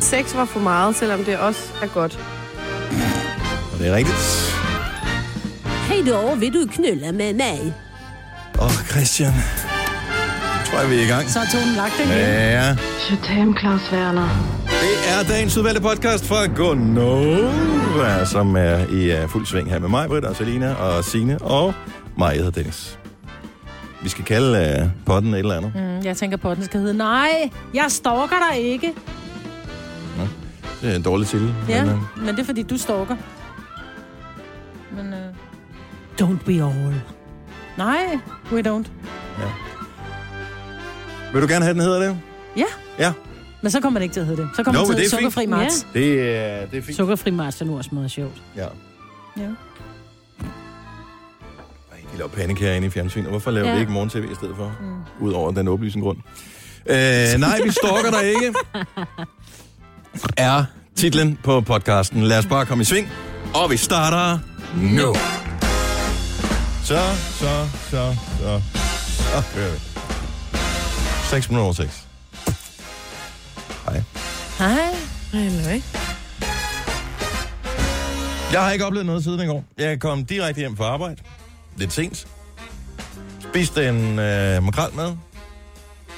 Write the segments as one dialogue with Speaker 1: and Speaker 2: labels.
Speaker 1: Sex var for meget, selvom det også er godt.
Speaker 2: Og det er rigtigt.
Speaker 3: Hej då, vil du knulle med mig?
Speaker 2: Åh, oh, Christian. Nu tror jeg, vi er i gang.
Speaker 4: Så har tonen lagt den igen.
Speaker 2: Ja,
Speaker 5: Je t'aime, Claus Werner.
Speaker 2: det er dagens udvalgte podcast fra Gonova, som er i uh, fuld sving her med mig, Britt, og Selina, og Sine og mig, jeg hedder Dennis. Vi skal kalde uh, potten et eller andet. Mm.
Speaker 4: Mm, Jeg tænker på, at den skal hedde, nej, jeg stalker dig ikke.
Speaker 2: Det er en dårlig titel.
Speaker 4: Ja,
Speaker 2: Men, uh,
Speaker 4: men det er fordi, du stalker. Men, øh,
Speaker 3: Don't be all.
Speaker 4: nej, we don't.
Speaker 2: vil du gerne have, den hedder det?
Speaker 4: Ja,
Speaker 2: Ja,
Speaker 4: men så kommer det ikke til at hedde det. Så kommer
Speaker 2: Nå,
Speaker 4: det til
Speaker 2: men
Speaker 4: at
Speaker 2: det
Speaker 4: hedde
Speaker 2: er fint.
Speaker 4: sukkerfri marts.
Speaker 2: det, uh, det er fint.
Speaker 3: Sukkerfri Mars er nu også meget sjovt.
Speaker 2: Ja.
Speaker 4: Ja.
Speaker 2: Ej, de laver pandekager inde i fjernsynet. Hvorfor laver ja.
Speaker 4: Ja.
Speaker 2: vi ikke morgen-tv i stedet for? Mm. Udover den åbenlysende grund. Øh, nej, vi stalker dig ikke. Er titlen på podcasten. Lad os bare komme i sving. Og vi starter nu. Så, så, så, så. Så kører vi. 6 minutter over 6. Hej.
Speaker 4: Hej.
Speaker 1: Eller ikke?
Speaker 2: Jeg har ikke oplevet noget siden i går. Jeg kom direkte hjem fra arbejde. Lidt sent. Spiste en øh, makrel med.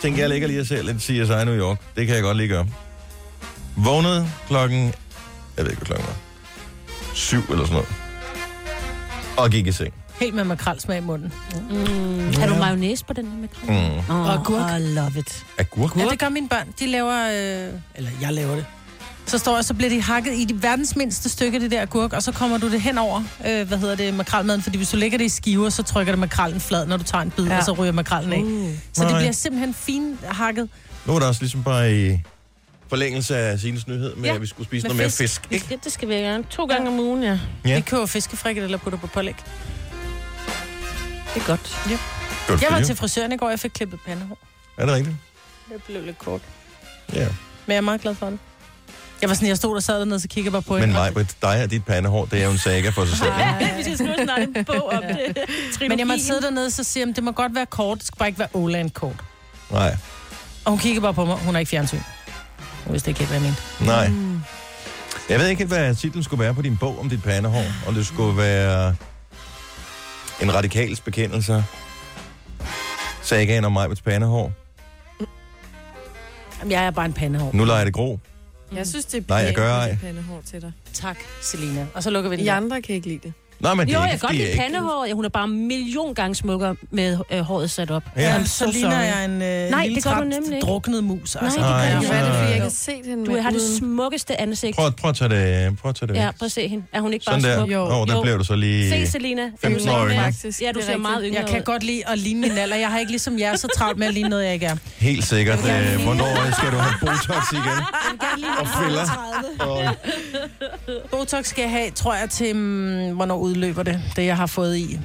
Speaker 2: Tænkte jeg ligger lige og ser lidt CSI New York. Det kan jeg godt lige gøre. Vågnede klokken... Jeg ved ikke, hvad klokken var. Syv eller sådan noget. Og gik i seng.
Speaker 4: Helt med makrelsmag i munden.
Speaker 3: Mm. Har du mayonnaise på den her med krem?
Speaker 2: Mm.
Speaker 3: Åh,
Speaker 4: Og agurk.
Speaker 3: I love it.
Speaker 2: Agurk?
Speaker 4: Ja, det gør mine børn. De laver, øh, eller jeg laver det. Så står jeg, så bliver de hakket i de verdens mindste stykke, det der agurk, og så kommer du det hen over, øh, hvad hedder det, makrelmaden, fordi hvis du lægger det i skiver, så trykker det makrellen flad, når du tager en bid, ja. og så ryger makrellen af. Uh, så det
Speaker 2: Nej.
Speaker 4: bliver simpelthen fint hakket
Speaker 2: Nu er der også ligesom bare i forlængelse af Sines nyhed med, ja,
Speaker 4: Ja,
Speaker 2: at vi skulle spise
Speaker 4: med
Speaker 2: noget mere
Speaker 4: fisk.
Speaker 2: fisk. Ikke?
Speaker 1: Det, det skal vi gerne. To gange om ugen, ja.
Speaker 2: Ja.
Speaker 4: Vi køber fiskefrikke eller putter på pålæg.
Speaker 1: Det er godt.
Speaker 2: Det var
Speaker 4: Jeg var
Speaker 2: det.
Speaker 4: til frisøren i går, jeg fik klippet pandehår.
Speaker 2: Er det rigtigt?
Speaker 1: Det blev lidt kort.
Speaker 2: Ja.
Speaker 4: Men jeg er meget glad for det. Jeg var sådan, jeg stod der sad dernede, så kiggede jeg bare på
Speaker 2: Men
Speaker 4: hende.
Speaker 2: mig, dig og dit pandehår, det er jo en saga for sig selv. ikke?
Speaker 1: vi skal skrive snart en bog om det.
Speaker 4: Men jeg måtte sidde dernede, så siger jeg, det må godt være kort, det skal bare ikke være Åland kort.
Speaker 2: Nej.
Speaker 4: Og hun kiggede bare på mig, hun har ikke fjernsyn. Hun vidste ikke helt, hvad jeg mente.
Speaker 2: Nej. Mm. Jeg ved ikke helt, hvad titlen skulle være på din bog om dit pandehår. Om det skulle være en radikals bekendelse. Sagaen om Majbets pandehår.
Speaker 4: Jamen, jeg er bare en pandehår.
Speaker 2: Nu leger jeg det grå.
Speaker 1: Jeg synes, det er
Speaker 2: Nej, jeg
Speaker 1: pænt,
Speaker 2: gør
Speaker 1: at
Speaker 2: ej.
Speaker 1: det er pandehår til dig.
Speaker 4: Tak, Selina. Og så lukker vi den.
Speaker 1: I
Speaker 4: Ja.
Speaker 1: andre kan ikke lide det.
Speaker 2: Nej, men det
Speaker 3: Jo,
Speaker 2: er
Speaker 3: jeg
Speaker 2: ikke,
Speaker 3: kan godt
Speaker 2: fordi
Speaker 3: lide
Speaker 2: ikke-
Speaker 3: pandehår. Ja, hun er bare en million gange smukkere med øh, håret sat op. Øhm,
Speaker 2: Ja.
Speaker 3: I'm so
Speaker 4: Så ligner
Speaker 3: sorry.
Speaker 4: jeg en øh,
Speaker 3: Nej,
Speaker 4: lille
Speaker 3: det gør du
Speaker 4: trapt,
Speaker 3: nemlig ikke.
Speaker 4: druknet mus. Altså.
Speaker 3: Nej,
Speaker 2: det
Speaker 1: Ja,
Speaker 2: gør
Speaker 1: Hvad er det, fordi jeg ikke
Speaker 4: kan...
Speaker 1: har set hende
Speaker 3: Du
Speaker 1: med
Speaker 3: har det
Speaker 1: uden-
Speaker 3: smukkeste ansigt.
Speaker 2: Prøv, prøv at tage det, prøv at tage det
Speaker 3: Ja,
Speaker 2: væk.
Speaker 3: prøv at se hende. Er hun ikke bare
Speaker 2: Sådan der.
Speaker 3: smuk?
Speaker 1: Jo.
Speaker 2: Åh, oh, der
Speaker 3: Jo.
Speaker 2: blev du så lige...
Speaker 3: Se, Selina. Er du
Speaker 2: 15-årig,
Speaker 3: ikke?
Speaker 2: ikke?
Speaker 1: Faktisk,
Speaker 3: Ja, du
Speaker 1: det er
Speaker 3: ser meget
Speaker 1: rigtigt.
Speaker 3: yngre
Speaker 4: Jeg kan
Speaker 3: ud.
Speaker 4: godt lide at ligne min alder. Jeg har ikke ligesom jer så travlt med at ligne noget, jeg ikke er.
Speaker 2: Helt sikkert.
Speaker 4: Jeg vil gerne
Speaker 2: Øh,
Speaker 4: lige-
Speaker 2: Hvornår skal du have Botox igen? Og filler. Og-
Speaker 4: Botox skal jeg have, tror jeg, til, mm, hvornår udløber det, det jeg har fået i.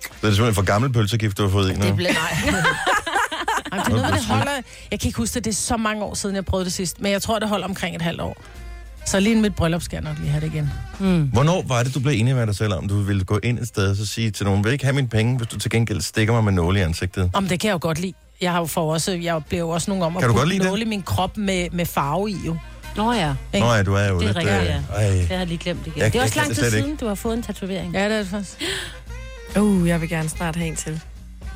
Speaker 2: Det er simpelthen for gammel pølsegift, du har fået i nu.
Speaker 4: Det blev nej. Jamen, det er noget, med, det holder... Jeg kan ikke huske det, det er så mange år siden, jeg prøvede det sidst, men jeg tror, det holder omkring et halvt år. Så lige inden mit bryllup skal jeg nok lige have det igen.
Speaker 3: Mm.
Speaker 2: Hvornår var det, du blev enig med dig selv om, du ville gå ind et sted og så sige til nogen, vil ikke have mine penge, hvis du til gengæld stikker mig med nåle i ansigtet?
Speaker 4: Om det kan jeg jo godt lide. Jeg har jo for også, jeg blev jo også nogle om at
Speaker 2: Kan du godt
Speaker 4: putte
Speaker 2: lide det?
Speaker 4: nåle i min krop med, med farve i jo.
Speaker 3: Nå ja,
Speaker 4: Ikke?
Speaker 2: Nå ja, du er jo
Speaker 3: Det er
Speaker 2: lidt... øh,
Speaker 3: rigtigt, ja.
Speaker 2: ej.
Speaker 3: det har jeg lige glemt igen.
Speaker 2: Jeg-
Speaker 3: det er
Speaker 2: jeg
Speaker 3: også
Speaker 2: kan
Speaker 3: lang
Speaker 2: det
Speaker 3: tid
Speaker 2: slet ikke.
Speaker 3: siden, du har fået en tatovering.
Speaker 4: Ja, det er det faktisk.
Speaker 1: Uh, jeg vil gerne snart have en til.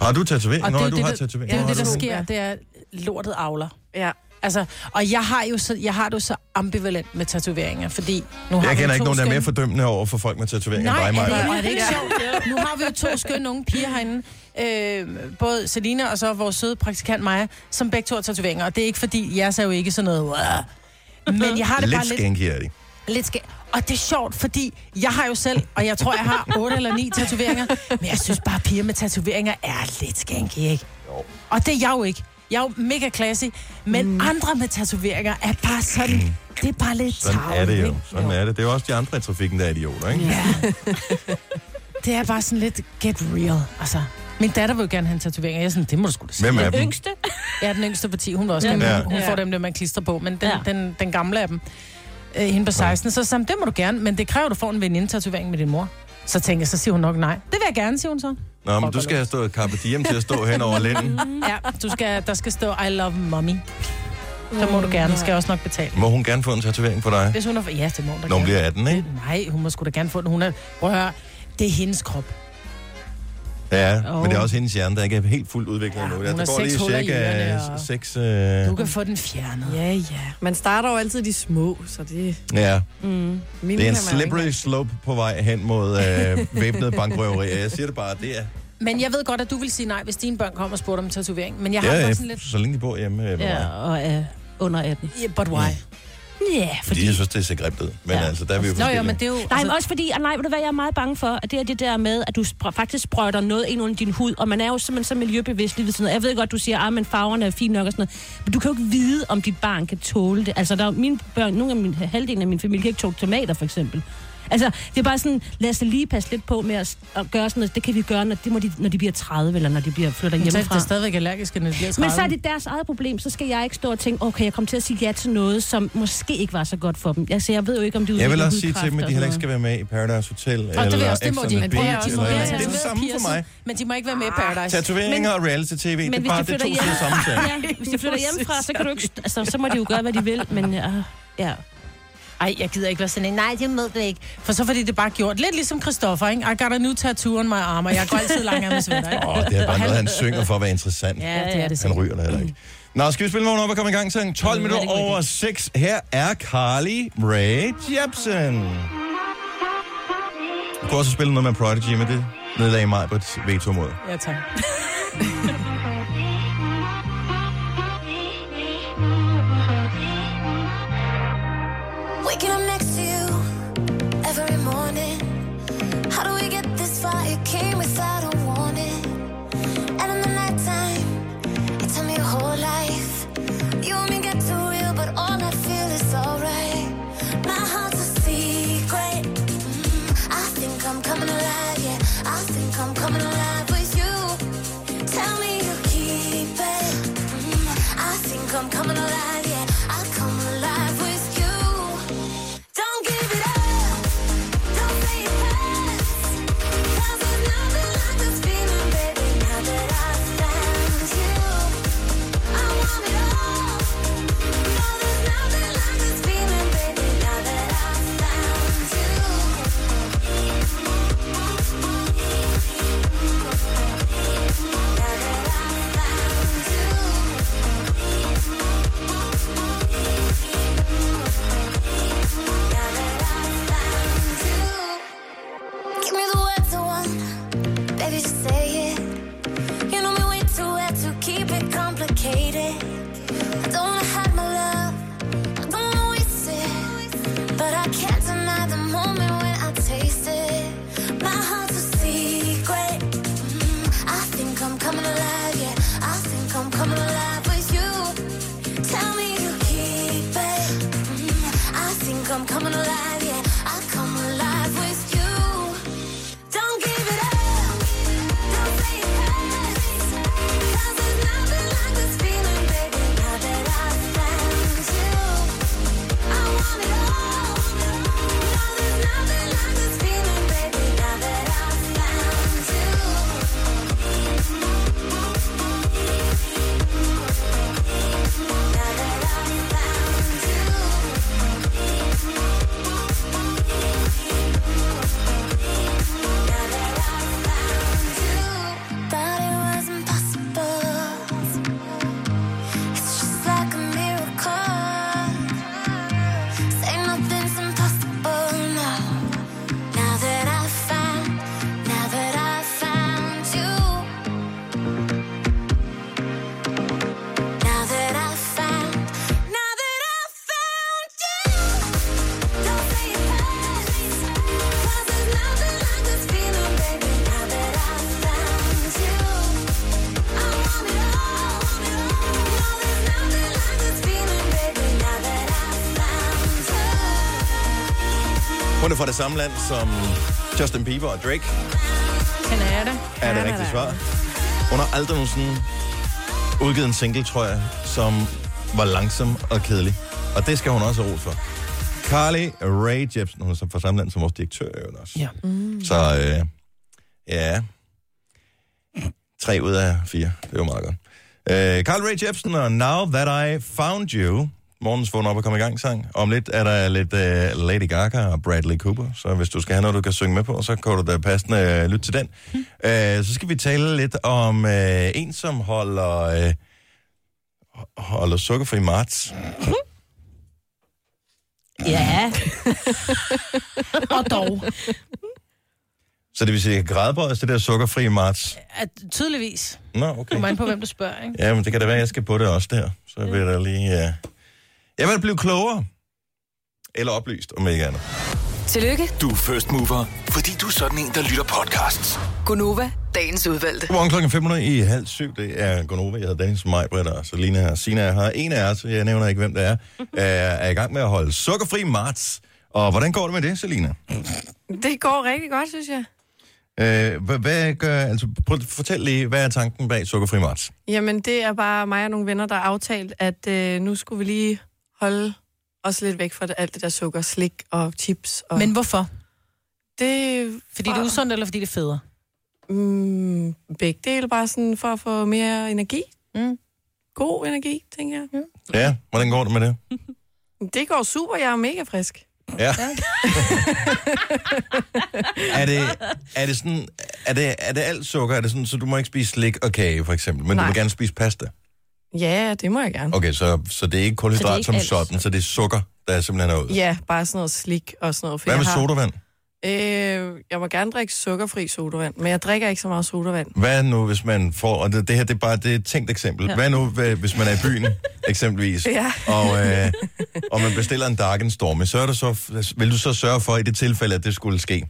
Speaker 2: Har du tatovering?
Speaker 4: Og
Speaker 2: Nå,
Speaker 4: det er jo
Speaker 2: du
Speaker 4: det,
Speaker 2: har
Speaker 4: der-
Speaker 2: tatovering.
Speaker 4: Det er jo
Speaker 2: Nå,
Speaker 4: det,
Speaker 2: har
Speaker 4: der
Speaker 2: du-
Speaker 4: sker, det er lortet avler.
Speaker 1: Ja.
Speaker 4: Altså, og jeg har jo så, jeg har det jo så ambivalent med tatoveringer, fordi nu har
Speaker 2: Jeg
Speaker 4: vi jo
Speaker 2: kender ikke
Speaker 4: to
Speaker 2: nogen, der er mere
Speaker 4: skønne-
Speaker 2: fordømmende over for folk med tatoveringer end
Speaker 4: Nej,
Speaker 2: dig,
Speaker 4: er
Speaker 2: Maja.
Speaker 4: det, og er det ikke sjovt? Nu har vi jo to skønne unge piger herinde. Øh, både Selina og så vores søde praktikant Maja, som begge to har tatoveringer. Og det er ikke fordi, jeres er jo ikke sådan noget... "Wow." Men jeg har det
Speaker 2: Lidt
Speaker 4: bare lidt...
Speaker 2: skænke er de.
Speaker 4: Lidt skæ... Og det er sjovt, fordi jeg har jo selv, og jeg tror, jeg har otte eller ni tatoveringer, men jeg synes bare, at piger med tatoveringer er lidt skænke, ikke? Og det er jeg jo ikke. Jeg er jo mega classy, men mm. andre med tatoveringer er bare sådan, det er bare lidt
Speaker 2: Sådan
Speaker 4: tarveligt,
Speaker 2: er det jo.
Speaker 4: ikke?
Speaker 2: Sådan er det. Det er jo også de andre i trafikken, der er idioter, ikke?
Speaker 4: Ja. det er bare sådan lidt get real, altså. Min datter vil jo gerne have en tatovering, og jeg er sådan, det må du sgu da sige.
Speaker 2: Hvem er dem?
Speaker 3: Yngste?
Speaker 4: Jeg er den yngste på 10, hun vil også
Speaker 3: Ja.
Speaker 4: gerne.
Speaker 2: Ja.
Speaker 4: Ja. Hun
Speaker 1: Ja.
Speaker 4: får dem, der man klistrer på, men den,
Speaker 3: Ja.
Speaker 4: ja. den, den gamle af dem, øh, hende på 16, så sagde hun, det må du gerne, men det kræver, at du får en veninde-tatovering med din mor. Så tænker jeg, så siger hun nok nej. Det vil jeg gerne, siger hun så.
Speaker 2: Nå, men du skal have stået Carpe Diem til at stå hen over lænden.
Speaker 4: Ja, du skal, der skal stå, I love mommy. Så
Speaker 2: Mm,
Speaker 4: må du gerne. Skal jeg også nok betale.
Speaker 2: Må hun gerne få en tatovering på dig,
Speaker 4: Hvis hun er... Ja, det må hun da
Speaker 2: når hun
Speaker 4: gerne.
Speaker 2: bliver 18, ikke?
Speaker 4: Nej, hun må sgu da gerne få den. Hun er... Prøv at høre. Det er hendes krop.
Speaker 2: Ja,
Speaker 4: Jo.
Speaker 2: men det er også hendes hjerne, der ikke er helt fuldt udviklet
Speaker 4: Ja,
Speaker 2: endnu.
Speaker 4: hun
Speaker 2: Der
Speaker 4: har
Speaker 2: går
Speaker 4: seks
Speaker 2: lige
Speaker 4: huller i
Speaker 2: cirka
Speaker 4: ørerne, og-
Speaker 2: 6...
Speaker 4: Du
Speaker 2: Øh...
Speaker 4: kan få den fjernet.
Speaker 1: Ja, ja. Man starter jo altid de små, så det...
Speaker 2: Ja,
Speaker 3: Mm.
Speaker 1: Min
Speaker 2: det er en slippery slope på vej hen mod øh, væbnet bankrøveri. Jeg siger det bare, det er...
Speaker 4: Men jeg ved godt, at du vil sige nej, hvis dine børn kommer og spurgte om tatovering. Men jeg har
Speaker 2: Ja,
Speaker 4: ja,
Speaker 2: øh,
Speaker 4: sådan lidt...
Speaker 2: så længe de bor hjemme øh, med
Speaker 3: Ja,
Speaker 2: mig.
Speaker 3: og er under 18.
Speaker 4: Yeah, but why?
Speaker 3: Ja, yeah, fordi...
Speaker 2: Fordi jeg synes, det ser grimt ud. Men
Speaker 3: Ja.
Speaker 2: altså, der er vi jo
Speaker 4: Nå jo,
Speaker 2: forskellige.
Speaker 4: men det er jo... altså,
Speaker 3: Nej, men også fordi, og nej, ved du hvad, jeg er meget bange for, at det er det der med, at du spr- faktisk sprøjter noget ind under din hud, og man er jo simpelthen så miljøbevidst lige ved sådan noget. Jeg ved godt, du siger, at men farverne er fine nok og sådan noget, men du kan jo ikke vide, om dit barn kan tåle det. Altså, der er jo mine børn, nogle af min, halvdelen af min familie kan ikke tåle tomater, for eksempel. Altså, det er bare sådan, lad os da lige passe lidt på med at, s- at gøre sådan noget. Det kan vi gøre, når, det må de, når de bliver 30, eller når de bliver flytter
Speaker 4: Men så er
Speaker 3: hjemmefra.
Speaker 4: det stadigvæk allergisk, når det bliver 30.
Speaker 3: Men så er det deres eget problem. Så skal jeg ikke stå og tænke, okay, jeg kommer til at sige ja til noget, som måske ikke var så godt for dem. Altså, jeg ved jo ikke, om det
Speaker 2: Jeg vil også sige til dem, at de heller ikke skal være med i Paradise Hotel.
Speaker 4: Og
Speaker 2: eller
Speaker 4: det vil jeg også, det må
Speaker 2: Ex
Speaker 4: de
Speaker 2: on
Speaker 4: ikke.
Speaker 2: the
Speaker 4: Men prøv at høre,
Speaker 2: Beach,
Speaker 4: også,
Speaker 2: eller
Speaker 4: når
Speaker 2: et
Speaker 4: de
Speaker 2: eller
Speaker 4: er
Speaker 2: andet. Det er det samme
Speaker 4: tatoveret
Speaker 2: for mig. Ah,
Speaker 4: piercing, Men de må ikke være med i Paradise.
Speaker 2: Tatoveringer og reality-tv, det
Speaker 3: Men
Speaker 2: er
Speaker 3: hvis
Speaker 2: bare
Speaker 3: de
Speaker 2: det er
Speaker 3: flytter
Speaker 2: to sider
Speaker 3: hjem,
Speaker 2: samme sag.
Speaker 3: Ja, hvis de flytter hjemmefra, så kan du ikke... Altså, så må de jo gøre, hvad de vil, men... Uh, ja.
Speaker 4: Ej, jeg gider ikke være sådan en. Nej, det må du ikke. For så får de det bare gjort. Lidt ligesom Christoffer, ikke? I got a new tattoo on my arm, og jeg går altid langt med svætter, ikke?
Speaker 2: Åh, det er bare noget, han synger for at være interessant.
Speaker 4: Ja, det er det
Speaker 2: Han
Speaker 4: sikkert.
Speaker 2: ryger det heller ikke. Nå, skal vi spille vågen op og komme i gang til 12
Speaker 3: det er
Speaker 2: minutter
Speaker 3: en god
Speaker 2: over 6. Her er Carly Rae Jepsen. Du kunne også spille noget med Prodigy, men det nedlagde mig på et veto mod.
Speaker 4: Ja, tak.
Speaker 6: Waking up next to you every morning. How do we get this far? It came without a warning. And in the nighttime, you tell me your whole life. You want me get too real, but all I feel is alright. My heart's a secret. Mm, I think I'm coming alive, yeah. I think I'm coming alive with you. Tell me you keep it. Mm, I think I'm coming alive, yeah. I come alive with you. Don't give it up. Don't say it hurts. 'Cause there's nothing like this feeling, baby, now that I found you. I want it all. No, there's nothing like this feeling, baby, now that I found you. Now that I found you. Now that I found you, give me the words I want, baby, just say it. You know me way too well to keep it complicated. I don't wanna hide my love, I don't wanna waste it, but I can't deny the moment when I taste it. My heart's a secret. Mm, I think I'm coming alive, yeah. I think I'm coming alive with you. Tell me you keep it. Mm, I think I'm coming alive, yeah. I come alive with you. Don't give it up. Don't say it hurts. 'Cause there's nothing like this feeling, baby. Now that I found you, I want it all. No, there's nothing like this feeling, baby. Now that I found you. Now that I found you, now that I found you, thought it was impossible. It's just like a miracle. Say nothing's impossible now. Now that I found, now that I found you. Now that I found, now that I found you, don't say it hurts. 'Cause there's nothing like this feeling, baby. Now that I found you, I want it all. No, there's nothing like this feeling, baby. Now that I found you.
Speaker 2: Hun er fra det samme land som Justin Bieber og Drake,
Speaker 4: Canada.
Speaker 2: er det rigtige svar. Hun har aldrig nogensinde udgivet en single, tror jeg, som var langsom og kedelig. Og det skal hun også have ros for. Carly Rae Jepsen, hun er så fra samme land som vores direktør, i øvrigt også.
Speaker 4: Ja.
Speaker 2: Så øh, ja, tre ud af fire, det er jo meget godt. Øh, Carl Ray Jepsen og Now That I Found You. Morgens vågn op og kom i gang sang. Om lidt er der lidt øh, Lady Gaga og Bradley Cooper. Så hvis du skal have noget, du kan synge med på, så kan du da passende øh, lytte til den. Øh, så skal vi tale lidt om øh, en, som holder, øh, holder sukkerfri marts.
Speaker 3: Ja.
Speaker 4: Og dog,
Speaker 2: Så det vil sige, at grædbrød det der sukkerfri marts.
Speaker 4: at tydeligvis,
Speaker 2: Nå, okay.
Speaker 4: kommer an på, hvem du spørger, ikke?
Speaker 2: Ja, men det kan da være, at jeg skal på det også der. Så vil der lige... Ja. Jeg vil blive klogere. Eller oplyst, om ikke andet.
Speaker 7: Tillykke,
Speaker 8: Du er first mover, fordi du er sådan en, der lytter podcasts.
Speaker 7: Gunova, dagens udvalgte.
Speaker 2: Godmorgen klokken 500 i halv syv. Det er Gonova. Jeg hedder Dennis Majbredt og Selina her. Sina er her. En af os, jeg nævner ikke, hvem det er, er- er i gang med at holde sukkerfri marts. Og hvordan går det med det, Selina?
Speaker 9: Det går rigtig godt, synes jeg.
Speaker 2: Øh, hvad, hvad gør... Altså, prøv, fortæl lige, hvad er tanken bag sukkerfri marts?
Speaker 9: Jamen, det er bare mig og nogle venner, der har aftalt, at øh, nu skulle vi lige holde os lidt væk fra det, alt det der sukker, slik og chips. Og
Speaker 4: Men hvorfor?
Speaker 9: det
Speaker 4: Fordi det er usundt, eller fordi det er federe?
Speaker 9: Mm, begge dele bare sådan for at få mere energi.
Speaker 4: Mm.
Speaker 9: God energi, tænker jeg. Mm.
Speaker 2: Ja, hvordan går det med det?
Speaker 9: Det går super, jeg er mega frisk.
Speaker 2: Ja. er, det, er det sådan... Er det, er det alt sukker? Er det sådan, så du må ikke spise slik og kage, for eksempel? Men Nej. du
Speaker 9: Nej.
Speaker 2: vil gerne spise pasta?
Speaker 9: Ja, det må jeg gerne.
Speaker 2: Okay, så, så det er ikke kulhydrat
Speaker 3: Så det er
Speaker 2: ikke
Speaker 3: ikke
Speaker 2: som
Speaker 3: alt
Speaker 2: sådan, så det er sukker, der er simpelthen er ud.
Speaker 9: Ja, bare sådan noget slik og sådan noget. for
Speaker 2: Hvad med
Speaker 9: jeg har-
Speaker 2: sodavand?
Speaker 9: Øh, jeg må gerne drikke sukkerfri sodavand, men jeg drikker ikke så meget sodavand.
Speaker 2: Hvad nu, hvis man får... Og det, det her, det er bare det er et tænkt eksempel. Ja. Hvad nu, hva- hvis man er i byen, eksempelvis,
Speaker 9: Ja.
Speaker 2: og, øh, og man bestiller en dark and stormy, så, er det så vil du så sørge for, i det tilfælde, at det skulle ske,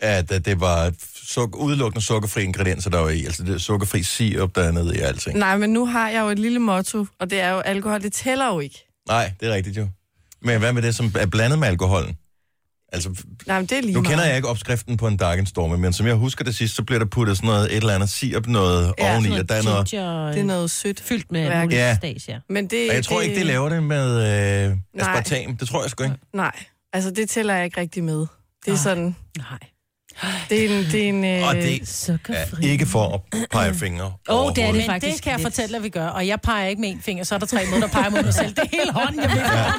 Speaker 2: at, at det var suk- udelukkende sukkerfri ingredienser, der var i? Altså det er sukkerfri sirup, der er nede i og alting.
Speaker 9: Nej, men nu har jeg jo et lille motto, og det er jo, alkohol, det tæller jo ikke.
Speaker 2: Nej, det er rigtigt jo. Men hvad med det, som er blandet med alkoholen? Altså,
Speaker 9: Nej, men det er lige
Speaker 2: Nu
Speaker 9: meget.
Speaker 2: kender jeg ikke opskriften på en dark and stormy, men som jeg husker det sidst, så bliver der puttet sådan noget, et eller andet sirup noget
Speaker 9: Ja,
Speaker 2: ja, oveni,
Speaker 3: Sådan
Speaker 2: og der er noget...
Speaker 3: ginger,
Speaker 9: Det er noget sødt.
Speaker 3: fyldt med
Speaker 9: Mærke.
Speaker 3: mulige
Speaker 2: Ja.
Speaker 3: stasia.
Speaker 9: Men det,
Speaker 2: Og jeg tror ikke, de laver det med øh, aspartam. Det tror jeg sgu ikke.
Speaker 9: Nej, altså det tæller jeg ikke rigtig med. Det er sådan,
Speaker 3: Nej.
Speaker 9: det er en... Det er en øh,
Speaker 2: Og det
Speaker 3: Sukkerfri.
Speaker 2: er ikke for at pege fingre
Speaker 3: Åh, det er
Speaker 2: overhovedet.
Speaker 3: det
Speaker 4: Men
Speaker 3: faktisk
Speaker 4: det kan jeg
Speaker 3: lidt.
Speaker 4: fortælle, at vi gør. Og jeg peger ikke med en finger, så er der tre måneder, der peger mod mig selv. Det er hele hånden, jeg bliver.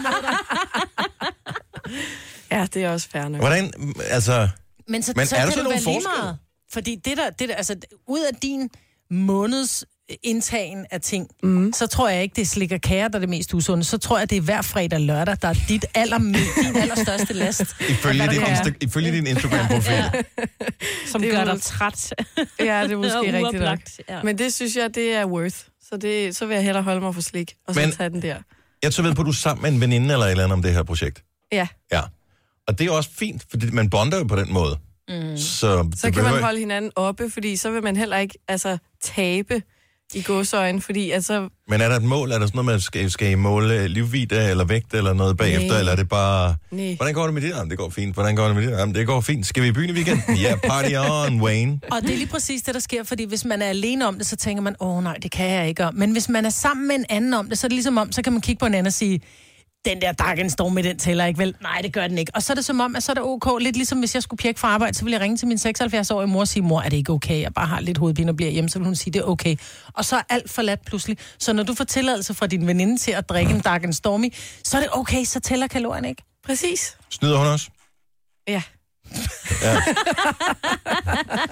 Speaker 9: Ja, det er også fair nok.
Speaker 2: Hvordan, altså...
Speaker 4: Men, så,
Speaker 2: Men
Speaker 4: så
Speaker 2: er der
Speaker 4: kan
Speaker 2: så
Speaker 4: det jo
Speaker 2: nogen
Speaker 4: være lige
Speaker 2: forskel?
Speaker 4: meget. Fordi det der, det der, altså, ud af din måneds øh, indtagen af ting, mm. så tror jeg ikke, det er slik og kager, der er det mest usunde. Så tror jeg, det er hver fredag og lørdag, der er dit aller, din allerstørste last.
Speaker 2: Ifølge,
Speaker 4: Hvad der
Speaker 2: din,
Speaker 4: nu er.
Speaker 2: Insta- ifølge din Instagram-profil.
Speaker 3: Som
Speaker 9: Det er
Speaker 3: gør
Speaker 9: jo-
Speaker 3: dig træt.
Speaker 9: Ja, det er
Speaker 3: Og
Speaker 9: måske rigtigt nok.
Speaker 3: uoplagt, ja.
Speaker 9: Men det synes jeg, det er worth. Så, det, så vil jeg hellere holde mig for slik, og så
Speaker 2: Men-
Speaker 9: men... tage den der.
Speaker 2: Jeg tager ved på, at du er sammen med en veninde eller et eller andet om det her projekt.
Speaker 9: Ja,
Speaker 2: Ja. Og det er også fint, fordi man bonder jo på den måde. Mm. Så,
Speaker 9: så kan man holde hinanden oppe, fordi så vil man heller ikke altså, tabe i godsøjen, fordi altså,
Speaker 2: Men er der et mål? Er der sådan noget, man skal, skal I måle livvidde eller vægt eller noget bagefter?
Speaker 9: Nej.
Speaker 2: Eller er det bare...
Speaker 9: Nej.
Speaker 2: Hvordan går det med det? Jamen, det går fint. Hvordan går det med det? Jamen, det går fint. Skal vi i byen i weekenden? Ja, party on, Wayne.
Speaker 4: Og det er lige præcis det, der sker, fordi hvis man er alene om det, så tænker man, åh nej, det kan jeg ikke om. Men hvis man er sammen med en anden om det, så er det ligesom om, så kan man kigge på en anden og sige, den der dark står med den tæller ikke vel? Nej, det gør den ikke. Og så er det som om, at så er det ok. Lidt ligesom hvis jeg skulle pjekke fra arbejde, så ville jeg ringe til min 76-årige mor og sige, mor, er det ikke okay? Jeg bare har lidt hovedpine og bliver hjemme, så vil hun sige, det er okay. Og så er alt forladt pludselig. Så når du får tilladelse fra din veninde til at drikke en dark stormy, så er det okay, så tæller kalorien ikke.
Speaker 9: præcis.
Speaker 2: Snyder hun også?
Speaker 9: Ja.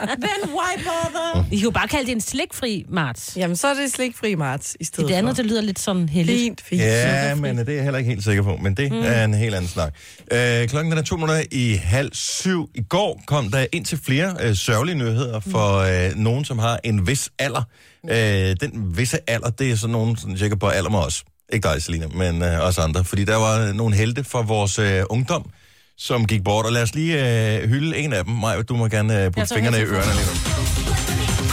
Speaker 4: Then why bother?
Speaker 3: I kan jo bare kalde det en slikfri marts.
Speaker 9: Jamen, så er det slikfri marts i stedet
Speaker 3: Det andet,
Speaker 9: for.
Speaker 3: det lyder lidt sådan heldigt.
Speaker 9: Fint, fint.
Speaker 2: Ja, men øh, det er jeg heller ikke helt sikker på, men det mm. er en helt anden snak. Øh, klokken den er to minutter i halv syv. I går kom der ind til flere øh, sørgelige nyheder for øh, nogen, som har en vis alder. Øh, den visse alder, det er sådan nogen, som tjekker på alder med os. Ikke dig, Selina, men øh, os andre. Fordi der var øh, nogle helte fra vores øh, ungdom, som gik bort. Og lad os lige øh, hylde en af dem. Maja, du må gerne øh,
Speaker 4: Jeg
Speaker 2: putte
Speaker 4: tager
Speaker 2: fingrene i
Speaker 4: hele
Speaker 2: ørerne lidt.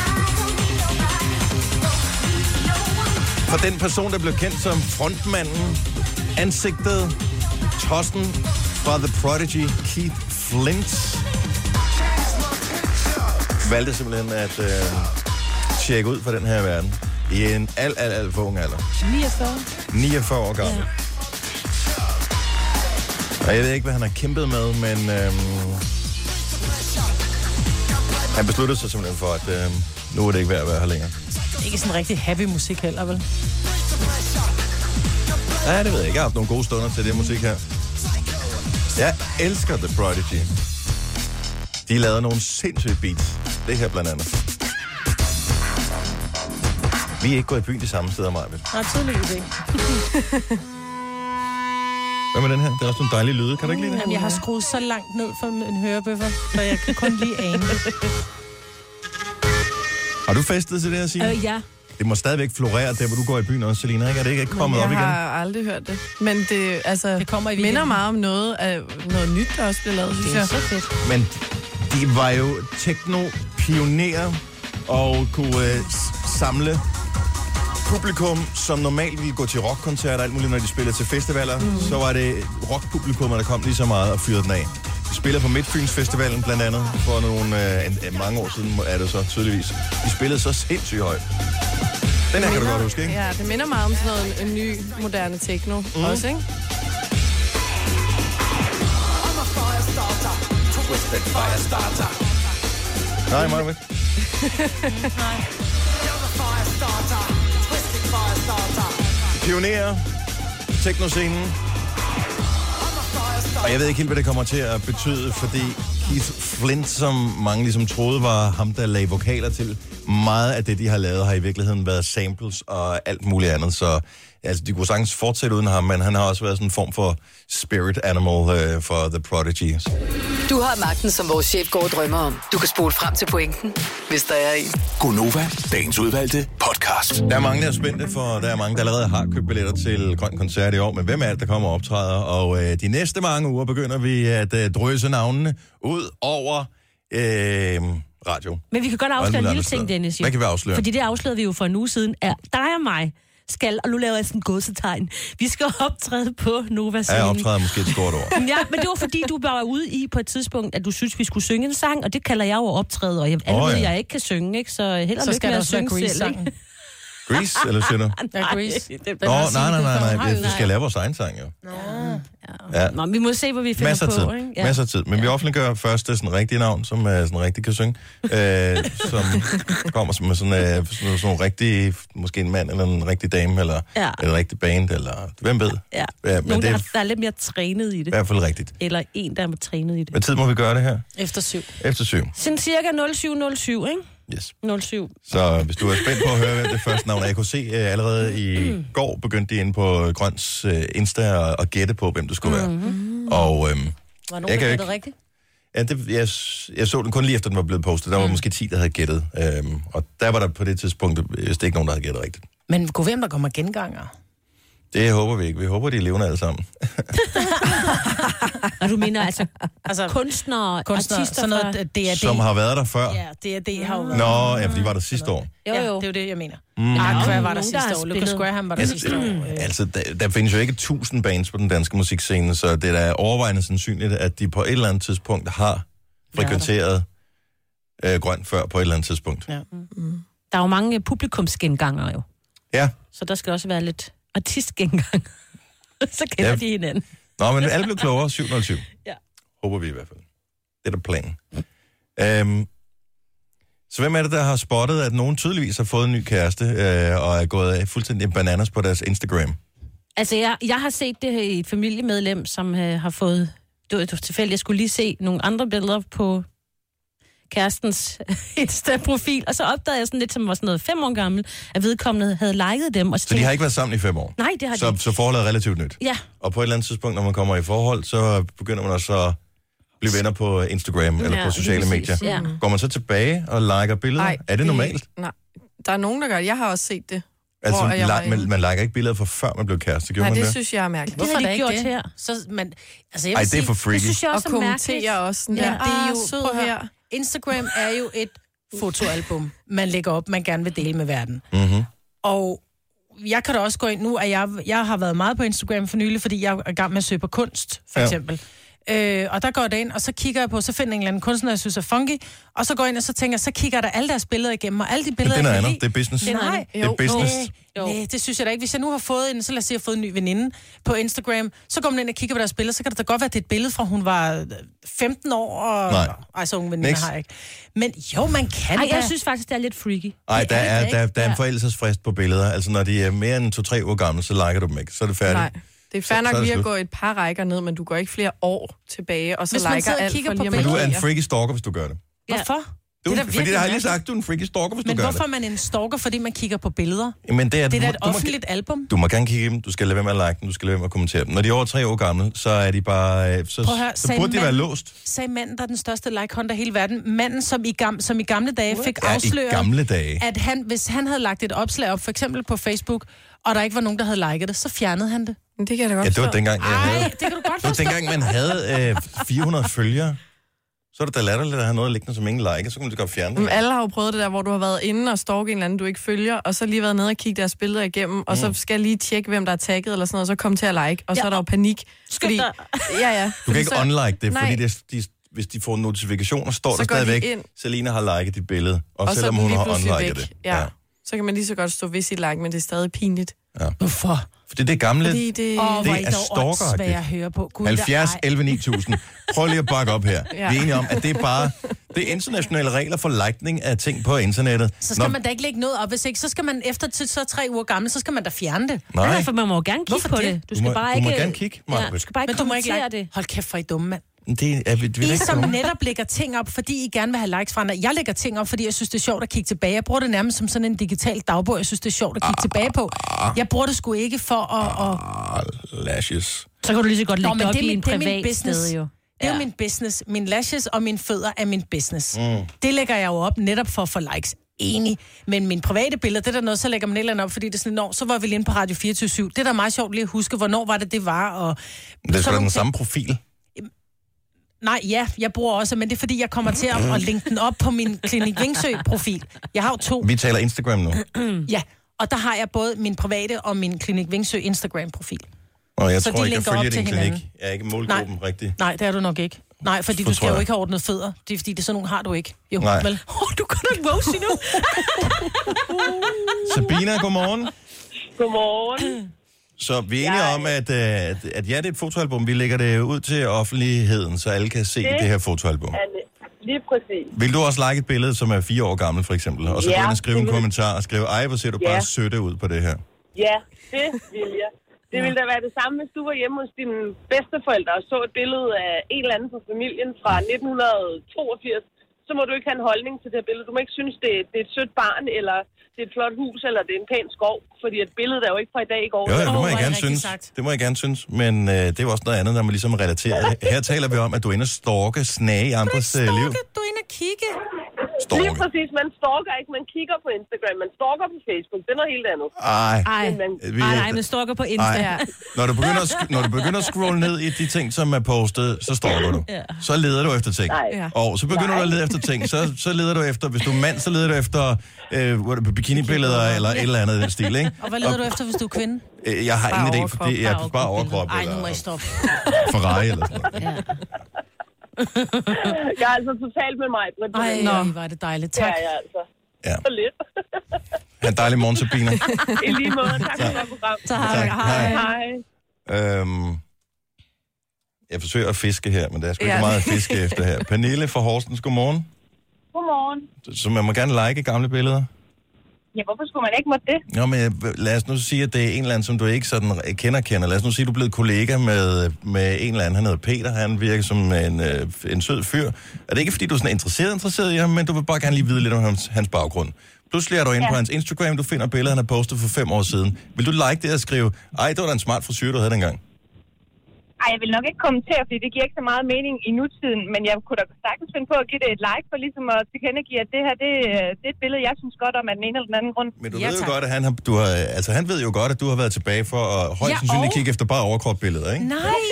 Speaker 2: For den person, der blev kendt som frontmanden, ansigtet, tossen fra The Prodigy, Keith Flint, valgte simpelthen at øh, tjekke ud fra den her verden i en alt, alt, alt for ung alder. 49 år gammel. Og jeg ved ikke, hvad han har kæmpet med, men øhm, han besluttede sig simpelthen for, at øhm, nu er det ikke værd at være her længere.
Speaker 4: Ikke sådan rigtig happy musik heller, vel?
Speaker 2: Ja, det ved jeg ikke. Jeg har haft nogle gode stunder til det musik her. Jeg elsker The Prodigy. De lavede nogle sindssyge beats. Det her blandt andet. Vi er ikke gået i byen de samme steder, Maja.
Speaker 4: Nej, tydeligvis ikke.
Speaker 2: Hvad med den her? Det er også nogle dejlige lyde. Kan du ikke lide det?
Speaker 4: Jamen, jeg har skruet så langt ned for en hørebøffer, så jeg kan kun lige ane det.
Speaker 2: Har du festet til det her, Signe?
Speaker 3: Øh, ja.
Speaker 2: Det må stadigvæk florere der, hvor du går i byen også, Selina. Ikke? Er det ikke kommet op
Speaker 9: jeg
Speaker 2: igen?
Speaker 9: har aldrig hørt det. Men det, altså,
Speaker 4: Det kommer i
Speaker 9: det minder
Speaker 4: weekenden.
Speaker 9: meget om noget, af noget nyt, der også bliver lavet, synes
Speaker 4: Det er
Speaker 9: jeg.
Speaker 4: så fedt.
Speaker 2: Men de var jo tekno-pionerer og kunne øh, s- samle publikum, som normalt ville gå til rockkoncerter og alt muligt, når de spiller til festivaler. Mm. Så var det rockpublikummer, der kom lige så meget og fyrede den af. De spillede på Midtfyns Festivalen blandt andet for nogle, øh, en, øh, mange år siden, er det så tydeligvis. De spillede så sindssygt højt. Den her kan du godt huske, ikke?
Speaker 9: Ja, det minder meget om sådan noget, en ny, moderne techno mm. også, ikke?
Speaker 2: Nej, meget væk. Pionerer, teknoscenen. Og jeg ved ikke helt, hvad det kommer til at betyde, fordi Keith Flint, som mange ligesom troede var ham, der lagde vokaler til, meget af det, de har lavet, har i virkeligheden været samples og alt muligt andet. Så altså, de kunne sagtens fortsætte uden ham, men han har også været sådan en form for spirit animal øh, for The Prodigy.
Speaker 7: Du har magten, som vores chef går og drømmer om. Du kan spole frem til pointen, hvis der er en.
Speaker 8: Gonova, dagens udvalgte podcast.
Speaker 2: Der er mange, der er spændte, for der er mange, der allerede har købt billetter til Grøn Koncert i år, men hvem er det, der kommer og optræder? Og øh, de næste mange uger begynder vi at øh, drøse navnene ud over øh, radio.
Speaker 3: Men vi kan godt
Speaker 2: Og alle
Speaker 3: afsløre
Speaker 2: mulige
Speaker 3: en lille
Speaker 2: andre
Speaker 3: ting,
Speaker 2: steder.
Speaker 3: Dennis. Jo.
Speaker 2: Hvad kan vi afsløre?
Speaker 3: Fordi det afslørede vi jo for en uge siden, er dig og mig skal, og nu laver jeg sådan en godsetegn, vi skal optræde på Nova
Speaker 2: Er
Speaker 3: Scenen.
Speaker 2: optræder måske et stort ord.
Speaker 3: Ja, men det var fordi, du var ude i på et tidspunkt, at du synes, vi skulle synge en sang, og det kalder jeg jo optræde, og jeg, alle
Speaker 2: Åh,
Speaker 3: oh,
Speaker 2: ja.
Speaker 3: ja. jeg ikke kan synge, ikke? så held og
Speaker 4: Så
Speaker 3: lykke
Speaker 4: skal
Speaker 3: med
Speaker 4: der
Speaker 3: at
Speaker 4: også være
Speaker 3: synge selv. Ikke?
Speaker 4: Grease-sangen.
Speaker 2: Grease, eller synder?
Speaker 4: Ja, Grease.
Speaker 3: det- det-
Speaker 4: Den har
Speaker 2: Nå, nej,
Speaker 4: Signe
Speaker 2: nej,
Speaker 4: Bøffer.
Speaker 2: nej,
Speaker 4: Har
Speaker 2: nej.
Speaker 4: jo
Speaker 2: Vi, vi skal lave vores egen sang, jo. Ja.
Speaker 3: Ja. Nå, vi må se, hvad vi finder
Speaker 2: Masser af
Speaker 3: på.
Speaker 2: tid.
Speaker 3: Ikke?
Speaker 2: Masser af tid. Men vi offentliggør først det sådan rigtige navn, som øh, sådan rigtig kan synge. Øh, som kommer som sådan, øh, sådan, sådan en rigtig, måske en mand, eller en rigtig dame, eller,
Speaker 3: Ja.
Speaker 2: eller en rigtig band, eller hvem ved.
Speaker 3: Ja.
Speaker 2: Ja, men
Speaker 3: Nogen,
Speaker 2: det
Speaker 3: der,
Speaker 2: er
Speaker 3: har, der er lidt mere trænet i
Speaker 2: i
Speaker 3: det.
Speaker 2: hvert fald rigtigt.
Speaker 3: Eller en, der er trænet i det.
Speaker 2: Hvad tid må vi gøre det her?
Speaker 4: Efter syv.
Speaker 2: Efter syv.
Speaker 3: Sådan cirka 0707, ikke?
Speaker 2: Yes.
Speaker 3: 07.
Speaker 2: Så hvis du er spændt på at høre, hvem det første navn er, jeg kunne se øh, allerede i går, begyndte de inde på Grøns øh, Insta og, og gætte på, hvem du skulle være.
Speaker 4: Mm-hmm.
Speaker 2: Og øhm,
Speaker 4: Var
Speaker 2: Jeg
Speaker 4: nogen,
Speaker 2: kan
Speaker 4: der
Speaker 2: ikke.
Speaker 4: det rigtigt?
Speaker 2: Ja, det, jeg, s- jeg så den kun lige efter, den var blevet postet. Der var mm. måske 10, der havde gættet. Øhm, og der var der på det tidspunkt vist ikke nogen, der havde gættet rigtigt.
Speaker 4: Men gå hvem, der kommer genganger.
Speaker 2: Det håber vi ikke. Vi håber, de er levende alle sammen.
Speaker 3: Og du mener altså
Speaker 4: Altså,
Speaker 3: kunstnere, kunstnere
Speaker 4: kunstnere,
Speaker 3: artister
Speaker 4: sådan
Speaker 3: fra...
Speaker 4: noget, øh, det er det.
Speaker 2: Som har været der før.
Speaker 4: Ja, det er det, har jo været.
Speaker 2: Nå, ja, for de var der sidste år.
Speaker 3: Jo,
Speaker 4: Ja,
Speaker 3: jo.
Speaker 4: det er jo det, jeg mener.
Speaker 2: Mm.
Speaker 4: Aqua
Speaker 3: jo
Speaker 4: var der
Speaker 3: nogen, der
Speaker 4: sidste
Speaker 3: har
Speaker 4: år, Lucas
Speaker 3: spillet.
Speaker 4: Graham var der
Speaker 2: Altså,
Speaker 4: sidste år.
Speaker 3: Øh.
Speaker 4: øh.
Speaker 2: altså der, der findes jo ikke tusind bands på den danske musikscene, så det er da overvejende sandsynligt, at de på et eller andet tidspunkt har frekventeret øh, grøn før på et eller andet tidspunkt.
Speaker 3: Der er jo mange øh, publikumsgenganger jo.
Speaker 2: Ja,
Speaker 3: Så der skal også være lidt artistgengang. så
Speaker 2: Ja.
Speaker 3: kender ja. de hinanden.
Speaker 2: Nå, men alle blev klogere. 720.
Speaker 3: Ja.
Speaker 2: Håber vi i hvert fald. Det er da planen. Øhm, så hvem er det, der har spottet, at nogen tydeligvis har fået en ny kæreste, øh, og er gået øh, fuldstændig bananas på deres Instagram?
Speaker 3: Altså, jeg, jeg har set det her i et familiemedlem, som øh, har fået... Det var, det var tilfældigt. Jeg skulle lige se nogle andre billeder på kærestens Insta-profil, og så opdagede jeg sådan lidt, som var sådan noget fem år gammel, at vedkommende havde liket dem. Og
Speaker 2: Så de har
Speaker 3: tænkte-
Speaker 2: ikke været sammen i fem år?
Speaker 3: Nej, det har de
Speaker 2: Så,
Speaker 3: ikke.
Speaker 2: så forholdet er relativt nyt.
Speaker 3: Ja,
Speaker 2: Og på et eller andet tidspunkt, når man kommer i forhold, så begynder man også at blive venner på Instagram eller på
Speaker 3: Ja, lige
Speaker 2: sociale
Speaker 3: præcis,
Speaker 2: medier.
Speaker 3: ja.
Speaker 2: Går man så tilbage og liker billeder?
Speaker 9: Ej,
Speaker 2: er det normalt?
Speaker 9: Nej, der er nogen, der gør det. Jeg har også set det.
Speaker 2: Altså,
Speaker 9: Hvor er jeg
Speaker 2: li-
Speaker 9: var
Speaker 2: man, man liker ikke billeder for før man blev kæreste, gjorde
Speaker 9: Nej,
Speaker 2: man
Speaker 9: det
Speaker 2: det?
Speaker 9: synes jeg er mærkeligt.
Speaker 3: det har de
Speaker 4: da ikke
Speaker 3: gjort her.
Speaker 4: Så, man, altså, jeg vil
Speaker 2: Ej, det
Speaker 4: sige,
Speaker 2: er for
Speaker 3: Det
Speaker 2: freaky.
Speaker 3: synes jeg
Speaker 9: Og
Speaker 3: også er mærkeligt.
Speaker 9: kommenterer også sådan, "Ah,
Speaker 4: Ja, Ah,
Speaker 9: ja,
Speaker 4: det er jo-
Speaker 9: sød
Speaker 4: prøv at
Speaker 9: her.
Speaker 4: høre. Instagram er jo et fotoalbum, man lægger op, man gerne vil dele med verden.
Speaker 2: Mm-hmm.
Speaker 4: Og jeg kan da også gå ind nu, at jeg, jeg har været meget på Instagram for nylig, fordi jeg er i gang med at søge på kunst,
Speaker 2: Ja.
Speaker 4: for ja. eksempel. Øh, og der går det ind, og så kigger jeg på, så finder jeg en eller anden kunstner, jeg synes er funky, og så går jeg ind, og så tænker jeg, så kigger jeg der alle deres billeder igennem, og alle de billeder,
Speaker 2: Det er noget
Speaker 4: jeg kan
Speaker 2: andet.
Speaker 4: lide,
Speaker 2: Det er business.
Speaker 3: Det er noget andet.
Speaker 2: Det er business.
Speaker 4: Jo. Nej, det synes jeg da ikke. Hvis jeg nu har fået en, så lad os sige, jeg har fået en ny veninde på Instagram, så går man ind og kigger på deres billeder, så kan det da godt være, at det er et billede fra, hun var 15 år, og...
Speaker 2: Nej.
Speaker 4: Ej, så unge veninder
Speaker 2: Next.
Speaker 4: har jeg ikke. Men jo, man kan
Speaker 3: Ej,
Speaker 4: da.
Speaker 3: jeg synes faktisk, det er lidt freaky.
Speaker 2: Nej, der
Speaker 4: det
Speaker 2: er,
Speaker 4: ikke.
Speaker 2: der, der er en forældelsesfrist på billeder. Altså, når de er mere end to-tre uger gamle, så liker du dem ikke. Så er det færdigt.
Speaker 9: Nej. Det er fair
Speaker 2: Så- så er
Speaker 9: nok
Speaker 2: det
Speaker 9: lige at
Speaker 2: slut.
Speaker 9: gå et par rækker ned, men du går ikke flere år tilbage, og så
Speaker 4: Hvis man
Speaker 9: liker
Speaker 4: sidder og
Speaker 9: alt
Speaker 4: kigger
Speaker 9: for
Speaker 4: på
Speaker 9: lige at
Speaker 2: Men du er en
Speaker 9: markere.
Speaker 2: freaky stalker, hvis du gør det.
Speaker 4: Hvorfor?
Speaker 2: Du,
Speaker 4: Det er da
Speaker 2: det fordi det
Speaker 4: virkelig
Speaker 2: har jeg lige sagt, du er en freaky stalker, hvis
Speaker 4: Men
Speaker 2: du gør
Speaker 4: hvorfor er man en stalker, fordi man kigger på billeder?
Speaker 2: det. Men det er,
Speaker 4: Det er da
Speaker 2: du,
Speaker 4: et
Speaker 2: du, må,
Speaker 4: offentligt album.
Speaker 2: du må gerne kigge i dem, du skal lade være med at like dem, du skal lade være med at kommentere dem. Når de er over tre år gamle, så er de bare... øh, Så,
Speaker 4: Prøv at høre,
Speaker 2: så
Speaker 4: sagde
Speaker 2: burde de
Speaker 4: mand-
Speaker 2: være låst.
Speaker 4: Sagde manden, der er den største like-hunter i hele verden. Manden, som i, gam, som i gamle dage fik
Speaker 2: Ja, i
Speaker 4: afsløret,
Speaker 2: gamle dage.
Speaker 4: at han, hvis han havde lagt et opslag op, for eksempel på Facebook, og der ikke var nogen, der havde liket det, så fjernede han det.
Speaker 9: Men det kan jeg da godt
Speaker 2: Ja, det var
Speaker 9: forstå.
Speaker 2: dengang, jeg havde...
Speaker 4: Ej, det kan du godt
Speaker 2: Det var dengang, man havde øh, 400 følgere. Så er det da latterligt at have noget liggende, som ingen liker, så kunne du godt fjerne
Speaker 9: Men
Speaker 2: det.
Speaker 9: alle har jo prøvet det der, hvor du har været inde og stalke en eller anden, du ikke følger, og så lige været nede og kigge deres billeder igennem, og
Speaker 2: Mm.
Speaker 9: så skal jeg lige tjekke, hvem der er tagget eller sådan noget, og så komme til at like, og så er der jo panik. Fordi,
Speaker 3: dig.
Speaker 9: ja, ja.
Speaker 2: Du kan
Speaker 9: Fordi
Speaker 2: ikke
Speaker 9: så-
Speaker 2: unlike det,
Speaker 9: Nej.
Speaker 2: fordi det, de, hvis de får notifikationer, står
Speaker 9: Så
Speaker 2: der
Speaker 9: går de
Speaker 2: stadigvæk,
Speaker 9: ind.
Speaker 2: Selina har liket dit billede, og,
Speaker 9: og så er
Speaker 2: selvom
Speaker 9: den
Speaker 2: hun
Speaker 9: lige
Speaker 2: har
Speaker 9: pludselig
Speaker 2: unliket
Speaker 9: væk.
Speaker 2: det.
Speaker 9: Ja. Så kan man lige så godt stå ved sit like, men det er stadig pinligt.
Speaker 4: Hvorfor?
Speaker 2: Fordi det er gamle,
Speaker 9: Fordi det...
Speaker 4: Åh, hvor
Speaker 2: Det
Speaker 4: I
Speaker 2: er
Speaker 4: dog
Speaker 2: stalkeragtigt.
Speaker 4: åndssvage at høre på. Gud,
Speaker 2: 70,
Speaker 4: der- ej.
Speaker 2: 11, 9000. Prøv lige at bakke op her. Vi er enige om, at det er bare det er internationale regler for likning af ting på internettet.
Speaker 4: Så skal Nå. man da ikke lægge noget op, hvis ikke, så skal man efter tid, så er tre uger gammel, så skal man da fjerne det.
Speaker 3: Nej.
Speaker 2: Nej,
Speaker 3: Derfor, man må jo gerne kigge
Speaker 4: Hvorfor
Speaker 3: på
Speaker 4: det?
Speaker 3: det.
Speaker 2: Du
Speaker 3: Du skal
Speaker 2: må-
Speaker 3: bare
Speaker 2: du må
Speaker 3: ikke...
Speaker 2: gerne kigge, Maja.
Speaker 3: ja, du skal bare ikke
Speaker 4: Men du må ikke
Speaker 3: kommentere
Speaker 4: lage
Speaker 3: det.
Speaker 4: det. Hold kæft, for I er dumme, mand.
Speaker 2: det er, vi, vi vil
Speaker 4: I
Speaker 2: ikke
Speaker 4: som
Speaker 2: komme.
Speaker 4: netop lægger ting op, fordi I gerne vil have likes fra andre. Jeg lægger ting op, fordi jeg synes, det er sjovt at kigge tilbage. Jeg bruger det nærmest som sådan en digital dagbog, jeg synes, det er sjovt at kigge tilbage på. Jeg bruger det sgu ikke for at... at...
Speaker 2: Ah, lashes.
Speaker 3: Så kan du lige så godt
Speaker 4: Nå,
Speaker 3: lægge
Speaker 4: men
Speaker 3: det op
Speaker 4: det er
Speaker 3: i
Speaker 4: min-
Speaker 3: en
Speaker 4: det er min
Speaker 3: privat
Speaker 4: business.
Speaker 3: sted, jo.
Speaker 4: Det er jo min business. Min lashes og mine fødder er min business. Mm. Det lægger jeg jo op netop for at få likes. Enig. Men mine private billeder, det er der noget, så lægger man et eller andet op, fordi det er sådan, Nå, så var vi lige inde på Radio 24 Det er da meget sjovt lige at huske, hvornår var det, det var. Og
Speaker 2: Men det er sgu
Speaker 4: Sådan
Speaker 2: da
Speaker 4: nogle
Speaker 2: den
Speaker 4: ting.
Speaker 2: samme profil.
Speaker 4: Nej, ja, jeg bruger også, men det er fordi, jeg kommer til at, at linke den op på min Klinik Vingsø-profil. Jeg har jo to.
Speaker 2: Vi taler Instagram nu.
Speaker 4: Ja, og der har jeg både min private og min Klinik Vingsø Instagram-profil.
Speaker 2: Og jeg
Speaker 4: Så
Speaker 2: så
Speaker 4: de
Speaker 2: tror ikke, jeg
Speaker 4: linker op
Speaker 2: følger
Speaker 4: til
Speaker 2: din klinik.
Speaker 4: hinanden.
Speaker 2: Jeg er ikke målgruppen Nej. rigtig.
Speaker 4: Nej, det er du nok ikke. Nej, fordi
Speaker 2: For
Speaker 4: du skal
Speaker 2: tror
Speaker 4: jo
Speaker 2: jeg.
Speaker 4: ikke have ordnet fødder. Det er fordi, det er sådan nogle har du ikke. Jo,
Speaker 2: Nej.
Speaker 4: vel? Oh, du kan da ikke nu.
Speaker 2: Sabina, godmorgen.
Speaker 10: Godmorgen.
Speaker 2: Så vi er enige
Speaker 10: Jeg-
Speaker 2: om, at, øh, at, at ja, det er et fotoalbum. Vi lægger det ud til offentligheden, så alle kan se det,
Speaker 10: Det
Speaker 2: her fotoalbum.
Speaker 10: Anne, lige præcis.
Speaker 2: Vil du også like et billede, som er fire år gammel, for eksempel? Og så
Speaker 10: Ja,
Speaker 2: gå ind og skrive
Speaker 10: det
Speaker 2: en
Speaker 10: vil-
Speaker 2: kommentar og skrive, ej, hvor ser du
Speaker 10: Ja.
Speaker 2: bare sødt ud på det her.
Speaker 10: Ja, det vil jeg. Det ville da være det samme, hvis du var hjemme hos dine bedsteforældre og så et billede af en eller anden fra familien fra 1982. Så må du ikke have en holdning til det her billede. Du må ikke synes, det er, det er et sødt barn, eller det er et flot hus, eller det er en pæn skov. Fordi et billede er jo ikke fra i dag i går.
Speaker 2: Jo, jo, det
Speaker 4: Åh,
Speaker 2: må
Speaker 4: hvor
Speaker 2: jeg
Speaker 4: er
Speaker 2: gerne
Speaker 4: det rigtigt
Speaker 2: synes.
Speaker 4: sagt.
Speaker 2: Det må jeg gerne synes, men øh, det er jo også noget andet, når man ligesom relaterer. Her taler vi om, at du ender stalke, snage i andres øh, liv.
Speaker 4: Stalke, du er inde og kigge.
Speaker 10: Lige
Speaker 2: Stalke.
Speaker 10: præcis. Man stalker ikke. Man kigger på Instagram. Man stalker på Facebook. Det er noget helt andet.
Speaker 2: Ej.
Speaker 3: Ej,
Speaker 10: Men man,
Speaker 2: Vi-
Speaker 3: ej, nej, men stalker på Insta.
Speaker 2: Ej. Når du, begynder at, sk- når du begynder at scrolle ned i de ting, som er postet, så stalker du. Så leder du efter ting.
Speaker 10: nej.
Speaker 9: Ja.
Speaker 2: Og så begynder du at lede efter ting. Så, så leder du efter, hvis du er mand, så leder du efter øh, hvor er det, bikinibilleder eller et eller andet i den stil, ikke?
Speaker 4: Og hvad leder du efter, hvis du er kvinde?
Speaker 2: Øh, Jeg har
Speaker 9: Bare
Speaker 2: ingen idé,
Speaker 9: overkrop,
Speaker 2: fordi jeg er
Speaker 9: bare
Speaker 2: bare overkrop
Speaker 4: Ej, nu må
Speaker 2: eller
Speaker 4: I stoppe.
Speaker 2: Ferrari eller sådan noget.
Speaker 10: Jeg er altså totalt med mig, Britt.
Speaker 4: Ej,
Speaker 10: Nå.
Speaker 4: no. var det dejligt.
Speaker 10: Ja,
Speaker 4: Tak.
Speaker 10: ja, altså.
Speaker 2: Ja.
Speaker 10: Så lidt.
Speaker 2: Ha' en dejlig morgen, Sabina.
Speaker 10: I lige måde. Tak for det program.
Speaker 2: Tak. Hej.
Speaker 10: Hej.
Speaker 2: Øhm, jeg forsøger at fiske her, men der er sgu ikke
Speaker 9: Ja.
Speaker 2: meget at fiske efter her. Pernille fra Horsens, godmorgen.
Speaker 10: Godmorgen.
Speaker 2: Så man må gerne like gamle billeder.
Speaker 10: Ja, hvorfor skulle man ikke måtte det?
Speaker 2: Nå, men øh, lad os nu sige, at det er en eller anden, som du ikke sådan øh, kender, kender. Lad os nu sige, at du er blevet kollega med, øh, med en eller anden. Han hedder Peter. Han virker som en, øh, en sød fyr. Er det ikke, fordi du er sådan interesseret, interesseret i ham, men du vil bare gerne lige vide lidt om hans, hans baggrund. Pludselig er du inde ja. på hans Instagram, du finder billeder, han har postet for fem år siden. Vil du like det og skrive, ej, det var da en smart frisyr, du havde dengang?
Speaker 10: Ej, jeg vil nok ikke kommentere, fordi det giver ikke så meget mening i nutiden, men jeg kunne da sagtens finde på at give det et like, for ligesom at tilkendegive, at det her, det, øh, det er et billede, jeg synes godt om af den ene eller den anden grund.
Speaker 2: Men du
Speaker 4: Ja,
Speaker 2: ja, ved jo
Speaker 4: tak.
Speaker 2: godt, at han, har, du har, altså, han ved jo godt, at du har været tilbage for at højst
Speaker 4: Ja,
Speaker 2: ja, sandsynligt
Speaker 4: og-
Speaker 2: kigge efter bare overkropbilleder, ikke?
Speaker 4: Nej,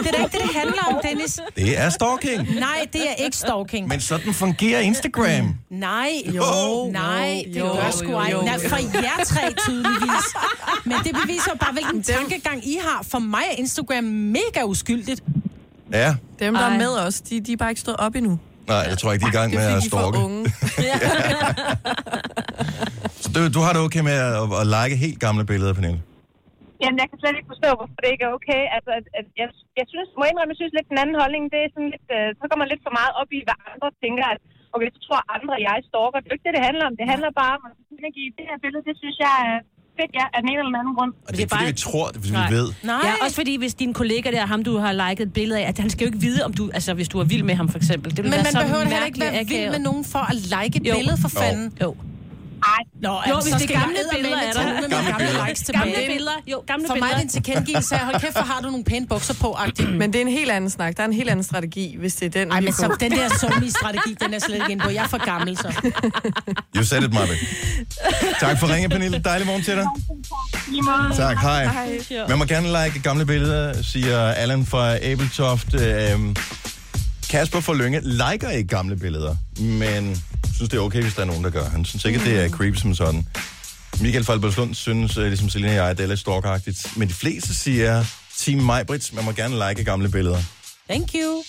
Speaker 4: det er da ikke det, det handler om, Dennis.
Speaker 2: Det er stalking.
Speaker 4: Nej, det er ikke stalking.
Speaker 2: Men sådan fungerer Instagram.
Speaker 4: Nej,
Speaker 2: Jo.
Speaker 4: nej, det
Speaker 9: Jo,
Speaker 4: gør sgu
Speaker 9: jo,
Speaker 4: ej.
Speaker 9: jo,
Speaker 4: Nej,
Speaker 9: jo.
Speaker 4: for jer tre tydeligvis. Men det beviser jo bare, hvilken tankegang I har. For mig er Instagram mega uskyldigt.
Speaker 2: Ja,
Speaker 9: Dem, der er med os, de, de er bare ikke stået op endnu.
Speaker 2: nej, jeg tror ikke, de er i gang
Speaker 9: Det
Speaker 2: med
Speaker 9: er
Speaker 2: at
Speaker 9: fordi, de er
Speaker 2: stalke.
Speaker 9: for unge.
Speaker 2: Så du, du har det okay med at, at, at like helt gamle billeder, Pernille?
Speaker 10: Jamen, jeg kan slet ikke forstå, hvorfor det ikke er okay. Altså, at- at jeg, jeg synes, må jeg indrømme, jeg synes lidt den anden holdning, det er sådan lidt, øh, så går man lidt for meget op i, hvad andre tænker, at okay, så tror andre, at jeg stalker. Det er jo ikke det, det handler om. Det handler bare om, at man kan give det her billede, det synes jeg er fedt, ja, af den ene eller den anden grund.
Speaker 2: Og det er ikke, fordi vi tror, det er, fordi vi ved.
Speaker 3: Nej. Ja, også fordi hvis din kollega der, ham du har liket et billede af, at han skal jo ikke vide, om du, altså hvis du er vild med ham for eksempel. Det
Speaker 4: Men
Speaker 3: vil være
Speaker 4: man
Speaker 3: så
Speaker 4: behøver da heller ikke
Speaker 3: mærkeligt
Speaker 4: være vild
Speaker 3: akavet.
Speaker 4: med nogen for at like et
Speaker 3: Jo.
Speaker 4: billede, for
Speaker 3: Jo.
Speaker 4: fanden.
Speaker 3: Jo.
Speaker 10: Ej,
Speaker 4: Nå,
Speaker 3: Jo,
Speaker 4: altså,
Speaker 3: hvis det
Speaker 4: skal
Speaker 3: er
Speaker 4: jeg
Speaker 3: gamle
Speaker 4: eddermame
Speaker 3: billeder, er
Speaker 4: tage ud
Speaker 3: der.
Speaker 4: med mine
Speaker 3: Gamle
Speaker 4: gamle likes tilbage.
Speaker 3: Gamle billeder. Jo, gamle
Speaker 4: For mig er
Speaker 3: billeder.
Speaker 4: det en tilkendegivelse af, hold kæft, hvor har du nogle pæne bukser på, agtigt.
Speaker 9: Men det er en helt anden snak. Der er en helt anden strategi, hvis det er den,
Speaker 4: Ej,
Speaker 9: vi
Speaker 4: men så
Speaker 9: kommer-
Speaker 4: den der somi-strategi, den er jeg slet ikke inde på. Jeg er for gammel, så.
Speaker 2: You said it, Marvind. tak for ringen, Pernille. Dejlig morgen til dig. Tak, hej. Man må gerne like gamle billeder, siger Allan fra Abeltoft. Øhm, Kasper fra Lønge liker ikke gamle billeder, men synes, det er okay, hvis der er nogen, der gør. Han synes ikke, at
Speaker 4: Mm.
Speaker 2: det er creep som sådan. Michael fra Albertslund synes, øh, ligesom Selina og jeg, at det er lidt stalkeragtigt. Men de fleste siger, Team Majbrits, man må gerne like gamle billeder. Altså,
Speaker 4: Thank you.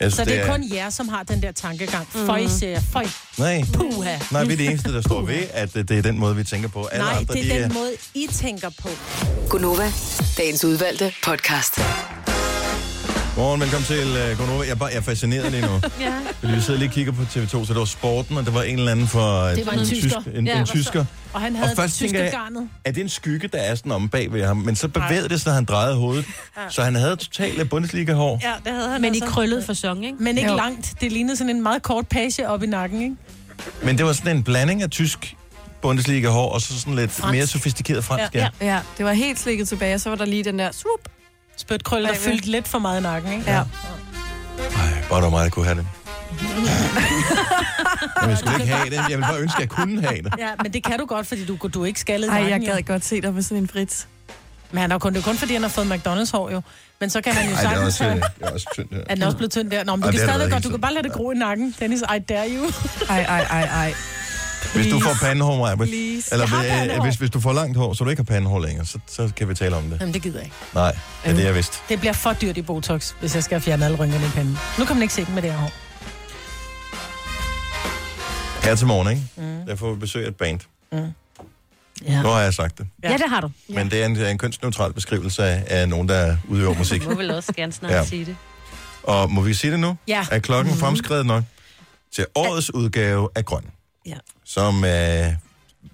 Speaker 2: Jeg synes,
Speaker 4: Så det er kun jer, som har den der tankegang. Føj, siger jeg. Føj.
Speaker 2: Nej.
Speaker 4: Puha.
Speaker 2: Nej, vi er det eneste, der står ved, at øh, det er den måde, vi tænker på. Alle
Speaker 4: Nej,
Speaker 2: andre,
Speaker 4: det
Speaker 2: de
Speaker 4: er
Speaker 2: er...
Speaker 4: den måde, I tænker på.
Speaker 7: Gunova, dagens udvalgte podcast.
Speaker 2: Godmorgen, velkommen til uh, Gonova. Jeg, er bare, jeg er fascineret lige nu.
Speaker 3: Ja.
Speaker 2: Fordi vi sidder lige og kigger på TV2, så det var sporten, og det var en eller anden for
Speaker 4: Det var en tysker.
Speaker 2: en,
Speaker 4: Ja,
Speaker 2: en
Speaker 4: hvor så-
Speaker 2: tysker.
Speaker 4: Og han havde
Speaker 2: først
Speaker 4: tyske
Speaker 2: tænker jeg,
Speaker 4: garnet.
Speaker 2: Er det en skygge, der er sådan om bag ved ham? Men så bevægede det sig, når han drejede hovedet. Så han havde totalt Bundesliga-hår.
Speaker 4: Ja, det Altså. havde han
Speaker 3: Men i krøllet fasong, ikke?
Speaker 4: Men ikke
Speaker 3: Jo.
Speaker 4: langt. Det lignede sådan en meget kort page op i nakken, ikke?
Speaker 2: Men det var sådan en blanding af tysk Bundesliga-hår, og så sådan lidt
Speaker 4: Fransk.
Speaker 2: mere sofistikeret fransk.
Speaker 9: ja. ja, det var helt slikket tilbage, og så var der lige den der swoop.
Speaker 4: Spødt krølle, der
Speaker 9: Bagved.
Speaker 4: fyldte lidt for meget i nakken, ikke?
Speaker 9: Ja.
Speaker 2: Ej, bare der var mig, der kunne have det. Men jeg skulle ikke have det. Jeg ville bare ønske, at jeg kunne have det.
Speaker 4: Ja, men det kan du godt, fordi du, du er ikke skaldet i
Speaker 9: Ej, jeg
Speaker 4: nakken, jo.
Speaker 9: gad godt se dig med sådan en brits.
Speaker 4: Men han har kun, det er kun fordi, han har fået McDonald's-hår jo. Men så kan han jo
Speaker 2: Ej, det er
Speaker 4: sagtens...
Speaker 2: også,
Speaker 4: Ej,
Speaker 2: øh,
Speaker 4: det
Speaker 2: det er også tyndt. her.
Speaker 4: er den også blevet tynd der? Nå, men
Speaker 2: Ej,
Speaker 4: du kan
Speaker 2: det har
Speaker 4: stadig
Speaker 2: været
Speaker 4: godt, du
Speaker 2: helt
Speaker 4: kan bare lade det gro i nakken. Dennis, I dare you.
Speaker 9: Ej, ej, ej, ej.
Speaker 2: Hvis du får pandehår, Maja,
Speaker 9: Please.
Speaker 2: eller
Speaker 4: Jeg har
Speaker 2: øh,
Speaker 4: pandehår.
Speaker 2: hvis, hvis du får langt hår, så du ikke har pandehår længere, så, så kan vi tale om det.
Speaker 4: Jamen, det gider jeg ikke.
Speaker 2: Nej, det er det, jeg vidste.
Speaker 4: Det bliver for dyrt i Botox, hvis jeg skal fjerne alle rynkerne i panden. Nu kan man ikke se dem med det her hår.
Speaker 2: Her til morgen, ikke? Mm. Der får vi besøg af et band.
Speaker 3: Ja.
Speaker 2: Nu har jeg sagt det.
Speaker 3: Ja, det har du.
Speaker 2: Ja. Men det er en, en kønsneutral beskrivelse af, af nogen, der udøver musik.
Speaker 3: Du må vel også gerne snart
Speaker 2: Ja.
Speaker 3: ja. sige det.
Speaker 2: Og må vi sige det nu?
Speaker 4: Ja.
Speaker 2: Er klokken mm. fremskrevet nok til årets udgave af Grøn?
Speaker 3: Ja.
Speaker 2: Som øh,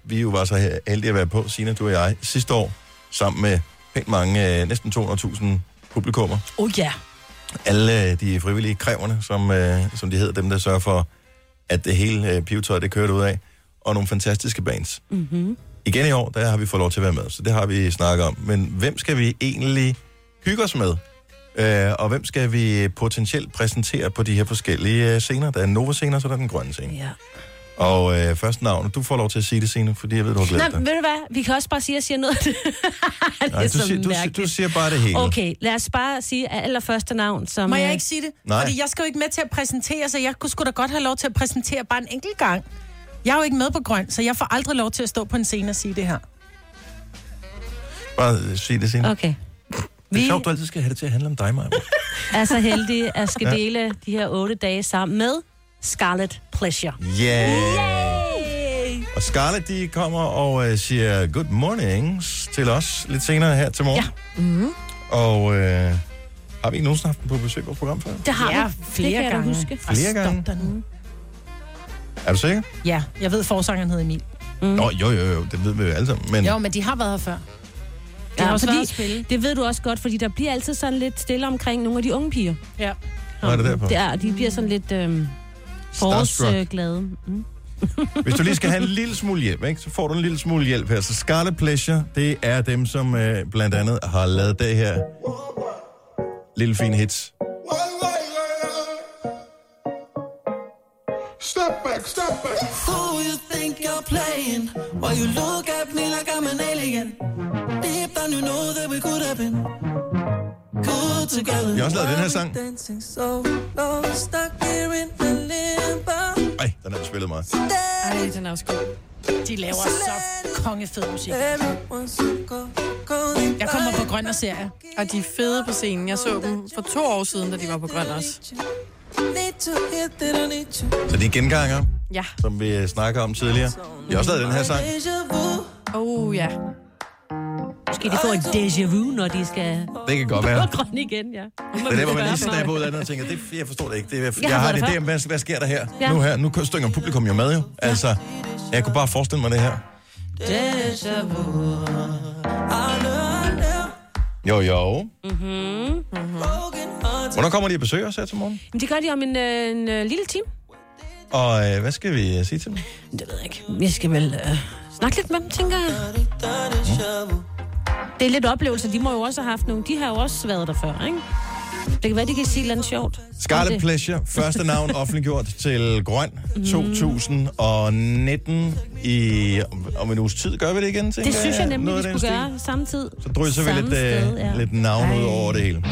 Speaker 2: vi jo var så heldige at være på, Sina, du og jeg, sidste år, sammen med pænt mange, øh, næsten 200.000 publikummer.
Speaker 3: Oh ja.
Speaker 2: alle øh, de frivillige kræverne, som, øh, som de hedder, dem der sørger for, at det hele øh, pivetøj, det kører ud af, og nogle fantastiske bands. Mm-hmm. Igen i år, der har vi fået lov til at være med, så det har vi snakket om. Men hvem skal vi egentlig hygge os med? Øh, og hvem skal vi potentielt præsentere på de her forskellige øh, scener? Der er Nova-scener, så er der den grønne scene.
Speaker 3: ja.
Speaker 2: Og øh, først navnet, du får lov til at sige det senere, fordi jeg ved, du har
Speaker 3: Nej,
Speaker 2: glemt
Speaker 3: ved du hvad? Vi kan også bare sige, at jeg siger noget. det er
Speaker 2: Nej, du,
Speaker 3: så
Speaker 2: siger, du, siger-
Speaker 3: mærkeligt.
Speaker 2: du siger bare det hele.
Speaker 3: Okay, lad os bare sige at allerførste navn, som...
Speaker 4: Må jeg
Speaker 3: øh,
Speaker 4: ikke sige det?
Speaker 2: Nej.
Speaker 4: Fordi jeg skal jo ikke med til at præsentere, så jeg kunne sgu da godt have lov til at præsentere bare en enkelt gang. Jeg er jo ikke med på grøn, så jeg får aldrig lov til at stå på en scene og sige det her.
Speaker 2: Bare øh, sig det senere. Okay.
Speaker 3: Okay.
Speaker 2: Det er
Speaker 3: Vi
Speaker 2: sjovt, du altid skal have det til at handle om dig, Maja.
Speaker 3: er så heldige at skal dele de her otte dage sammen med Scarlet Pleasure.
Speaker 2: Yeah. Og Scarlett, de kommer og øh, siger good mornings til os lidt senere her til morgen. Ja. Mm-hmm. Og øh, har vi ikke nogensinde haft dem på besøg på vores program før?
Speaker 3: Det har
Speaker 4: Ja,
Speaker 3: vi. det
Speaker 4: flere
Speaker 3: kan
Speaker 4: gange.
Speaker 3: Jeg da huske.
Speaker 2: Flere gange. Er du sikker?
Speaker 4: Ja, jeg ved, forsangeren hedder Emil.
Speaker 2: Mm. Nå, jo, jo, jo, det ved vi jo alle sammen. Men
Speaker 4: Jo, men de har været her før.
Speaker 3: Ja,
Speaker 4: har også
Speaker 3: fordi,
Speaker 4: været at spille.
Speaker 3: Det ved du også godt, fordi der bliver altid sådan lidt stille omkring nogle af de unge piger.
Speaker 4: Ja.
Speaker 2: hvor er det derfor?
Speaker 3: Det er, de bliver sådan lidt øh,
Speaker 2: Starstruck.
Speaker 3: forårsglade. Mm.
Speaker 2: Hvis du lige skal have en lille smule hjælp, ikke, så får du en lille smule hjælp her. Så Scarlet Pleasure, det er dem, som øh, blandt andet har lavet det her lille fine hits.
Speaker 8: Step back, step back.
Speaker 11: Who you think you're playing? Why you look at me like I'm an alien? Deep down you know that we could have been good together.
Speaker 2: Vi har også lavet den her sang.
Speaker 11: Dancing so low, stuck here in the limbo.
Speaker 2: Ej, den har vi spillet meget.
Speaker 9: Ej, den er også god.
Speaker 4: De laver så kongefed musik. Jeg kommer på grøn og serie.
Speaker 9: Og de er fede på scenen. Jeg så dem for to år siden, da de var på grøn også.
Speaker 2: Så de er genganger,
Speaker 9: Ja.
Speaker 2: som vi øh, snakker om tidligere. Vi har også lavet den her sang.
Speaker 9: Oh, ja.
Speaker 3: Måske de får en déjà vu, når de skal
Speaker 2: Det kan godt være.
Speaker 3: på grøn igen, ja.
Speaker 2: Det er der, hvor man lige snapper ud af den og tænker, det, jeg forstår det ikke. Det, er- jeg, jeg
Speaker 3: har
Speaker 2: har
Speaker 3: været
Speaker 2: det
Speaker 3: der
Speaker 2: der, hvad, hvad sker der her?
Speaker 3: Ja.
Speaker 2: Nu her, nu stynger publikum jo med jo. Altså, jeg kunne bare forestille mig det her.
Speaker 11: Déjà vu.
Speaker 2: Jo, jo.
Speaker 3: Mm-hmm.
Speaker 2: Hvornår kommer de og besøger os her til morgen?
Speaker 3: Men det gør de om en, øh, en øh, lille time.
Speaker 2: Og øh, hvad skal vi øh, sige til dem?
Speaker 3: Det ved jeg ikke. Jeg skal vel øh, snakke lidt med dem, tænker jeg. Det er lidt oplevelser. De må jo også have haft nogle. De har jo også været der før, ikke? Det kan være, de kan sige et eller andet sjovt.
Speaker 2: Scarlet
Speaker 3: Om det. Mhm.
Speaker 2: Pleasure, første navn offentliggjort til Grøn 2019 i, om- om en uges tid. Gør vi det igen? tænker
Speaker 3: Det synes jeg nemlig, vi
Speaker 2: Noget af den
Speaker 3: skulle
Speaker 2: stil.
Speaker 3: gøre samme tid.
Speaker 2: Så drysser vi
Speaker 3: samme
Speaker 2: lidt, øh,
Speaker 3: sted, ja.
Speaker 2: lidt navn ud over det hele.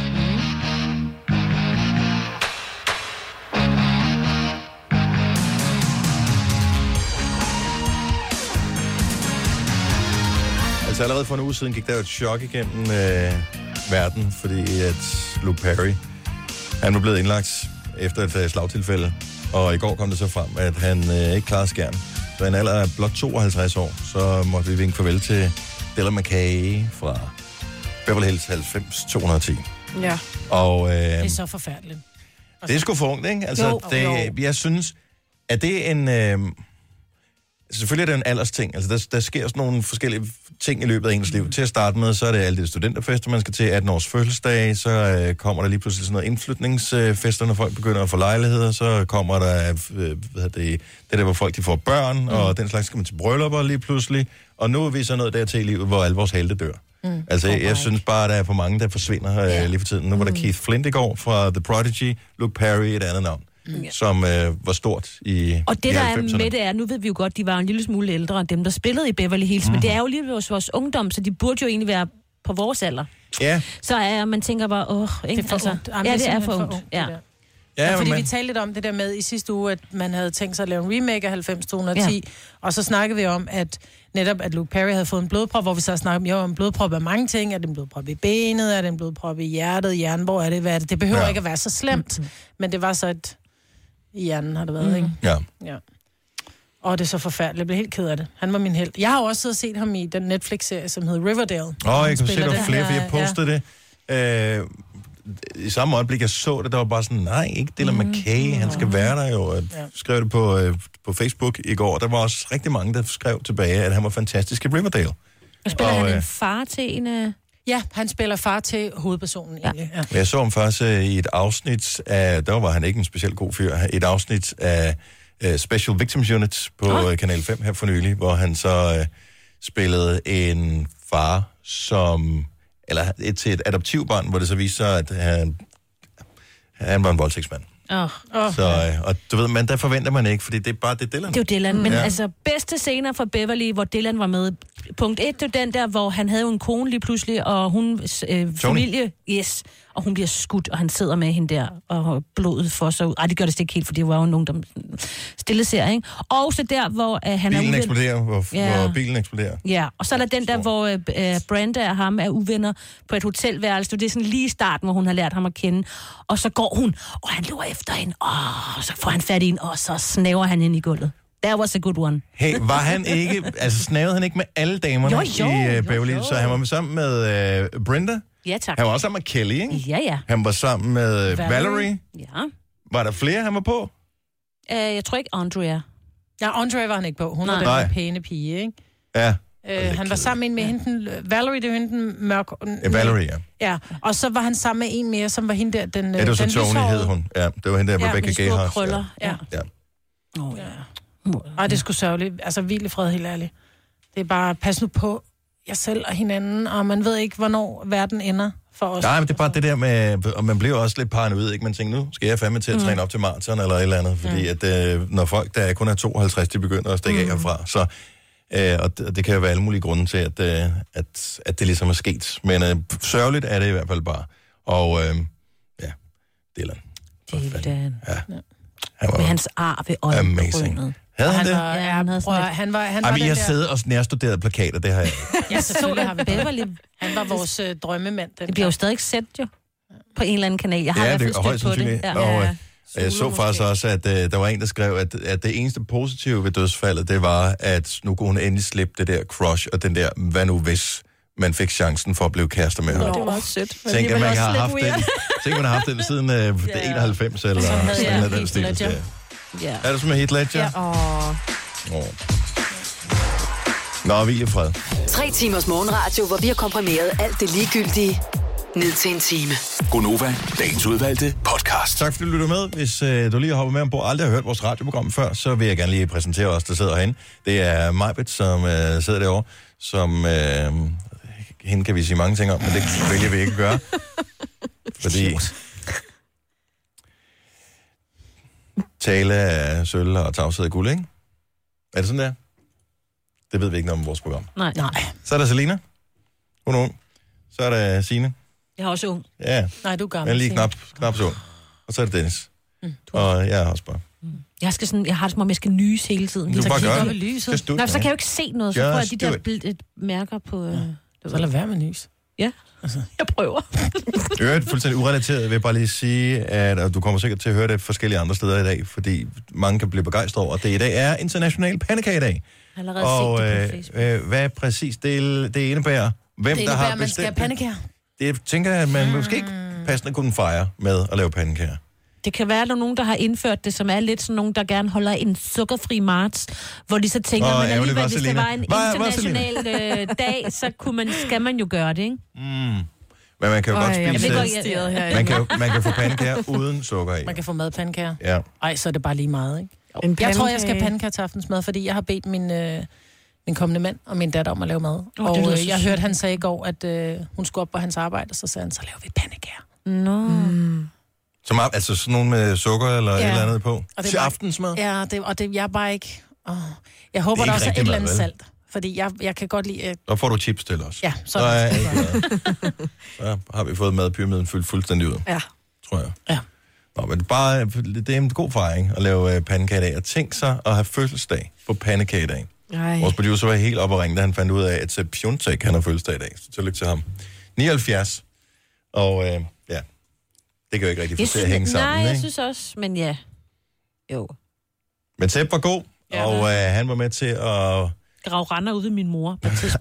Speaker 2: Altså allerede for en uge siden gik der jo et chok igennem øh, verden, fordi at Luke Perry, han var blevet indlagt efter et øh, slagtilfælde. Og i går kom det så frem, at han øh, ikke klarede skærmen. Så i en alder af blot 52 år, så måtte vi vinke farvel til Della McKay fra Beverly Hills 90 210.
Speaker 4: Ja.
Speaker 2: Og øh,
Speaker 4: Det er så forfærdeligt.
Speaker 2: det er sgu for ungt, ikke? Altså,
Speaker 4: Jo.
Speaker 2: det,
Speaker 4: Jo.
Speaker 2: jeg synes, at det er en... Øh, selvfølgelig er det en aldersting. Altså, der, der sker sådan nogle forskellige ting i løbet af ens liv. Til at starte med, så er det alle de studenterfester, man skal til. 18 års fødselsdag, så øh, kommer der lige pludselig sådan noget indflytningsfester, når folk begynder at få lejligheder. Så kommer der, øh, hvad hedder det, det der, hvor folk de får børn, mm. og den slags skal man til bryllupper lige pludselig. Og nu er vi så nået dertil i livet, hvor alle vores helte dør. Mm. Altså, jeg, jeg synes bare, at der er for mange, der forsvinder øh, lige for tiden. Nu
Speaker 3: Mm.
Speaker 2: var der Keith Flint i går fra The Prodigy, Luke Perry et andet navn, mm. som øh, var stort i
Speaker 3: Og det,
Speaker 2: i
Speaker 3: der er
Speaker 2: 90'erne.
Speaker 3: med det er, nu ved vi jo godt, de var en lille smule ældre end dem, der spillede i Beverly Hills,
Speaker 2: Mhm.
Speaker 3: mm. men det er jo lige ved vores- vores ungdom, så de burde jo egentlig være på vores alder.
Speaker 2: Ja,
Speaker 3: Så er man tænker bare, åh, ikke?
Speaker 4: Det er for
Speaker 3: altså,
Speaker 4: ungt. Jamen,
Speaker 3: Ja,
Speaker 4: det er
Speaker 3: det er for
Speaker 4: simpelthen for
Speaker 3: ungt.
Speaker 4: ungt,
Speaker 3: Ja.
Speaker 4: Ja, fordi vi talte lidt om det der med i sidste uge, at man havde tænkt sig at lave en remake af 90-210, ja.
Speaker 3: Ja.
Speaker 4: og så snakkede vi om, at netop at Luke Perry havde fået en blodprop, hvor vi så snakkede om, jo, en blodprop er mange ting. Er det en blodprop i benet? Er det en blodprop i hjertet? Hjernen, hvor er det? Hvad er det? Det behøver
Speaker 2: Ja.
Speaker 4: ja. ikke at være så slemt, mm-hmm. men det var så et... I hjernen har det været, mm. ikke?
Speaker 2: ja.
Speaker 4: Ja. Og det er så forfærdeligt. Jeg blev helt ked af det. Han var min held. Jeg har jo også siddet og set ham i den Netflix-serie, som hedder Riverdale.
Speaker 2: Åh,
Speaker 4: Han
Speaker 2: jeg kan se,
Speaker 4: spiller
Speaker 2: der var
Speaker 4: den
Speaker 2: flere, for
Speaker 4: her-
Speaker 2: jeg postede ja. det. Øh, I samme øjeblik, jeg så det, der var bare sådan, nej, ikke Dylan
Speaker 4: Mhm.
Speaker 2: McKay, han skal være der jo. Jeg skrev det på, øh, på Facebook i går. Der var også rigtig mange, der skrev tilbage, at han var fantastisk i Riverdale.
Speaker 3: Og spiller
Speaker 2: Og,
Speaker 3: han
Speaker 2: øh,
Speaker 3: en far til en... øh,
Speaker 4: Ja. ja, han spiller far til hovedpersonen egentlig. Ja.
Speaker 2: Men Jeg så ham først øh, i et afsnit af, der var han ikke en specielt god fyr, et afsnit af øh, Special Victims Unit på
Speaker 3: Ah.
Speaker 2: oh. Kanal 5 her for nylig, hvor han så øh, spillede en far, som, eller et til et adoptivbarn, hvor det så viste sig, at han, han var en voldtægtsmand.
Speaker 3: Åh,
Speaker 2: Oh. Så, øh, og du ved, men der forventer man ikke, fordi det er bare det, Dylan.
Speaker 3: Det er jo Dylan, men
Speaker 2: Ja.
Speaker 3: altså bedste scener fra Beverly, hvor Dylan var med. Punkt 1, det er jo den der, hvor han havde jo en kone lige pludselig, og hun øh, familie, yes, og hun bliver skudt, og han sidder med hende der, og blodet fosser ud. Ej, det gør det slet ikke helt, for det var jo nogen, der stille ser, ikke? Og så der, hvor øh, han er
Speaker 2: Bilen
Speaker 3: uven-
Speaker 2: eksploderer, hvor,
Speaker 3: Ja.
Speaker 2: yeah. hvor bilen eksploderer.
Speaker 3: Ja, og så er der den der, hvor øh, øh, Branda og ham er uvenner på et hotelværelse. Det er sådan lige i starten, hvor hun har lært ham at kende. Og så går hun, og han løber efter hende. Åh, og så får han fat i hende, og så snæver han ind i gulvet. That was a good one.
Speaker 2: Hey, var han ikke, altså snavede han ikke med alle damerne
Speaker 3: Jo, jo,
Speaker 2: i
Speaker 3: jo,
Speaker 2: uh, Beverly Hills? Så han var med- sammen med uh, Brenda?
Speaker 3: Ja, tak.
Speaker 2: Han var også sammen med Kelly, ikke?
Speaker 3: Ja, ja.
Speaker 2: Han var sammen med Valerie. Valerie.
Speaker 3: Ja.
Speaker 2: Var der flere, han var på?
Speaker 3: Øh, jeg tror ikke, Andrea.
Speaker 4: Ja, Andre var han ikke på. Hun Nej. var den
Speaker 2: Nej.
Speaker 4: der pæne pige, ikke?
Speaker 2: Ja,
Speaker 4: Øh, han var sammen med en med hende, den- Valerie, det er jo hende den mørk...
Speaker 2: ja Valerie, ja.
Speaker 4: Ja, og så var han sammen med en mere, som var hende der, den
Speaker 2: Ja, det var så
Speaker 4: den
Speaker 2: Tony, hed hun. Ja, det var hende der,
Speaker 4: Ja,
Speaker 2: Rebecca
Speaker 4: med de
Speaker 2: Gay
Speaker 4: store
Speaker 2: har.
Speaker 4: krøller, ja.
Speaker 2: ja.
Speaker 3: Oh, ja.
Speaker 4: Ej, det er sgu sørgeligt. Altså, hvil i fred, helt ærligt. Det er bare, pas nu på jer selv og hinanden, og man ved ikke, hvornår verden ender for os.
Speaker 2: Nej, men det er bare det der med, og man bliver også lidt paranoid, ikke? Man tænker, nu skal jeg fandme
Speaker 4: Mm.
Speaker 2: til at træne op til maraton eller et eller andet, fordi at øh, når folk, der kun er 52, de begynder at stikke mm. af herfra, så, øh, og, det, og det kan jo være alle mulige grunde til, at, øh, at, at det ligesom er sket, men øh, sørgeligt er det i hvert fald bare, og øh, ja, Dylan,
Speaker 3: Dylan.
Speaker 2: Ja.
Speaker 3: Med øh, hans ar ved øjenbrynet.
Speaker 2: amazing. Havde han,
Speaker 4: han
Speaker 2: det?
Speaker 4: Var, ja, han, havde prøv, at- han var, han
Speaker 2: Ej,
Speaker 4: var
Speaker 2: men
Speaker 4: den
Speaker 2: jeg
Speaker 4: der...
Speaker 2: sidder og nærstuderet plakater, det har jeg.
Speaker 4: Ja, selvfølgelig har vi Beverly. Han var vores øh, drømmemand. Den
Speaker 3: Det bliver jo stadig sendt jo. På en eller anden kanal. Jeg har i
Speaker 2: ja,
Speaker 3: hvert
Speaker 2: det
Speaker 3: fald
Speaker 2: er højst
Speaker 3: stødt på det.
Speaker 2: sandsynligt. Ja. Og, øh, jeg så faktisk også, at øh, der var en, der skrev, at, at det eneste positive ved dødsfaldet, det var, at nu kunne hun endelig slippe det der crush, og den der, hvad nu hvis man fik chancen for at blive kærester med
Speaker 12: Nå,
Speaker 2: ham.
Speaker 12: det var sødt. men
Speaker 2: Tænk, at
Speaker 12: alligevel
Speaker 2: man
Speaker 12: også
Speaker 2: har
Speaker 12: lidt
Speaker 2: haft den,
Speaker 12: weird.
Speaker 2: tænk, man har haft den siden øh, ja. 91
Speaker 12: Sådan
Speaker 2: eller sådan
Speaker 12: havde jeg
Speaker 2: noget. af den
Speaker 12: Heath
Speaker 2: stil,
Speaker 12: Ledger.
Speaker 2: ja.
Speaker 3: Ja.
Speaker 2: Er du som med Heath Ledger?
Speaker 7: Ja.
Speaker 9: Åh.
Speaker 2: Oh. Nå, hvil i fred.
Speaker 7: Tre timers morgenradio, hvor vi har komprimeret alt det ligegyldige ned til en time.
Speaker 2: Gonova, dagens udvalgte podcast. Tak fordi du lytter med. Hvis øh, du lige har hoppet med ombord og aldrig har hørt vores radioprogram før, så vil jeg gerne lige præsentere os, der sidder herinde. Det er Majbet, som øh, sidder derovre, som... Øh, hende kan vi sige mange ting om, men det vælger vi ikke at gøre. fordi... Tale af sølv og tavshed af guld, ikke? Er det sådan der? Det ved vi ikke noget om i vores program.
Speaker 3: Nej. Nej.
Speaker 2: Så er der Selina. Hun er ung. Så er der Signe.
Speaker 3: Jeg har også ung.
Speaker 2: Ja.
Speaker 4: Nej, du er
Speaker 2: Jeg
Speaker 4: gammel.
Speaker 2: er lige
Speaker 4: Signe.
Speaker 2: knap, knap så ung. Og så er det Dennis.
Speaker 4: Mm.
Speaker 2: Og jeg er også bare.
Speaker 3: Jeg, skal sådan, jeg har det som om, jeg skal nyse hele tiden.
Speaker 2: Du
Speaker 3: Så
Speaker 2: bare
Speaker 3: kigger
Speaker 2: gør
Speaker 3: jeg
Speaker 2: det.
Speaker 3: op i lyset.
Speaker 2: Just do it,
Speaker 3: Nå, så
Speaker 2: man.
Speaker 3: kan jeg jo ikke se noget, så får jeg
Speaker 2: Just
Speaker 3: de
Speaker 2: do
Speaker 3: der
Speaker 2: it.
Speaker 3: bl- et mærker på... Ja.
Speaker 4: Så lad være med nys.
Speaker 3: ja.
Speaker 4: Altså.
Speaker 3: Jeg prøver.
Speaker 2: I Øvrigt fuldstændig urelateret vil jeg bare lige sige, at og du kommer sikkert til at høre det forskellige andre steder i dag, fordi mange kan blive begejstret over, at det i dag er international pandekagedag.
Speaker 4: Allerede
Speaker 2: Og øh, øh, hvad præcis det, det indebærer, hvem
Speaker 4: det
Speaker 2: der
Speaker 4: indebærer,
Speaker 2: har
Speaker 4: man skal have
Speaker 2: bestemt det,
Speaker 4: Ah. pandekager.
Speaker 2: det tænker jeg, at man måske ikke passende kunne fejre med at lave pandekager.
Speaker 3: Det kan være, at der er nogen, der har indført det, som er lidt sådan nogen, der gerne holder en sukkerfri marts, hvor de så tænker,
Speaker 2: Åh,
Speaker 3: oh, men
Speaker 2: ærgerligt,
Speaker 3: alligevel, hvis det
Speaker 2: Vaseline.
Speaker 3: var en
Speaker 2: Var-
Speaker 3: international øh, dag, så kunne man, skal man jo gøre det, ikke?
Speaker 2: Mm. Men man kan jo
Speaker 3: Øj,
Speaker 2: godt
Speaker 3: jeg
Speaker 2: spise...
Speaker 3: ved godt, jeg- jeg- jeg-
Speaker 2: man, kan, jo- man kan få pandekager uden sukker i.
Speaker 4: Man kan få madpandekager.
Speaker 2: Ja.
Speaker 4: Ej, så er det bare lige meget, ikke?
Speaker 1: En
Speaker 4: Jeg tror, jeg
Speaker 1: pandekage.
Speaker 4: skal have pandekager til aftensmad, fordi jeg har bedt min, øh, min kommende mand og min datter om at lave mad.
Speaker 1: det
Speaker 4: Oh, og
Speaker 1: lyder
Speaker 4: øh,
Speaker 1: så
Speaker 4: jeg
Speaker 1: sødt.
Speaker 4: hørte, han sagde i går, at øh, hun skulle op på hans arbejde, og så sagde han, så laver vi pandekager.
Speaker 3: Nå.
Speaker 4: Mm.
Speaker 2: Som, er- altså sådan nogle med sukker eller ja. et eller andet på.
Speaker 4: Og det er
Speaker 2: Til
Speaker 4: bare-
Speaker 2: aftensmad?
Speaker 4: Ja, det, og det, jeg er bare ikke... Åh. Jeg håber,
Speaker 2: Det
Speaker 4: der
Speaker 2: er ikke
Speaker 4: også er et
Speaker 2: rigtig
Speaker 4: eller
Speaker 2: mad,
Speaker 4: andet
Speaker 2: vel?
Speaker 4: salt. Fordi jeg, jeg kan godt lide... Øh,
Speaker 2: Der får du chips til os.
Speaker 4: ja,
Speaker 2: Så,
Speaker 4: sådan.
Speaker 2: er jeg glad. så har vi fået madpyramiden fyldt fuldstændig ud,
Speaker 4: Ja.
Speaker 2: tror jeg.
Speaker 4: Ja.
Speaker 2: Nå, men bare, det er en god fejring at lave øh, pandekage i dag. Og tænk sig at have fødselsdag på pandekagedagen.
Speaker 1: Nej.
Speaker 2: Vores producer var helt op og ringe, da han fandt ud af, at Sepp Piontek, han har fødselsdag i dag. Så tillykke til ham. 79. Og øh, ja, det kan jo ikke rigtig få til at hænge sammen,
Speaker 3: nej, jeg
Speaker 2: ikke?
Speaker 3: synes også, men ja. Jo.
Speaker 2: Men Sepp var god, og øh, han var med til at...
Speaker 3: Grav render ud ved min mor.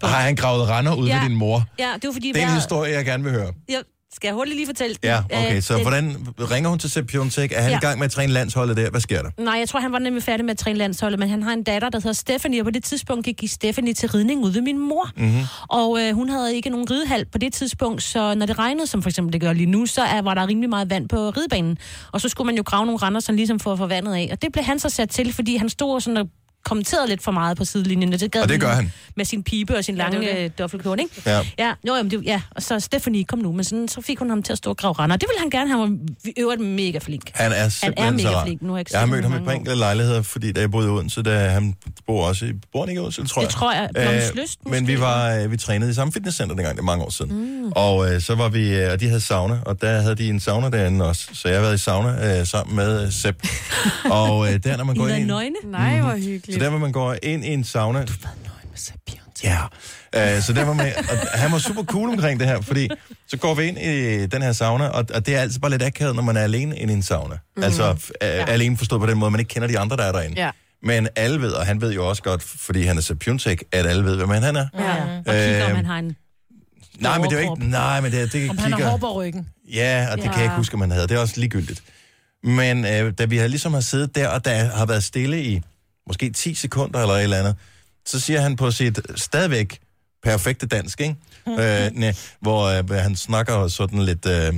Speaker 2: Har han gravet render ud ja.
Speaker 3: Ja.
Speaker 2: ved din mor?
Speaker 3: Ja, det var fordi...
Speaker 2: Det er en
Speaker 3: hver-
Speaker 2: historie, jeg gerne vil høre.
Speaker 3: Jeg skal jeg hurtigt lige fortælle den?
Speaker 2: Ja, okay.
Speaker 3: Øh,
Speaker 2: Så
Speaker 3: den-
Speaker 2: hvordan ringer hun til Sepp Piontek? Er han
Speaker 3: Ja.
Speaker 2: i gang med at træne landsholdet der? Hvad sker der?
Speaker 3: Nej, jeg tror, han var nemlig færdig med at træne landsholdet, men han har en datter, der hedder Stephanie, og på det tidspunkt gik Stephanie til ridning ude ved min mor.
Speaker 2: Mm-hmm.
Speaker 3: Og øh, hun havde ikke nogen ridehal på det tidspunkt, så når det regnede, som for eksempel det gør lige nu, så er, var der rimelig meget vand på ridebanen. Og så skulle man jo grave nogle render, sådan ligesom for at få vandet af. Og det blev han så sat til, fordi han stod sådan og kommenterede lidt for meget på sidelinjen. Og det, gad
Speaker 2: Og det gør
Speaker 3: lige
Speaker 2: han.
Speaker 3: Med sin pibe og sin
Speaker 9: Ja, det
Speaker 3: lange
Speaker 9: var det.
Speaker 3: øh, duffelkjorte, ikke?
Speaker 2: Ja.
Speaker 3: Ja, jo, jamen, det, ja, og så Stephanie kom nu, men sådan, så fik hun ham til at stå og grave render. Det ville han gerne, han var i øvrigt mega flink.
Speaker 2: Han er
Speaker 3: han er
Speaker 2: simpelthen så
Speaker 3: mega
Speaker 2: rar.
Speaker 3: flink. Nu har jeg, ikke
Speaker 2: Jeg har
Speaker 3: set
Speaker 2: mødt ham i
Speaker 3: mange
Speaker 2: et par enkelte lejligheder, fordi da jeg boede i Odense, da han bor også i... Bor han ikke i Odense, tror
Speaker 3: Det
Speaker 2: jeg?
Speaker 3: tror jeg. Blomslyst,
Speaker 2: øh, Men vi, var, øh, vi trænede i samme fitnesscenter dengang, det er mange år siden. Mm. Og øh, så var vi... Øh, og de havde sauna, og der havde de en sauna derinde også. Så jeg har været i sauna øh, sammen med øh, Sepp. og øh, der, når man
Speaker 9: I
Speaker 2: går
Speaker 9: været
Speaker 2: ind... i en-
Speaker 9: nøgne? Nej, hvor hyggeligt.
Speaker 2: Mm-hmm. Så der, hvor man går ind i en sauna... Du Ja, øh, så der var med, og han var super cool omkring det her, fordi så går vi ind i den her sauna, og, og det er altså bare lidt akavet, når man er alene inde i en sauna. Mm.
Speaker 12: Mhm.
Speaker 2: Altså f- øh, ja. alene forstået på den måde, man ikke kender de andre, der er derinde.
Speaker 12: Ja.
Speaker 2: Men alle ved, og han ved jo også godt, fordi han er Sapiontek, at alle ved, hvem han er.
Speaker 3: Ja. Og kigger,
Speaker 2: Øhm,
Speaker 3: om han har en...
Speaker 2: Nej, men det er jo ikke... Nej, men det, er- det
Speaker 4: Om han har
Speaker 2: kigger...
Speaker 4: hår på ryggen.
Speaker 2: Ja, og det ja. kan jeg
Speaker 4: Ja.
Speaker 2: ikke huske, om han havde. Det er også ligegyldigt. Men øh, da vi har ligesom har siddet der, og der har været stille i måske 10 sekunder eller et eller andet, så siger han på sit stadigvæk perfekte dansk, ikke? øh, næ, hvor øh, han snakker sådan lidt... Øh,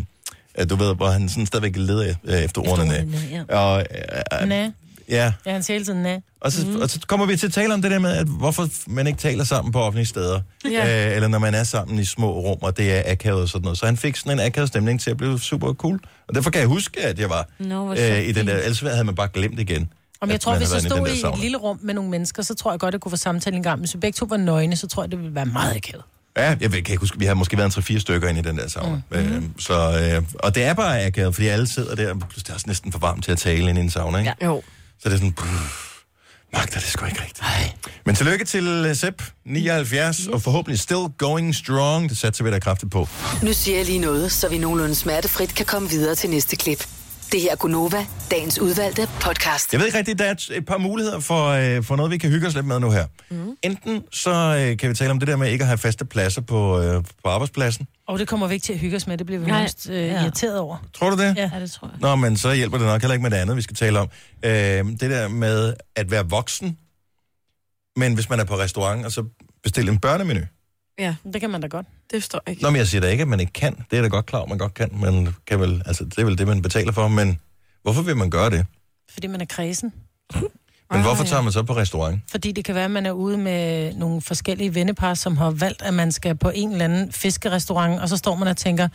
Speaker 2: øh, du ved, hvor han sådan stadigvæk leder øh, efter ordene.
Speaker 4: ordene,
Speaker 2: ja. Og, øh, øh,
Speaker 4: Næ.
Speaker 2: ja.
Speaker 4: Ja, han siger hele tiden, næ.
Speaker 2: Og så, mm. og så kommer vi til at tale om det der med, at hvorfor man ikke taler sammen på offentlige steder.
Speaker 4: Ja.
Speaker 2: Øh, eller når man er sammen i små rum, og det er akavet og sådan noget. Så han fik sådan en akavet stemning til at blive super cool. Og derfor kan jeg huske, at jeg var
Speaker 4: Nå, hvor
Speaker 2: øh, i
Speaker 4: sjovt.
Speaker 2: den der... Ellers havde man bare glemt igen.
Speaker 4: Om jeg
Speaker 2: at
Speaker 4: tror,
Speaker 2: man
Speaker 4: hvis
Speaker 2: havde
Speaker 4: jeg
Speaker 2: været den
Speaker 4: stod
Speaker 2: der
Speaker 4: i et
Speaker 2: sauna.
Speaker 4: lille rum med nogle mennesker, så tror jeg godt, det kunne få samtalen i gang. Men hvis vi begge to var nøgne, så tror jeg, det ville være meget akavet.
Speaker 2: Ja, jeg ved- kan ikke huske, vi har måske været en 3-4 stykker inde i den der sauna. Mm. Øh, så, øh, og det er bare akavet, fordi alle sidder der, og det er også næsten for varmt til at tale inde i en sauna, ikke?
Speaker 3: Ja. Jo.
Speaker 2: Så det er sådan... Pff, Magter det sgu ikke rigtigt. Men tillykke til øh, Sepp, 79, yes. og forhåbentlig still going strong. Det satser vi da kraftigt på.
Speaker 7: Nu siger jeg lige noget, så vi nogenlunde smertefrit kan komme videre til næste klip. Det her er Gunova, dagens udvalgte podcast.
Speaker 2: Jeg ved ikke rigtigt, der er et, et par muligheder for, øh, for noget, vi kan hygge os lidt med nu her. Mm. Enten så øh, kan vi tale om det der med ikke at have faste pladser på, øh, på arbejdspladsen.
Speaker 4: Og det kommer vi ikke til at hygge os med, det bliver vi
Speaker 3: Nej.
Speaker 4: nærmest øh, irriteret over.
Speaker 2: Tror du det?
Speaker 4: Ja.
Speaker 3: ja, det tror jeg.
Speaker 2: Nå, men så hjælper det nok heller ikke med det andet, vi skal tale om. Øh, det der med at være voksen, men hvis man er på restaurant, og så bestille en børnemenu.
Speaker 9: Ja,
Speaker 4: det kan man da godt.
Speaker 9: Det står ikke.
Speaker 2: Nå, men jeg siger da ikke, at man ikke kan. Det er da godt klar, over, man godt kan. Man kan vel, altså, det er vel det, man betaler for, men hvorfor vil man gøre det?
Speaker 4: Fordi man er kredsen. Ah,
Speaker 2: Men hvorfor tager man så på restaurant?
Speaker 4: Fordi det kan være, at man er ude med nogle forskellige vennepar, som har valgt, at man skal på en eller anden fiskerestaurant, og så står man og tænker,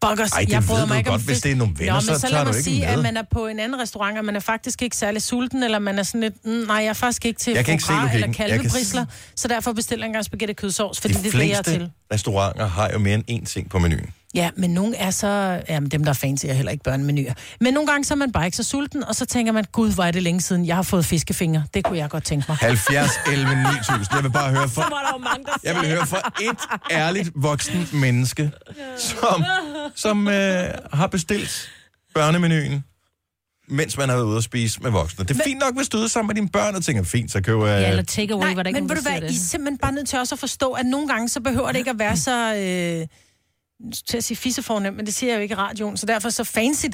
Speaker 4: Buggers,
Speaker 2: Ej, det
Speaker 4: jeg bryder
Speaker 2: ved
Speaker 4: mig
Speaker 2: du
Speaker 4: ikke om
Speaker 2: godt, hvis
Speaker 4: fisk."
Speaker 2: det er nogle venner,
Speaker 4: Nå,
Speaker 2: så
Speaker 4: men så
Speaker 2: tager
Speaker 4: lad
Speaker 2: du
Speaker 4: mig
Speaker 2: ikke
Speaker 4: sige,
Speaker 2: med.
Speaker 4: at man er på en anden restaurant, og man er faktisk ikke særlig sulten, eller man er sådan lidt, mm, nej, jeg er faktisk ikke til
Speaker 2: Jeg kan ikke se
Speaker 4: foie gras eller
Speaker 2: logikken. Jeg kan-
Speaker 4: kalvebrisler, så derfor bestiller jeg en gang spaghetti kødsovs, fordi
Speaker 2: De
Speaker 4: det er det, jeg er
Speaker 2: fleste
Speaker 4: til.
Speaker 2: restauranter har jo mere end én ting på menuen.
Speaker 4: Ja, men nogle er så... Jamen, dem, der er fancy, er heller ikke børnemenuer. Men nogle gange så er man bare ikke så sulten, og så tænker man, gud, hvor er det længe siden, jeg har fået fiskefingre. Det kunne jeg godt tænke mig.
Speaker 2: 70, 11, 9000. Jeg vil bare høre
Speaker 4: Så
Speaker 2: fra...
Speaker 4: var
Speaker 3: der jo mange, der
Speaker 2: Jeg vil høre fra et ærligt voksen menneske, som, som øh, har bestilt børnemenuen, mens man har været ude at spise med voksne. Det er fint nok, hvis du er ude sammen med dine børn og tænker, fint, så køber jeg...
Speaker 3: takeaway,
Speaker 4: Nej, men ved du hvad, I er simpelthen bare nødt til også at forstå, at nogle gange, så behøver det ikke at være så... Øh, til at sige fissefornemt, men det siger jeg jo ikke i radioen, så derfor så fancy.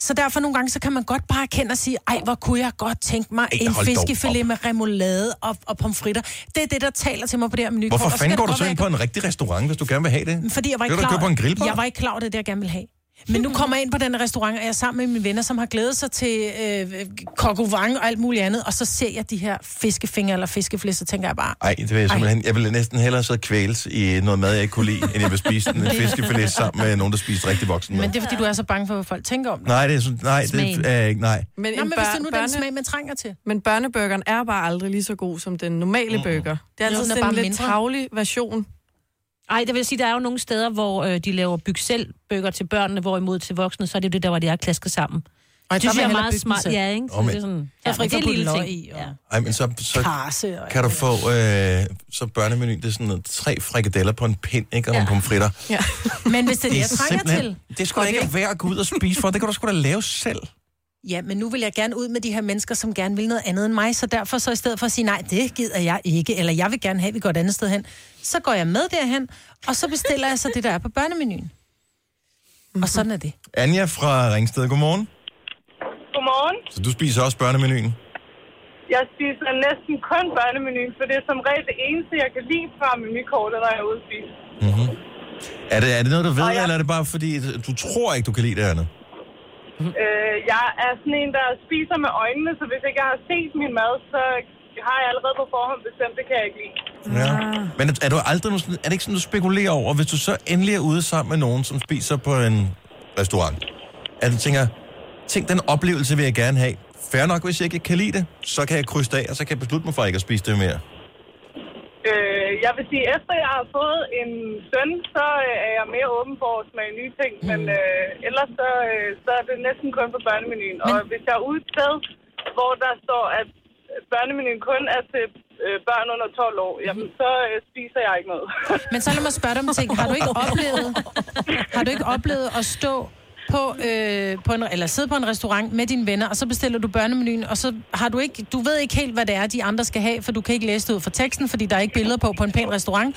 Speaker 4: Så derfor nogle gange, så kan man godt bare erkende og sige, ej, hvor kunne jeg godt tænke mig
Speaker 2: Ej,
Speaker 4: en
Speaker 2: hold dog
Speaker 4: fiskefilet med remoulade og, og pomfritter. Det er det, der taler til mig på det her menu.
Speaker 2: Hvorfor fanden går du så ind på en rigtig restaurant, hvis du gerne vil have det?
Speaker 4: Fordi jeg var
Speaker 2: Kan
Speaker 4: ikke
Speaker 2: du da
Speaker 4: klar,
Speaker 2: købe på en grillbar?
Speaker 4: jeg var ikke klar over det, er det jeg gerne ville have. Men nu kommer jeg ind på den restaurant, og jeg er sammen med mine venner, som har glædet sig til øh, kokovang og alt muligt andet, og så ser jeg de her fiskefingre eller fiskeflæs, så tænker jeg bare,
Speaker 2: Ej, det vil jeg simpelthen. Jeg ville næsten hellere sidde og kvæles i noget mad, jeg ikke kunne lide, end jeg vil spise en fiskefilet sammen med nogen, der spiser rigtig voksen mad.
Speaker 4: men det er fordi, du er så bange for, hvad folk tænker om dig.
Speaker 2: Nej, det er sådan, nej,
Speaker 4: Smagen.
Speaker 2: det er ikke, nej.
Speaker 9: Men,
Speaker 4: Nå,
Speaker 9: en
Speaker 4: men hvis det nu er den smag,
Speaker 9: man
Speaker 4: trænger til.
Speaker 9: Men børneburgeren er bare aldrig lige så god som den normale
Speaker 3: Mm.
Speaker 9: burger. Det er
Speaker 3: Jo,
Speaker 9: altid
Speaker 3: den er
Speaker 9: sådan
Speaker 3: bare
Speaker 9: en lidt
Speaker 3: mindre.
Speaker 9: tavlig version.
Speaker 3: Ej, det vil sige, der er jo nogle steder, hvor øh, de laver byg selv bøger til børnene, hvorimod til voksne, så er det jo det der, hvor de er klasket sammen.
Speaker 4: Ej,
Speaker 3: det
Speaker 4: der
Speaker 3: synes
Speaker 4: vil jeg
Speaker 3: jeg er
Speaker 4: hellere
Speaker 3: meget
Speaker 4: bygge den
Speaker 3: smart.
Speaker 4: selv.
Speaker 3: Ja, ikke? Så
Speaker 2: Åh, men-
Speaker 3: det er sådan,
Speaker 4: Jeg
Speaker 3: ja,
Speaker 4: er fri
Speaker 3: men det
Speaker 4: for
Speaker 3: er
Speaker 4: at putte
Speaker 3: lille
Speaker 4: løg
Speaker 3: ting.
Speaker 4: i, og-
Speaker 3: Ja.
Speaker 2: Ej, men så, så
Speaker 4: Karse og
Speaker 2: kan du få, øh, så børnemenu, det er sådan noget, tre frikadeller på en pind, ikke, og ja. en pomfritter.
Speaker 4: Ja. Men hvis det er det, jeg trænger
Speaker 2: simpelthen-
Speaker 4: til.
Speaker 2: Det skulle da ikke være at gå ud og spise for, det kan du sgu da lave selv.
Speaker 4: Ja, men nu vil jeg gerne ud med de her mennesker, som gerne vil noget andet end mig, så derfor så i stedet for at sige, nej, det gider jeg ikke, eller jeg vil gerne have, at vi går et andet sted hen, så går jeg med derhen, og så bestiller jeg så det, der er på børnemenuen. Og sådan er det.
Speaker 2: Anja fra Ringsted, godmorgen.
Speaker 10: Godmorgen.
Speaker 2: Så du spiser også børnemenuen?
Speaker 10: Jeg spiser næsten kun børnemenuen, for det er som regel det eneste, jeg kan lide fra menukortet, når jeg er ude at spise.
Speaker 2: Mm-hmm. Er, det, er det noget, du ved, eller er det bare fordi, du tror ikke, du kan lide det andet?
Speaker 10: Øh, jeg er sådan en, der spiser med øjnene, så hvis ikke jeg har set min mad, så har jeg allerede på forhånd bestemt, det kan jeg ikke lide.
Speaker 2: Ja. Men er, er du aldrig nogen sådan, er det ikke sådan, du spekulerer over, hvis du så endelig er ude sammen med nogen, som spiser på en restaurant, at du tænker, tænk, den oplevelse vil jeg gerne have. Fair nok, hvis jeg ikke kan lide det, så kan jeg krydse det af, og så kan jeg beslutte mig for ikke at spise det mere.
Speaker 10: Øh, jeg vil sige, efter jeg har fået en søn, så øh, er jeg mere åben for at smage nye ting, men øh, ellers så, øh, så er det næsten kun på børnemenuen. Men... Og hvis jeg er ude et sted, hvor der står, at børnemenuen kun er til øh, børn under 12 år, jamen så øh, spiser jeg ikke noget.
Speaker 4: Men så lad mig spørge dig om en ting. Har du ikke oplevet, har du ikke oplevet at stå på, øh, på en, eller sidde på en restaurant med dine venner, og så bestiller du børnemenuen, og så har du ikke, du ved ikke helt, hvad det er, de andre skal have, for du kan ikke læse det ud fra teksten, fordi der er ikke billeder på på en pæn restaurant.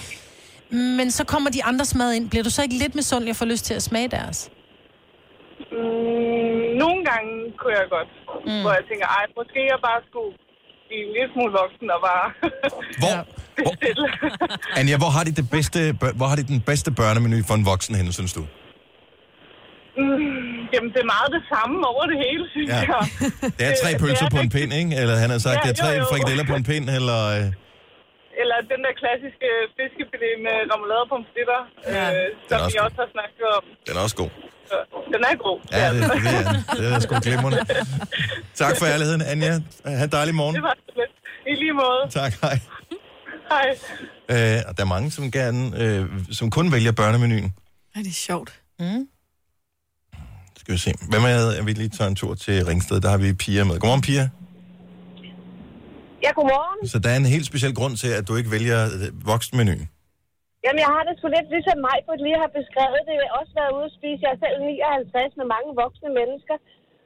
Speaker 4: Men så kommer de andres mad ind. Bliver du så ikke lidt misundelig og får lyst til at smage deres?
Speaker 10: Mm, nogle gange kunne jeg godt, mm. hvor jeg tænker, ej, måske jeg bare skulle blive en lille smule voksen og bare...
Speaker 2: Hvor, Anja, hvor har de, det bedste, bør- hvor har de den bedste børnemenu for en voksen henne, synes du?
Speaker 10: Mm, jamen, det er meget det samme over det hele, synes
Speaker 2: Ja.
Speaker 10: ja. jeg.
Speaker 2: Det er tre pølser på en pind, ikke? Eller han har sagt,
Speaker 10: Ja,
Speaker 2: det er tre
Speaker 10: jo, jo.
Speaker 2: frikadeller på en pind, eller... Øh,
Speaker 10: Eller den der klassiske fiskefilet med remoulade og pomfritter, ja. øh, som
Speaker 2: også
Speaker 10: vi også har snakket om.
Speaker 2: den er også god.
Speaker 10: Så Den er god.
Speaker 2: Ja, det, det, er, den. det er sgu glimrende. Tak for ærligheden, Anja. Ha' en dejlig morgen.
Speaker 10: Det var så lidt. I lige måde.
Speaker 2: Tak, hej.
Speaker 10: Hej.
Speaker 2: Øh, og der er mange, som, gerne, øh, som kun vælger børnemenuen.
Speaker 9: Ej, det er sjovt.
Speaker 4: Mm.
Speaker 2: Skal vi se. Hvad med, at vi lige tager en tur til Ringsted? Der har vi Pia med. Godmorgen, Pia.
Speaker 10: Ja, godmorgen.
Speaker 2: Så der er en helt speciel grund til, at du ikke vælger øh, voksenmenuen.
Speaker 12: Jamen, jeg har det sgu lidt ligesom mig, på lige har beskrevet det. Jeg har også været ude at spise. Jeg er selv 59 med mange voksne mennesker.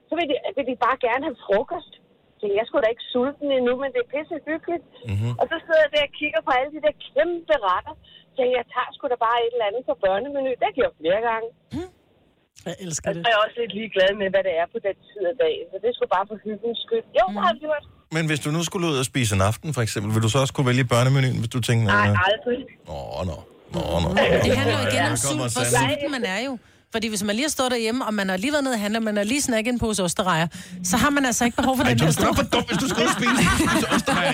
Speaker 12: Så vil de, vil de bare gerne have frokost. Så jeg skulle da ikke sulten endnu, men det er pisse hyggeligt. Mm-hmm. Og så sidder jeg der og kigger på alle de der kæmpe retter. Så jeg tager sgu da bare et eller andet på børnemenu. Det har jeg gjort flere gange.
Speaker 1: Jeg elsker
Speaker 12: Og så er jeg også lidt ligeglad med, hvad det er på den tid af dagen. Så det skulle bare for hyggens skyld. Jo, det har jeg gjort.
Speaker 2: Men hvis du nu skulle ud og spise en aften, for eksempel, vil du så også kunne vælge børnemenuen, hvis du tænker...
Speaker 12: Nej,
Speaker 2: øh,
Speaker 12: aldrig.
Speaker 2: Åh, nå. Nå, nå.
Speaker 4: Det handler jo igen
Speaker 2: Ja,
Speaker 4: om
Speaker 2: kommer
Speaker 4: sult, hvor
Speaker 2: sandelig.
Speaker 4: sulten man er jo. Fordi hvis man lige har stået derhjemme, og man har lige været nede og handlet, man har lige snakket en pose osterejer, så har man altså ikke behov for
Speaker 2: Ej,
Speaker 4: den
Speaker 2: du
Speaker 4: her
Speaker 2: skal
Speaker 4: store...
Speaker 2: være for dum, hvis du skal ud og spise en pose osterrejer.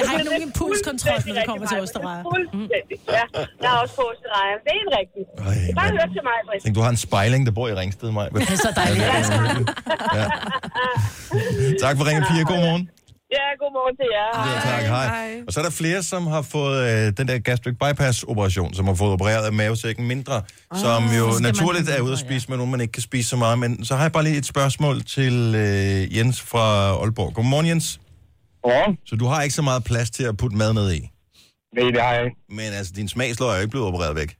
Speaker 4: Jeg har ikke nogen impulskontrol, når det kommer til osterejer.
Speaker 12: Fuldstændig. Ja, jeg har også på osterejer. Det er en rigtig. Det er bare hørt til mig, Britt.
Speaker 2: Tænk, du har en spejling, der bor i Ringsted, mig.
Speaker 12: Det er så dejligt.
Speaker 2: Ja. Tak for ringen, Pia. God morgen.
Speaker 10: Ja, godmorgen til jer.
Speaker 2: Ja, tak. Hej. Og så er der flere, som har fået øh, den der gastric bypass-operation, som har fået opereret af mavesækken mindre, oh, som jo naturligt er ude at spise med nogen, man ikke kan spise så meget. Men så har jeg bare lige et spørgsmål til øh, Jens fra Aalborg. Godmorgen, Jens. Godmorgen. Så du har ikke så meget plads til at putte mad ned i? Nej, det har jeg ikke. Men altså, din smagsløg er jo ikke blevet opereret væk.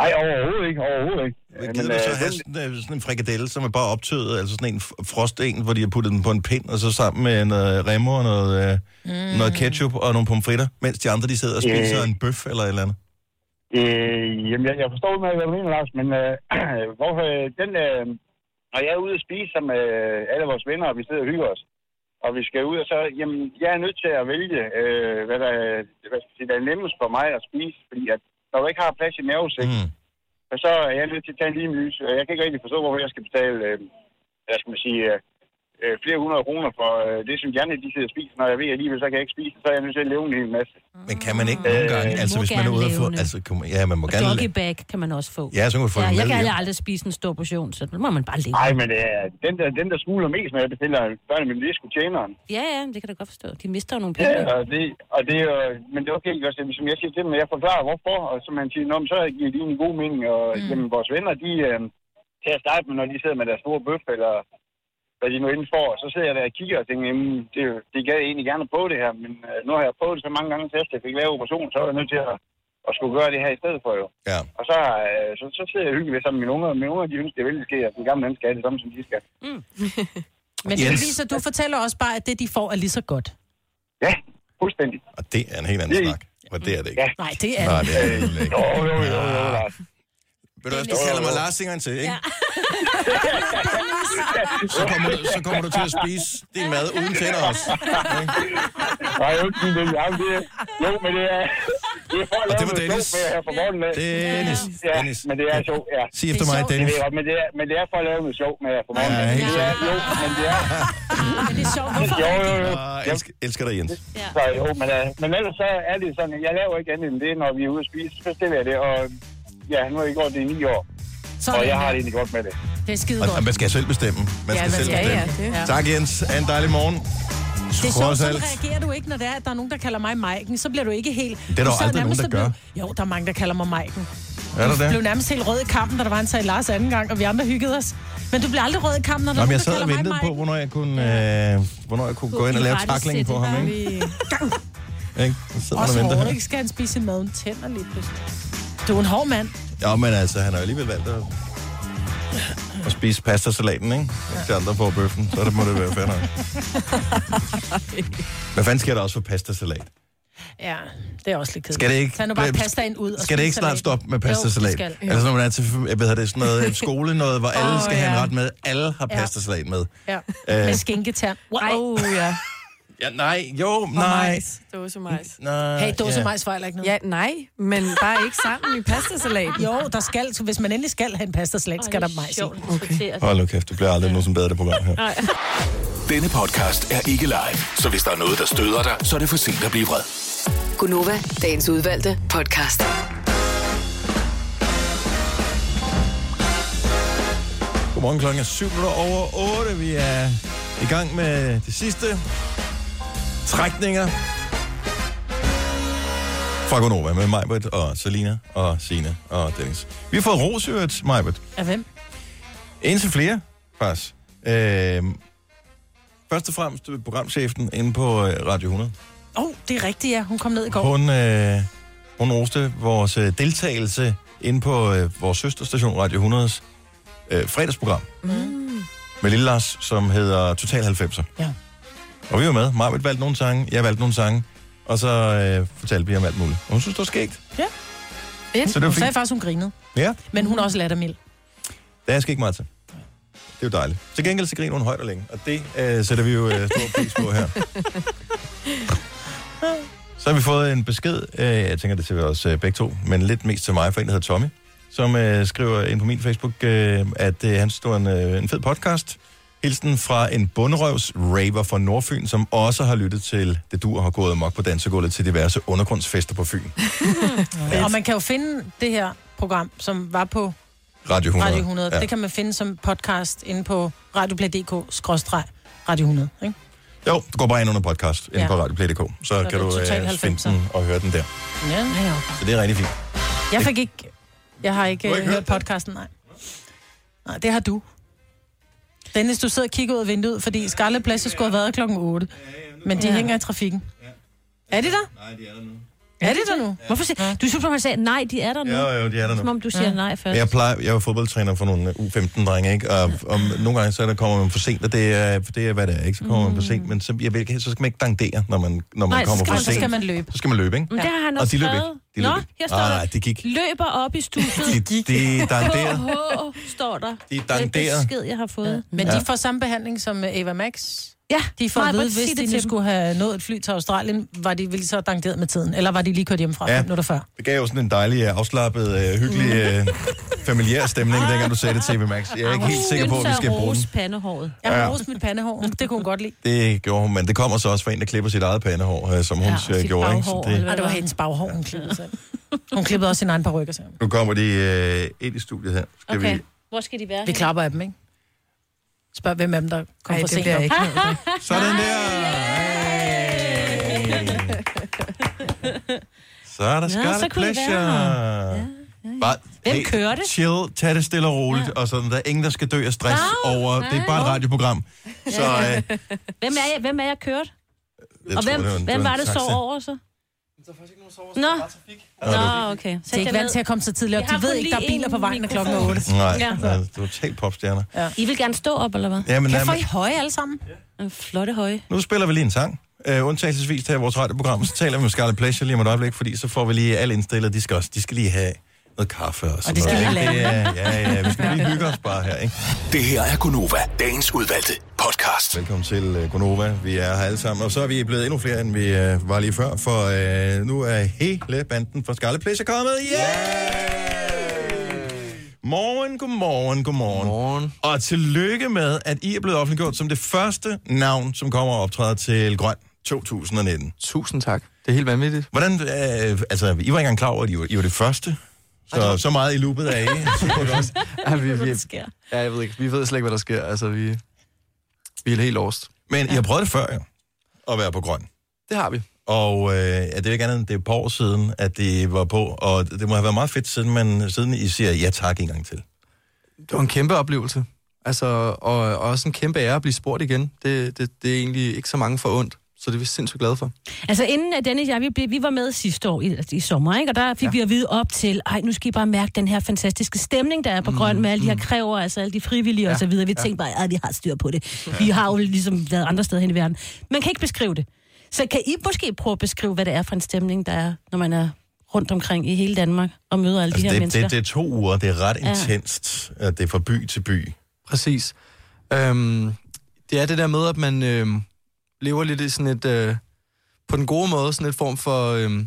Speaker 13: Nej, overhovedet ikke, overhovedet ikke.
Speaker 2: Men gider du så have sådan, øh, sådan en frikadelle, som er bare optøet, altså sådan en f- frosten, hvor de har puttet den på en pind, og så sammen med noget remmer og noget, øh, mm. noget ketchup og nogle pomfritter, mens de andre de sidder og
Speaker 13: Øh.
Speaker 2: spiser en bøf eller et eller andet?
Speaker 13: Øh, jamen, jeg, jeg forstår udmærket, hvad du mener, Lars, men øh, hvorfor øh, den... Øh, når jeg er ude at spise som øh, alle vores venner, og vi sidder og hygger os, og vi skal ud, og så... Jamen, jeg er nødt til at vælge, øh, hvad, der, hvad skal jeg sige, der er nemmest for mig at spise, fordi at, når du ikke har plads i mavesækken, mm. så er jeg nødt til at tage en lille lys. Jeg kan ikke rigtig forstå, hvorfor jeg skal betale, øh, hvad skal man sige, øh, øh, flere hundrede kroner for øh, det, som gerne de sidder og spiser. Når jeg ved alligevel, så kan jeg ikke spise, så er jeg nødt til at leve en hel masse.
Speaker 10: Mm.
Speaker 2: Men kan man
Speaker 13: Mm.
Speaker 2: ikke nogle
Speaker 13: Øh,
Speaker 2: gange, altså
Speaker 3: må
Speaker 2: hvis man er
Speaker 3: gerne
Speaker 2: ude og få...
Speaker 3: levende.
Speaker 2: Altså, kan man, ja, man må
Speaker 3: Og
Speaker 2: gerne...
Speaker 3: doggy bag kan man også få.
Speaker 2: Ja, så kan man få
Speaker 3: ja,
Speaker 2: den
Speaker 3: Jeg
Speaker 2: med
Speaker 3: kan
Speaker 2: hjem.
Speaker 3: aldrig spise en stor portion, så den må man bare leve.
Speaker 13: Nej, men øh, den, der, den, der smuler mest, når jeg bestiller børnemenu, det er sgu tjeneren.
Speaker 3: Ja, ja, det kan du godt forstå. De mister jo nogle penge.
Speaker 13: Ja, og det, og det, er jo- men det er okay, ikke også, som jeg siger til dem, jeg forklarer hvorfor, og så man siger, Nå, men så giver de en god mening, og mm. jamen, vores venner, de øh, til at starte med, når de sidder med deres store bøf, eller hvad de nu inden får, så sidder jeg der og kigger og tænker, jamen, det, det gad jeg egentlig gerne på det her, men øh, nu har jeg prøvet det så mange gange til, efter jeg fik lavet operationen, så er jeg nødt til at, at skulle gøre det her i stedet for jo.
Speaker 2: Ja.
Speaker 13: Og så, øh, så, så sidder jeg hyggeligt sammen med mine unger, og mine unger, de ønsker, det er vældig sker, at den gamle menneske er det samme, som de skal.
Speaker 4: Men det
Speaker 13: Yes.
Speaker 4: viser, at du fortæller også bare, at det, de får, er lige så godt.
Speaker 13: Ja, fuldstændig.
Speaker 2: Og det er en helt anden snak. Og det er det ikke.
Speaker 4: Ja. Nej, det er det.
Speaker 2: Nej, det er det alligevel ikke.
Speaker 13: Jo, jo, jo, jo, Lars.
Speaker 2: Ved du hvad, du kalder mig Lars en gang til, ikke? Så kommer, du, så kommer du til at spise din mad uden tænder også.
Speaker 13: Nej, jeg vil ikke sige det. Jamen, det er, jo, men det er... Det er for at
Speaker 2: Og
Speaker 13: lave
Speaker 2: det var
Speaker 13: noget
Speaker 2: Dennis.
Speaker 13: sjov med her fra morgenen. af.
Speaker 2: Dennis,
Speaker 13: Ja,
Speaker 2: Dennis.
Speaker 13: men det er sjovt, ja.
Speaker 2: Sig efter Det er mig, sjovt. Dennis.
Speaker 13: Det ved jeg godt, Men det, er, men det er for at lave noget sjov med her fra morgenen.
Speaker 2: Ja,
Speaker 13: af.
Speaker 2: helt
Speaker 13: det er, jo, men det er...
Speaker 4: Men det er sjovt.
Speaker 13: Jo, jo, jo.
Speaker 2: Ah, elsker, elsker dig, Jens.
Speaker 13: Så jo, men, øh, men ellers så er det sådan, at jeg laver ikke andet end det, når vi er ude at spise. Så stiller jeg det, og ja, nu har jeg gjort det i ni år.
Speaker 4: Sådan
Speaker 13: og jeg har
Speaker 4: der.
Speaker 13: det egentlig godt med det.
Speaker 4: Det er skide
Speaker 2: Og, og
Speaker 4: godt.
Speaker 2: man skal selv bestemme. Man
Speaker 4: Ja,
Speaker 2: skal
Speaker 4: man
Speaker 2: selv
Speaker 4: skal, ja,
Speaker 2: bestemme.
Speaker 4: det- ja.
Speaker 2: Tak, Jens. Ha' en dejlig morgen.
Speaker 4: Det er sjovt,
Speaker 2: Trods
Speaker 4: sådan
Speaker 2: alt.
Speaker 4: reagerer du ikke, når der er, der er nogen, der kalder mig Maiken. Så bliver du ikke helt...
Speaker 2: er der
Speaker 4: Du
Speaker 2: jo
Speaker 4: sad
Speaker 2: aldrig
Speaker 4: nærmest
Speaker 2: nogen, der
Speaker 4: og blev- Jo, der er mange, der kalder mig Maiken.
Speaker 2: Er der
Speaker 4: Jeg
Speaker 2: det?
Speaker 4: blev nærmest helt rød i kampen, da der var en sag Lars anden gang, og vi andre hyggede os. Men du bliver aldrig rød i kampen, når der er
Speaker 2: Jamen, jeg sad
Speaker 4: nogen, der kalder
Speaker 2: og
Speaker 4: mig
Speaker 2: ventede på,
Speaker 4: Maiken.
Speaker 2: hvornår jeg kunne, øh, hvornår jeg kunne gå ind og lave taklingen på ham. Ikke? Ikke? Så sidder man og
Speaker 4: Også
Speaker 2: venter
Speaker 4: hårdt,
Speaker 2: her.
Speaker 4: ikke? Skal han spise sin mad uden tænder lige pludselig? Du er en hård mand.
Speaker 2: Ja, men altså, han har jo alligevel valgt at, at spise pastasalaten, ikke? Ja. Til andre på bøffen, så det må det være fair nok. Hvad fanden sker der også for pastasalat?
Speaker 4: Ja, det er også lidt kedeligt.
Speaker 2: Skal det ikke... Øh,
Speaker 4: Tag nu bare pasta ind ud og
Speaker 2: Skal det
Speaker 4: spis
Speaker 2: ikke snart
Speaker 4: salaten.
Speaker 2: stoppe med
Speaker 4: Jo,
Speaker 2: pastasalat?
Speaker 4: det skal.
Speaker 2: Eller sådan noget, man er til, jeg ved, det er sådan noget skole, noget, hvor alle
Speaker 4: Åh,
Speaker 2: oh, skal have en
Speaker 4: ja.
Speaker 2: ret med. Alle har
Speaker 4: Ja.
Speaker 2: pastasalat med.
Speaker 4: Ja,
Speaker 2: Øh.
Speaker 4: med skinketern. Wow. ja.
Speaker 2: Ja, nej, jo, nej.
Speaker 9: Dåsemajs.
Speaker 2: Nej,
Speaker 4: Hey, dåsemajs fejler ikke noget.
Speaker 9: Ja, nej, men bare ikke sammen i pastasalat.
Speaker 4: Jo, der skal, så hvis man endelig skal have en pastasalat, skal der majs i. Okay.
Speaker 2: Hold nu kæft, det bliver aldrig nogen som bedre det program her.
Speaker 8: Denne podcast er ikke live, så hvis der er noget, der støder dig, så er det for sent at blive vred.
Speaker 7: Gunova, dagens udvalgte podcast.
Speaker 2: Godmorgen klokken er 7 over 8. Vi er i gang med det sidste trækninger fra Gonova med Majbert og Selina og Sine og Dennis. Vi har fået ros i øvrigt, Majbert.
Speaker 4: Af hvem?
Speaker 2: En til flere, faktisk. Øhm, Først og fremmest øh, programchefen inde på øh, Radio 100.
Speaker 4: Åh, oh, det er rigtigt, ja. Hun kom ned i går.
Speaker 2: Hun, øh, hun roste vores øh, deltagelse inde på øh, vores søsterstation Radio 100's øh, fredagsprogram
Speaker 4: Mm.
Speaker 2: med Lille Lars, som hedder Total 90'er.
Speaker 4: Ja.
Speaker 2: Og vi var med. Marvitt valgte nogle sange, jeg valgte nogle sange, og så øh, fortalte vi om alt muligt. Og hun synes, det var skægt.
Speaker 4: Ja. Fedt.
Speaker 2: Så det var
Speaker 4: hun
Speaker 2: fint.
Speaker 4: sagde faktisk, hun grinede.
Speaker 2: Ja,
Speaker 4: Men hun er også lattermild.
Speaker 2: der er sket ikke meget til. Det er jo dejligt. Til gengæld så griner hun højt og længe, og det øh, sætter vi jo øh, stor pris på her. Så har vi fået en besked, øh, jeg tænker det til os øh, begge to, men lidt mest til mig, for en der hedder Tommy, som øh, skriver ind på min Facebook, øh, at øh, han stod en, øh, en fed podcast. Hilsen fra en bunderøvs raver fra Nordfyn, som også har lyttet til det du har gået mok på dansegulvet til diverse undergrundsfester på Fyn.
Speaker 4: Ja. Og man kan jo finde det her program, som var på
Speaker 2: Radio 100.
Speaker 4: Radio 100. Ja. Det kan man finde som podcast inde på radioplay.dk-radio 100. Ikke?
Speaker 2: Jo, du går bare ind under podcast, ind
Speaker 4: Ja.
Speaker 2: ja. på radioplay.dk, så,
Speaker 4: er
Speaker 2: så kan
Speaker 4: det
Speaker 2: du
Speaker 4: Total
Speaker 2: øh, finde
Speaker 4: 90'er.
Speaker 2: den og høre den der.
Speaker 4: Ja, ja.
Speaker 2: Så det er rigtig fint.
Speaker 4: Jeg fik ikke... Jeg har
Speaker 2: Du
Speaker 4: ikke,
Speaker 2: har
Speaker 4: ikke
Speaker 2: ikke
Speaker 4: hørt,
Speaker 2: hørt
Speaker 4: podcasten, nej. Nej, det har du. Dennis, du sidder og kigger ud af vinduet, fordi Scarlet Pleasure skulle have været klokken 8. Men de
Speaker 3: Ja.
Speaker 4: hænger i trafikken. Er de der?
Speaker 2: Nej, de er der nu.
Speaker 4: Er de der nu?
Speaker 3: Hvorfor siger, du synes, at man sagde, nej, de er der nu.
Speaker 2: Jo, jo, de er der nu.
Speaker 3: Som om du siger
Speaker 2: Ja.
Speaker 3: nej først.
Speaker 2: Men Jeg, plejer, jeg var fodboldtræner for nogle øh, U15-drenge, ikke? Og, og nogle gange så er der kommer man for sent, og det er, det er hvad det er, ikke? Så kommer man for sent, men så, jeg ved, ikke, så skal man ikke dankdere, når man, når man
Speaker 3: Mm. Nej, så
Speaker 2: kommer
Speaker 3: skal
Speaker 2: for
Speaker 3: man- så
Speaker 2: sent.
Speaker 3: skal man løbe.
Speaker 2: Så skal man løbe, ikke?
Speaker 3: Men det har han
Speaker 2: og
Speaker 3: også
Speaker 2: de løb
Speaker 3: skrevet.
Speaker 2: ikke. De
Speaker 3: Nå,
Speaker 2: løb ikke.
Speaker 3: her står
Speaker 2: Nej,
Speaker 3: der.
Speaker 2: det gik.
Speaker 3: Løber op i studiet.
Speaker 2: De, de danderede.
Speaker 3: KH står der.
Speaker 2: De
Speaker 3: Det er et
Speaker 2: danderede.
Speaker 3: besked, jeg har fået.
Speaker 4: Men
Speaker 2: Ja.
Speaker 4: de får samme behandling som øh, Ava Max.
Speaker 3: Ja,
Speaker 4: De får at
Speaker 3: Maj-Brit,
Speaker 4: vide,
Speaker 3: sig
Speaker 4: hvis
Speaker 3: det
Speaker 4: de
Speaker 3: til
Speaker 4: nu
Speaker 3: dem.
Speaker 4: skulle have nået et fly til Australien, var de ville så dankeret med tiden, eller var de lige kørt hjemmefra
Speaker 2: Ja.
Speaker 4: ja. minutter før?
Speaker 2: Det gav jo sådan en dejlig, øh, afslappet, øh, hyggelig, øh, familiær stemning, dengang du sagde det TV Max. Jeg er ikke helt sikker på, at vi skal bruge den.
Speaker 3: pandehåret.
Speaker 4: Jeg har
Speaker 2: Ja.
Speaker 4: rost mit pandehår. Det kunne hun godt lide.
Speaker 2: Det gjorde hun, men det kommer så også fra en, der klipper sit eget pandehår, øh, som hun ja, gjorde. Ikke? Så
Speaker 4: det...
Speaker 2: det,
Speaker 4: Ah, det var hendes baghår, hun klippede selv. Hun klippede også sin egen parrykker selv.
Speaker 2: nu kommer de øh, ind i studiet her. Skal okay. vi...
Speaker 3: Hvor skal de være?
Speaker 4: Vi klapper af dem, ikke? Spørg, hvem af dem, der kommer
Speaker 9: Ej,
Speaker 4: for
Speaker 9: det
Speaker 4: sent.
Speaker 9: bliver
Speaker 4: op.
Speaker 9: ikke noget,
Speaker 2: Sådan der! Så er der
Speaker 4: Nå,
Speaker 2: Scarlet
Speaker 4: så kunne det
Speaker 2: Pleasure.
Speaker 4: være.
Speaker 2: Ja, ja, ja. Bare,
Speaker 4: Hvem
Speaker 2: hey,
Speaker 4: kører det?
Speaker 2: Chill, tag det stille og roligt, ja. og sådan. Der er ingen, der skal dø af stress
Speaker 3: Nå,
Speaker 2: over. Det er bare et
Speaker 3: nej.
Speaker 2: radioprogram. Så øh, jeg
Speaker 3: Hvem er jeg, hvem er jeg kørt? og
Speaker 2: tror,
Speaker 3: hvem,
Speaker 2: var en-
Speaker 3: hvem
Speaker 2: en
Speaker 3: var det så
Speaker 2: taxa.
Speaker 3: over så? Nå. Nå, okay.
Speaker 4: De er ikke vant til at komme så tidligt op.
Speaker 3: Jeg har
Speaker 4: De ved
Speaker 3: kun
Speaker 4: ikke, der er
Speaker 3: lige
Speaker 4: biler
Speaker 3: en
Speaker 4: på vejen, når klokken er
Speaker 3: mikrofon.
Speaker 4: 8.
Speaker 2: Nej,
Speaker 3: Ja.
Speaker 2: ja. nej, du er totalt popstjerner.
Speaker 4: Ja.
Speaker 3: I vil gerne stå op, eller hvad?
Speaker 2: Jamen,
Speaker 4: kan
Speaker 2: nej,
Speaker 4: få
Speaker 2: men-
Speaker 4: I høje alle sammen?
Speaker 3: Ja. Flotte høje.
Speaker 2: Nu spiller vi lige en sang. Uh, undtagelsesvis til vores radioprogram, så taler vi med Scarlet Pleasure lige om et øjeblik, fordi så får vi lige alle indstillet. De skal, også, de skal lige have noget kaffe og sådan
Speaker 8: de skal
Speaker 2: noget.
Speaker 8: lige
Speaker 2: ikke?
Speaker 8: lave.
Speaker 2: Det er- Ja, ja, vi skal lige hygge os bare her, ikke?
Speaker 8: Det her er Gunova, dagens udvalgte podcast.
Speaker 2: Velkommen til uh, Gonova. Vi er her alle sammen, og så er vi blevet endnu flere, end vi uh, var lige før, for uh, nu er hele banden fra Scarlet Pleasure kommet. Yeah! Morgen, godmorgen, godmorgen. Morgen. Og tillykke med, at I er blevet offentliggjort som det første navn, som kommer og optræder til Grøn 2019. Tusind tak. Det er helt vanvittigt. Hvordan, øh, altså, I var ikke engang klar over, at I var, I var det første. Så, så meget i loopet af I. Super godt.
Speaker 14: Ja, vi, vi, ja, jeg ved ikke. Vi ved slet ikke, hvad der sker. Altså, vi, vi er helt lost.
Speaker 2: Men ja. I har prøvet det før, jo. At være på grøn.
Speaker 14: Det har vi.
Speaker 2: Og øh, ja, det er jo ikke andet end det er et par år siden, at det var på. Og det må have været meget fedt, siden, man, siden I siger ja tak en gang til.
Speaker 14: Det var en kæmpe oplevelse. Altså, og, og også en kæmpe ære at blive spurgt igen. Det, det, det er egentlig ikke så mange for ondt, så det er vi sindssygt glade for.
Speaker 3: Altså inden at Dennis og jeg, vi, blev, vi var med sidste år i, i sommer, ikke? og der fik ja. vi at vide op til, ej, nu skal I bare mærke den her fantastiske stemning, der er på mm, Grøn med alle de her kræver, altså alle de frivillige ja. og så videre. Vi
Speaker 15: ja.
Speaker 3: tænkte bare, at vi har styr på det. Ja. Vi har jo ligesom været andre steder hen i verden. Man kan ikke beskrive det. Så kan I måske prøve at beskrive, hvad det er for en stemning, der er, når man er rundt omkring i hele Danmark og møder alle altså, de her
Speaker 2: det,
Speaker 3: mennesker?
Speaker 2: det, det er to uger, det er ret
Speaker 3: Ja.
Speaker 2: intenst. Ja. Det er fra by til by.
Speaker 14: Præcis. Øhm, det er det der med, at man øhm, lever lidt i sådan et, øh, på den gode måde, sådan et form for øhm,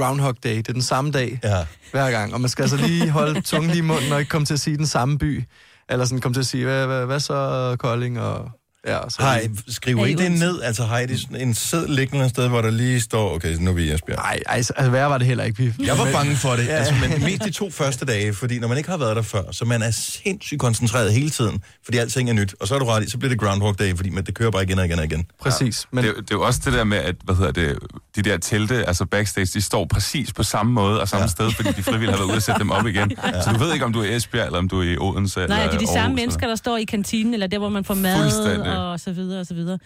Speaker 14: Groundhog Day. Det er den samme dag
Speaker 2: ja.
Speaker 14: hver gang, og man skal altså lige holde tungen lige i munden og ikke komme til at sige den samme by. Eller sådan komme til at sige, hvad, hvad, hvad så Kolding og... Ja, så
Speaker 2: Har I, skriver I det ned? Altså har I det sådan en sæd liggende et sted, hvor der lige står, okay, nu er vi i Esbjerg?
Speaker 14: Nej, altså, altså værre var det heller ikke. Vi...
Speaker 2: Jeg var
Speaker 14: Men-
Speaker 2: bange for det,
Speaker 14: Ja.
Speaker 2: altså, men mest de to første dage, fordi når man ikke har været der før, så man er sindssygt koncentreret hele tiden, fordi alting er nyt, og så er du ret i, så bliver det Groundhog Day, fordi man, det kører bare igen og igen og igen.
Speaker 14: Præcis.
Speaker 16: Men... Det, er jo- det er jo også det der med, at hvad hedder det,
Speaker 15: de der telte, altså backstage, de står præcis på samme måde og samme ja. sted, fordi de frivillige har været ude og sætte dem op igen. Ja. Så du ved ikke, om du er i Esbjerg, eller om du er i Odense.
Speaker 3: Nej,
Speaker 15: eller
Speaker 3: det er de
Speaker 15: Aarhus,
Speaker 3: samme
Speaker 15: eller-
Speaker 3: mennesker, der står i kantinen, eller der, hvor man får mad,
Speaker 15: Fuldstændig.
Speaker 3: og så videre, og så videre.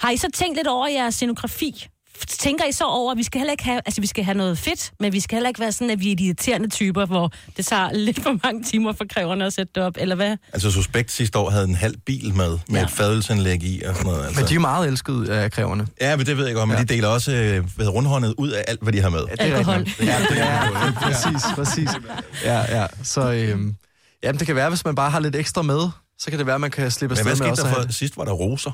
Speaker 3: Har I så tænkt lidt over jeres scenografi? Tænker I så over, at vi skal heller ikke have, altså vi skal have noget fedt, men vi skal heller ikke være sådan, at vi er de irriterende typer, hvor det tager lidt for mange timer for kræverne at sætte det op, eller hvad?
Speaker 2: Altså, Suspekt sidste år havde en halv bil med, med ja. et fadelsanlæg i og sådan noget. Altså.
Speaker 14: Men de er meget elskede af kræverne.
Speaker 2: Ja, men det ved jeg godt, men ja. de deler også øh, ved rundhåndet ud af alt, hvad de har med. Ja,
Speaker 14: det er Alkohol. rigtigt nok.
Speaker 2: Ja, det er, ja,
Speaker 14: præcis, præcis. Ja, ja. Så øhm, jamen, det kan være, hvis man bare har lidt ekstra med, så kan det være, man kan slippe
Speaker 2: Men
Speaker 14: afsted
Speaker 2: hvad
Speaker 14: med
Speaker 2: skete
Speaker 14: også
Speaker 2: der
Speaker 14: at
Speaker 2: for-
Speaker 14: have-
Speaker 2: sidst var der roser?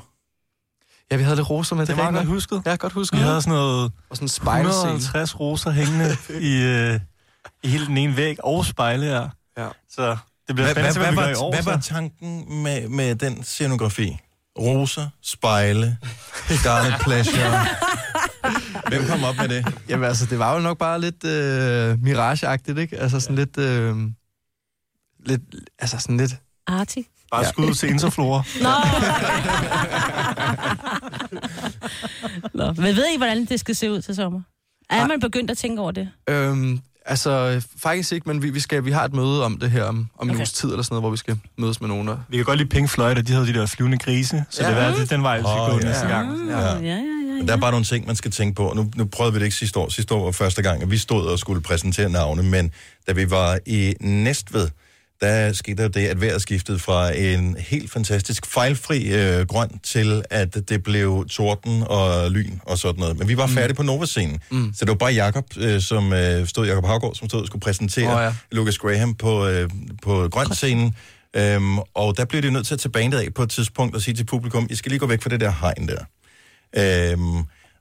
Speaker 14: Ja, vi havde lidt roser med. Det,
Speaker 16: Det
Speaker 14: er
Speaker 16: var
Speaker 14: rigtig
Speaker 16: godt
Speaker 14: nok.
Speaker 16: husket.
Speaker 14: Ja, godt husket.
Speaker 16: Vi havde sådan noget
Speaker 14: Og sådan en spejlscene.
Speaker 16: 150 roser hængende i, øh, i hele den ene væg, og spejle her.
Speaker 14: Ja.
Speaker 16: Så det bliver
Speaker 2: Hvad,
Speaker 16: spændende,
Speaker 2: hvad,
Speaker 16: at se, hvad,
Speaker 2: hvad,
Speaker 16: vi gør i
Speaker 2: var,
Speaker 16: år.
Speaker 2: hvad
Speaker 16: så.
Speaker 2: var tanken med, med den scenografi? Roser, spejle, Scarlet Pleasure. Hvem kom op med det?
Speaker 14: Jamen altså, det var jo nok bare lidt øh, mirage-agtigt, ikke? Altså sådan lidt... Øh, lidt... Altså sådan lidt...
Speaker 3: Arti.
Speaker 16: Bare skud ud til Interflora.
Speaker 3: Nå. Men ved I, hvordan det skal se ud til sommer? Er man begyndt at tænke over det?
Speaker 14: Øhm, altså, faktisk ikke, men vi, vi, skal, vi har et møde om det her om, om okay. en uges tid eller sådan noget, hvor vi skal mødes med nogen. Og...
Speaker 16: Vi kan godt lide Pink Floyd, og de havde de der flyvende grise, så
Speaker 14: Ja.
Speaker 16: ja. det var den vej, vi skal
Speaker 2: Åh,
Speaker 16: gå
Speaker 2: ja.
Speaker 16: næste gang.
Speaker 2: Ja. Ja,
Speaker 3: ja, ja,
Speaker 2: Men der er bare nogle ting, man skal tænke på. Nu, nu prøvede vi det ikke sidste år. Sidste år var første gang, at vi stod og skulle præsentere navne, men da vi var i Næstved, der skete der det, at vejret skiftede fra en helt fantastisk fejlfri øh, grøn til, at det blev torden og lyn og sådan noget. Men vi var færdige mm. på Nova-scenen, mm. så det var bare Jakob, øh, som øh, stod, Jakob Havgård, som stod og skulle præsentere
Speaker 14: Åh,
Speaker 2: oh,
Speaker 14: ja.
Speaker 2: ja. Lucas Graham på, øh, på grøn-scenen. Øhm, og der blev det nødt til at tage bandet af på et tidspunkt og sige til publikum, I skal lige gå væk fra det der hegn der. Øhm,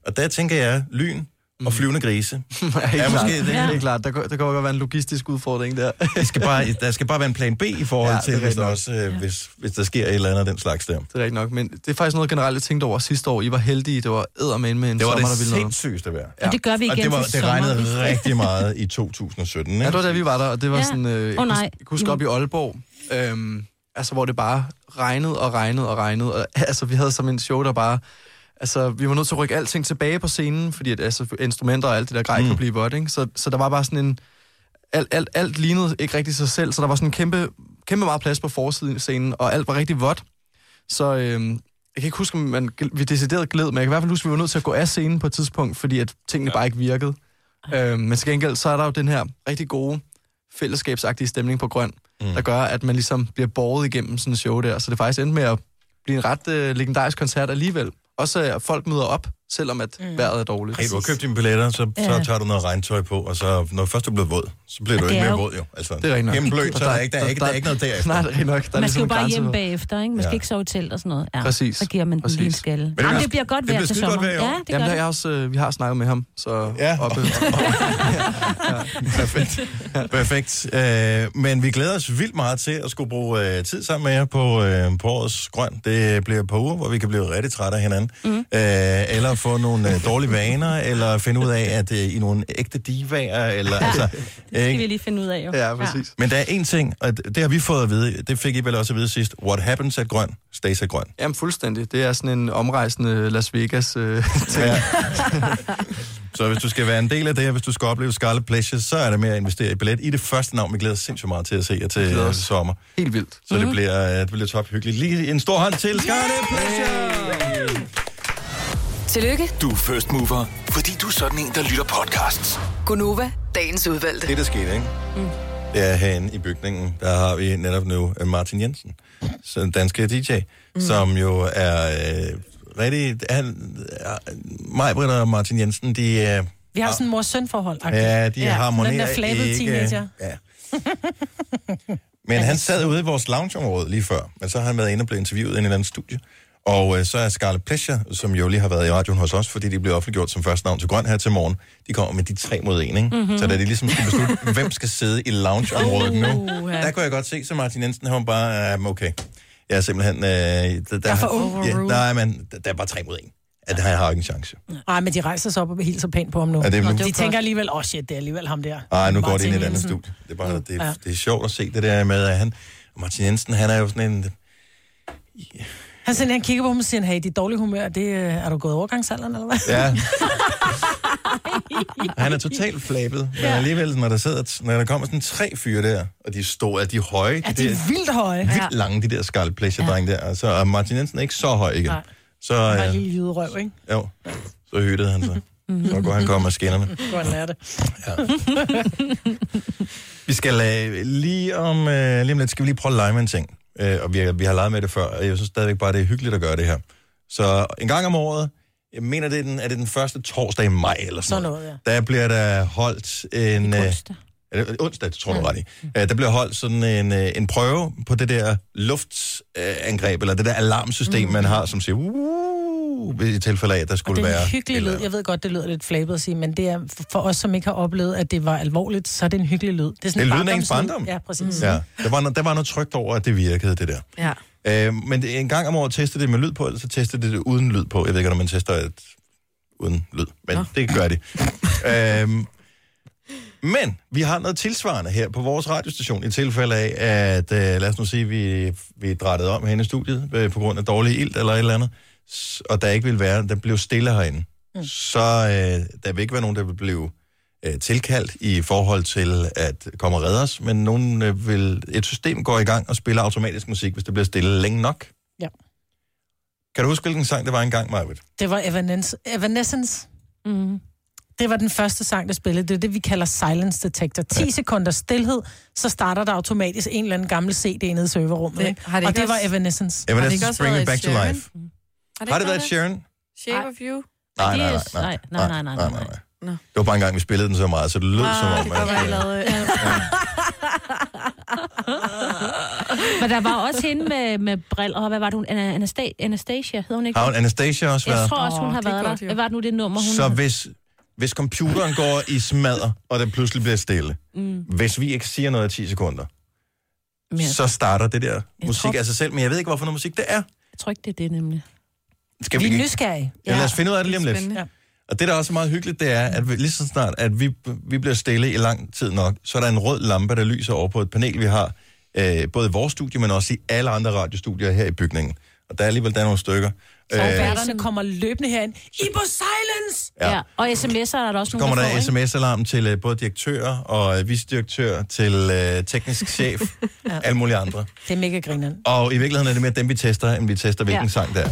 Speaker 2: og der tænker jeg, lyn
Speaker 14: Mm.
Speaker 2: og flyvende grise.
Speaker 14: Ja, helt klart.
Speaker 2: måske det.
Speaker 14: Det er klart. Der, kunne- der kan godt være en logistisk udfordring der.
Speaker 2: Det skal bare, der skal bare være en plan B i forhold
Speaker 14: Ja,
Speaker 2: ja,
Speaker 14: det
Speaker 2: til,
Speaker 14: er
Speaker 2: hvis
Speaker 14: rigtigt
Speaker 2: der,
Speaker 14: nok.
Speaker 2: også, øh, hvis, hvis der sker et eller andet af den slags der.
Speaker 14: Det er rigtigt nok, men det er faktisk noget generelt, jeg tænkte over sidste år. I var heldige, det var eddermame med en
Speaker 2: Det var
Speaker 14: sommer,
Speaker 2: det
Speaker 14: der ville noget.
Speaker 2: sindssygeste vejr.
Speaker 3: Og det gør vi
Speaker 2: og
Speaker 3: igen
Speaker 2: det, var,
Speaker 3: til
Speaker 2: det regnede
Speaker 3: sommer.
Speaker 2: rigtig meget i 2017. Ikke?
Speaker 14: Ja, det var da vi var der, og det var
Speaker 3: Ja.
Speaker 14: ja. sådan... Øh, jeg
Speaker 3: Åh,
Speaker 14: kunne-
Speaker 3: nej.
Speaker 14: Jeg kunne huske op i Aalborg, øhm, altså hvor det bare regnede og regnede og regnede. Og, altså vi havde som en show, der bare... Altså, vi var nødt til at rykke alting tilbage på scenen, fordi at, altså, instrumenter og alt det der grej mm. kunne blive vådt, ikke? Så, så der var bare sådan en... Alt, alt, alt lignede ikke rigtig sig selv, så der var sådan en kæmpe, kæmpe meget plads på forsiden af scenen, og alt var rigtig vådt. Så øhm, jeg kan ikke huske, om man, vi decideret gled, men jeg kan i hvert fald huske, at vi var nødt til at gå af scenen på et tidspunkt, fordi at tingene ja. bare ikke virkede. Øhm, men til gengæld, så er der jo den her rigtig gode fællesskabsagtige stemning på grøn, mm. der gør, at man ligesom bliver borget igennem sådan en show der. Så det faktisk endte med at blive en ret øh, legendarisk koncert alligevel. Også øh, at folk møder op, selvom at mm. vejret er dårligt.
Speaker 2: Hey, du har købt dine billetter, så, så
Speaker 14: Ja.
Speaker 2: tager du noget regntøj på, og så, når først du er blevet våd, så bliver
Speaker 14: Og
Speaker 2: du
Speaker 14: det
Speaker 2: ikke
Speaker 14: er
Speaker 2: mere
Speaker 14: jo-
Speaker 2: våd jo. Altså,
Speaker 14: Det er rigtigt nok.
Speaker 2: Gennemblødt, så der er ikke, der er ikke, der er ikke noget derefter.
Speaker 14: Nej, det er rigtigt nok. Der er
Speaker 3: man
Speaker 14: ligesom
Speaker 3: skal jo
Speaker 14: en
Speaker 3: bare
Speaker 14: grænse
Speaker 3: hjem
Speaker 14: for-
Speaker 3: bagefter, ikke? Man skal
Speaker 14: Ja.
Speaker 3: ikke sove til og sådan noget. Ja.
Speaker 14: Præcis.
Speaker 3: Så giver man den lige en skalle.
Speaker 14: er
Speaker 3: Jamen,
Speaker 14: også-
Speaker 3: det bliver godt vejr til
Speaker 14: skidegodt
Speaker 3: sommer.
Speaker 14: vejr i år.
Speaker 3: Ja, det
Speaker 14: Jamen,
Speaker 3: gør
Speaker 14: der er
Speaker 3: det.
Speaker 14: også, øh, vi har snakket med ham, så ja. oppe.
Speaker 2: Perfekt. Perfekt. Øh, men vi glæder os vildt meget til at skulle bruge øh, tid sammen med jer på, øh, på årets grøn. Det bliver et par uger, hvor vi kan blive rigtig trætte af hinanden.
Speaker 3: Mhm.
Speaker 2: Mm. Øh, eller få nogle øh, dårlige vaner, eller finde ud af, at øh, I er nogle ægte divaer. Eller, ja. altså,
Speaker 3: Det skal vi lige finde ud af, jo.
Speaker 2: Men der er én ting, og det det har vi fået at vide, det fik I vel også at vide sidst. What happens at grøn, stays at grøn.
Speaker 14: Jamen, fuldstændig. Det er sådan en omrejsende Las Vegas øh, ting.
Speaker 2: Ja. Så hvis du skal være en del af det her, hvis du skal opleve Scarlet Pleasure, så er det med at investere i billet. I det første navn, vi glæder os sindssygt meget til at se jer til
Speaker 14: glæder
Speaker 2: øh,
Speaker 14: os.
Speaker 2: sommer.
Speaker 14: Helt vildt.
Speaker 2: Så det bliver, øh, det bliver top hyggeligt. Lige en stor hånd til Scarlet Pleasure!
Speaker 7: Tillykke,
Speaker 8: Du er first mover, fordi du er sådan en, der lytter podcasts.
Speaker 7: Gunova, dagens udvalgte.
Speaker 2: Det, der skete, ikke?
Speaker 7: Mm.
Speaker 2: Det er herinde i bygningen, der har vi netop nu øh, Martin Jensen, så en dansk DJ, mm. som jo er øh, rigtig... Han, øh, mig, Britt og Martin Jensen, de... Øh,
Speaker 4: Vi har sådan en mor-søn-forhold.
Speaker 2: Ja, de harmonerer
Speaker 4: Den der flabede
Speaker 2: ikke.
Speaker 4: teenager.
Speaker 2: Ja. Men han sad ude i vores loungeområde lige før, men så har han været inde og blevet interviewet i en eller anden studie. Og øh, så er Scarlett Pleasure, som jo lige har været i radioen hos os, fordi de blev offentliggjort som første navn til Grøn her til morgen, de kommer med de tre mod en, ikke?
Speaker 15: Mhm.
Speaker 2: Mm-hmm. Så da de ligesom skulle beslutte, hvem skal sidde i loungeområdet nu, der kunne jeg godt se, så Martin Jensen, han var bare, um, okay, jeg er simpelthen, øh, der, der,
Speaker 4: er
Speaker 2: ja,
Speaker 4: for overruled.
Speaker 2: der, er man, der, der er bare tre mod en. At han har ikke en chance.
Speaker 4: Nej, men de rejser sig op og hilser pænt på ham nu.
Speaker 2: Ja, det er nu.
Speaker 4: de tænker alligevel, åh oh shit, det er alligevel ham der.
Speaker 2: Ej, Ah, nu går det
Speaker 4: Martin
Speaker 2: ind i et andet
Speaker 4: Jensen.
Speaker 2: studie. Det er, bare, det,
Speaker 4: Ja.
Speaker 2: ja. det er sjovt at se det der med, at han... Martin Jensen, han er jo sådan en...
Speaker 4: Han, siger, han kigger på ham og siger, hey, dit dårlige humør, det, øh, er du gået overgangsalderen, eller hvad?
Speaker 2: Ja. Han er totalt flabet, men alligevel, når der, sidder, når der kommer sådan tre fyre der, og de er store, de er høje.
Speaker 4: Ja, de
Speaker 2: der-
Speaker 4: er vildt høje.
Speaker 2: vildt lange, de der skalplæsjedrenge ja. der. Og så og Martin Jensen er ikke så høj igen.
Speaker 4: Nej. Mhm.
Speaker 2: Så,
Speaker 4: Han var en
Speaker 2: øh,
Speaker 4: lille jyderøv, ikke?
Speaker 2: jo, så hyttede han sig. Så går han kommer af skinnerne.
Speaker 4: Godt lære det.
Speaker 2: Vi skal øh, lige, om, øh, lige om lidt, skal vi lige prøve at lege med en ting. Øh, og vi, har- vi har leget med det før, og jeg synes stadigvæk bare, det er hyggeligt at gøre det her. Så en gang om året, jeg mener, det er den, er det den første torsdag i maj eller sådan,
Speaker 4: Sådan noget,
Speaker 2: ja. Der bliver der holdt en... øh, er det Onsdag, det
Speaker 4: Mm.
Speaker 2: tror du ret i. Øh, Der bliver holdt sådan en, øh, en prøve på det der luftangreb, eller det der alarmsystem, man har, som siger, uh, i tilfælde af, at der skulle
Speaker 4: Mm. Det er
Speaker 2: være...
Speaker 4: en hyggelig lyd. Jeg ved godt, det lyder lidt flabet at sige, men det er for os, som ikke har oplevet, at det var alvorligt, så er det en hyggelig lyd. Det er,
Speaker 2: Det er
Speaker 4: en
Speaker 2: lyden af ens
Speaker 4: barndomslyd.
Speaker 2: barndom.
Speaker 4: Ja, præcis.
Speaker 2: Ja, der var, noget, der var noget trygt over, at det virkede, det der.
Speaker 9: Ja.
Speaker 2: Øh, men det, en gang om året tester det med lyd på, eller så tester det, det uden lyd på. Jeg ved ikke, om man tester et, uden lyd, men Nå. det gør det. øhm, men vi har noget tilsvarende her på vores radiostation, i tilfælde af, at øh, lad os nu sige, vi, vi drættede om herinde i studiet øh, på grund af dårlig ild eller et eller andet, s- og der ikke ville være, der blev stille herinde. Mm. Så øh, der vil ikke være nogen, der vil blive øh, tilkaldt i forhold til at komme og redde os, men nogen øh, vil, et system går i gang og spiller automatisk musik, hvis det bliver stille længe nok.
Speaker 4: Ja.
Speaker 2: Kan du huske, hvilken sang det var engang, Marvitt?
Speaker 4: Det var Evanes- Evanescence. Mm. Det var den første sang, der spillede. Det er det, vi kalder silence detector. 10 ja. sekunder stillhed, så starter der automatisk en eller anden gammel CD nede i serverrummet.
Speaker 9: Det-
Speaker 4: ikke?
Speaker 9: har det
Speaker 4: og
Speaker 9: ikke
Speaker 4: det var
Speaker 9: også-
Speaker 4: Evanescence.
Speaker 9: Har det
Speaker 2: Evanescence,
Speaker 9: ikke også
Speaker 2: Bring
Speaker 9: været
Speaker 2: Me Back
Speaker 9: et
Speaker 2: to
Speaker 9: Sharon?
Speaker 2: Life. Har det været Sharon?
Speaker 9: Shape of You?
Speaker 2: Nej, nej, nej, nej.
Speaker 9: nej, nej, nej, nej. Nå.
Speaker 2: Det var bare en gang, vi spillede den så meget, så det lød som om...
Speaker 9: det var
Speaker 2: At, øh,
Speaker 9: lavet...
Speaker 3: Men der var også hende med, med briller, og hvad var det hun? Ana- Anasta- Anastasia, hed hun ikke?
Speaker 2: har hun
Speaker 3: det?
Speaker 2: Anastasia også
Speaker 3: Jeg
Speaker 2: været?
Speaker 3: tror også, hun har
Speaker 9: det er
Speaker 3: været
Speaker 9: godt,
Speaker 3: der.
Speaker 9: jo.
Speaker 3: Hvad var det nu det nummer, hun
Speaker 2: Så
Speaker 3: havde?
Speaker 2: hvis, hvis computeren går i smadder, og den pludselig bliver stille, mm. hvis vi ikke siger noget i 10 sekunder,
Speaker 3: Men jeg-
Speaker 2: så starter det der musik
Speaker 3: tror-
Speaker 2: af sig selv, men jeg ved ikke, hvorfor noget musik det er.
Speaker 3: Jeg tror ikke, det er det nemlig.
Speaker 2: Skal
Speaker 4: Vi er nysgerrige.
Speaker 2: Ja, lad os finde ud af det lige om lidt.
Speaker 4: Ja.
Speaker 2: Og det, der også er meget hyggeligt, det er, at vi, lige så snart, at vi, vi bliver stille i lang tid nok, så er der en rød lampe, der lyser over på et panel, vi har, øh, både i vores studie, men også i alle andre radiostudier her i bygningen. Og der er alligevel der er nogle stykker. Øh,
Speaker 4: Og værterne kommer løbende herind. I på silence!
Speaker 2: Ja. Ja,
Speaker 3: og sms'er er der også
Speaker 2: så kommer der sms-alarm til øh, både direktør og øh, vicedirektør, til øh, teknisk chef, ja. alle mulige andre.
Speaker 4: Det er mega grineren.
Speaker 2: Og i virkeligheden er det mere dem, vi tester, end vi tester, hvilken
Speaker 7: Ja.
Speaker 2: ja. sang der.